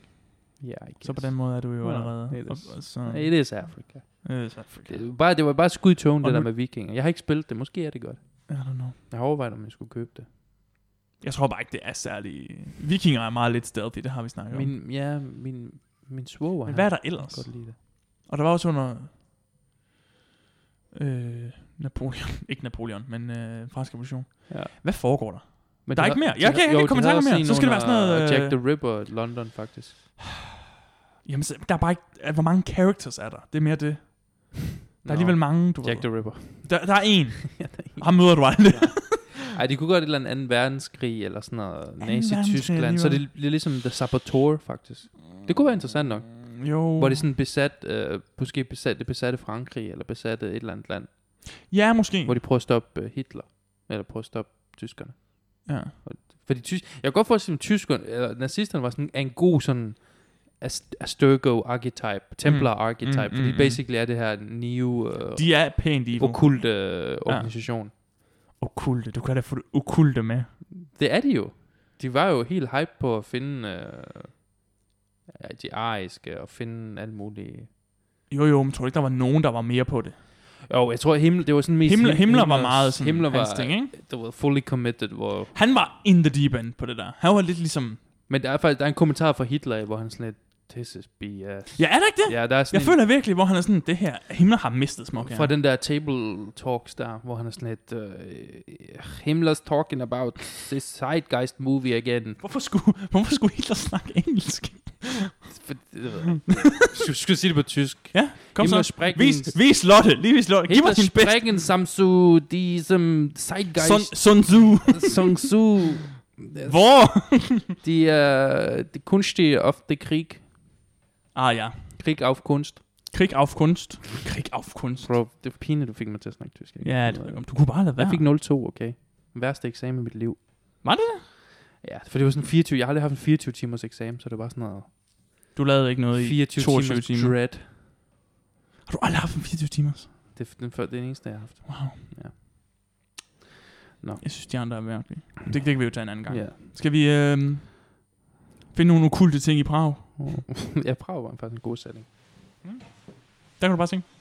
Speaker 1: Ja, yeah, I guess.
Speaker 2: Så på den måde er du jo
Speaker 1: Well,
Speaker 2: allerede...
Speaker 1: it is.
Speaker 2: og- og så,
Speaker 1: It is Africa.
Speaker 2: Øh, så Afrika.
Speaker 1: Det, var bare, det var bare skud i tone,
Speaker 2: Og
Speaker 1: det der
Speaker 2: nu-
Speaker 1: med vikinger. Jeg har ikke spillet det. Måske er det godt.
Speaker 2: I don't know.
Speaker 1: Jeg har overvejet, om jeg skulle købe det.
Speaker 2: Jeg tror bare ikke, det er særlig... Vikinger er meget lidt stealthy, det har vi snakket om.
Speaker 1: Min, ja, min, min svoger.
Speaker 2: Men
Speaker 1: han
Speaker 2: hvad er der
Speaker 1: kan
Speaker 2: ellers?
Speaker 1: Godt lide det.
Speaker 2: Og der var også under... Øh, Napoleon. ikke Napoleon, men øh, fransk revolution.
Speaker 1: Ja.
Speaker 2: Hvad foregår der?
Speaker 1: Men
Speaker 2: Der er
Speaker 1: de
Speaker 2: ikke
Speaker 1: har-
Speaker 2: mere.
Speaker 1: de
Speaker 2: Jeg
Speaker 1: har-
Speaker 2: kan ikke
Speaker 1: jo,
Speaker 2: rigtig komme i
Speaker 1: de har
Speaker 2: tanke om
Speaker 1: også
Speaker 2: mere.
Speaker 1: en
Speaker 2: Så skal det være
Speaker 1: under
Speaker 2: sådan noget,
Speaker 1: Jack
Speaker 2: øh,
Speaker 1: the Ripper i London, faktisk.
Speaker 2: Jamen, så- der er bare ikke... øh, Hvor mange characters er der? Det er mere det. Der er alligevel mange, du
Speaker 1: Jack
Speaker 2: ved.
Speaker 1: the Ripper.
Speaker 2: Der, der er en. Ham møder du aldrig.
Speaker 1: Ej, de kunne godt et eller andet anden verdenskrig, eller sådan noget
Speaker 2: verdenskrig,
Speaker 1: nazi-Tyskland. Så det det er ligesom The Saboteur, faktisk. Det kunne være interessant nok.
Speaker 2: Mm, Jo.
Speaker 1: Hvor det er sådan besat, øh, måske besat, det besatte Frankrig, eller besatte et eller andet land.
Speaker 2: Ja, måske.
Speaker 1: Hvor de prøver at stoppe øh, Hitler, eller prøver at stoppe tyskerne.
Speaker 2: Ja.
Speaker 1: Fordi tys jeg kan godt forestille mig, at tyskerne, eller nazisterne var sådan er en god sådan Ast- Asturgo-archetype, Templar-archetype, mm,
Speaker 2: Mm, mm,
Speaker 1: fordi
Speaker 2: mm.
Speaker 1: basically er det her new, øh,
Speaker 2: De er pænt evil.
Speaker 1: okult øh, organisation.
Speaker 2: Okulte. Du kan da få det okulte med.
Speaker 1: Det er de jo. De var jo helt hype på at finde øh, ja, de ariske, og finde alt muligt.
Speaker 2: Jo, jo, men tror du ikke, der var nogen, der var mere på det?
Speaker 1: Jo, jeg tror, at himmel, det var sådan mest...
Speaker 2: Himmler,
Speaker 1: Him-
Speaker 2: Himmler var
Speaker 1: Himmlers-
Speaker 2: meget sådan
Speaker 1: Himmler
Speaker 2: hans
Speaker 1: var,
Speaker 2: ting, ikke?
Speaker 1: det var fully committed, hvor...
Speaker 2: Han var in the deep end på det der. Han var lidt ligesom...
Speaker 1: Men der er faktisk der er en kommentar fra Hitler, hvor han sådan lidt, this is BS.
Speaker 2: Ja, er der ikke det? Ja,
Speaker 1: Ja, der er sådan
Speaker 2: jeg
Speaker 1: en-
Speaker 2: føler virkelig, hvor han er sådan, det her, Himmler har mistet smuk
Speaker 1: Fra den der table talks der, hvor han er sådan lidt, uh, Himmler's talking about this zeitgeist movie again.
Speaker 2: Hvorfor skulle, hvorfor skulle Hitler snakke engelsk?
Speaker 1: For, du skulle sige det på tysk.
Speaker 2: Ja, kom
Speaker 1: Himmler
Speaker 2: så.
Speaker 1: sprechen-
Speaker 2: Vis, vis Lotte, lige vis Lotte. Giv
Speaker 1: Hitler
Speaker 2: os din bedste.
Speaker 1: sprechen samsu diesem zeitgeist
Speaker 2: Sun, Sun Tzu.
Speaker 1: Sun Tzu,
Speaker 2: Hvor?
Speaker 1: die, uh, die Kunst auf den Krieg,
Speaker 2: ah ja.
Speaker 1: Krieg auf Kunst.
Speaker 2: Krig auf Kunst. Krig auf Kunst.
Speaker 1: Bro, det er pinligt, du fik mig til at snakke tysk. ikke?
Speaker 2: Ja, det ved jeg godt. du kunne bare lade være.
Speaker 1: Jeg fik 0-2, okay? Den værste eksamen i mit liv.
Speaker 2: Var det
Speaker 1: Ja, for det var sådan 24, jeg har aldrig haft en 24 timers eksamen, så det var sådan noget
Speaker 2: Du lavede ikke noget i
Speaker 1: 24
Speaker 2: 22
Speaker 1: timers
Speaker 2: timer.
Speaker 1: dread.
Speaker 2: Har du aldrig haft en 24 timers?
Speaker 1: Det er den, før, det er den eneste, jeg har haft.
Speaker 2: Wow.
Speaker 1: Ja. Nå.
Speaker 2: Jeg synes, de andre er mærkelige. Det, det kan vi jo tage en anden gang.
Speaker 1: Ja.
Speaker 2: Skal vi øh, finde nogle okulte ting i Prag?
Speaker 1: jeg prøver var faktisk en god sætning.
Speaker 2: Der kan du bare tænke.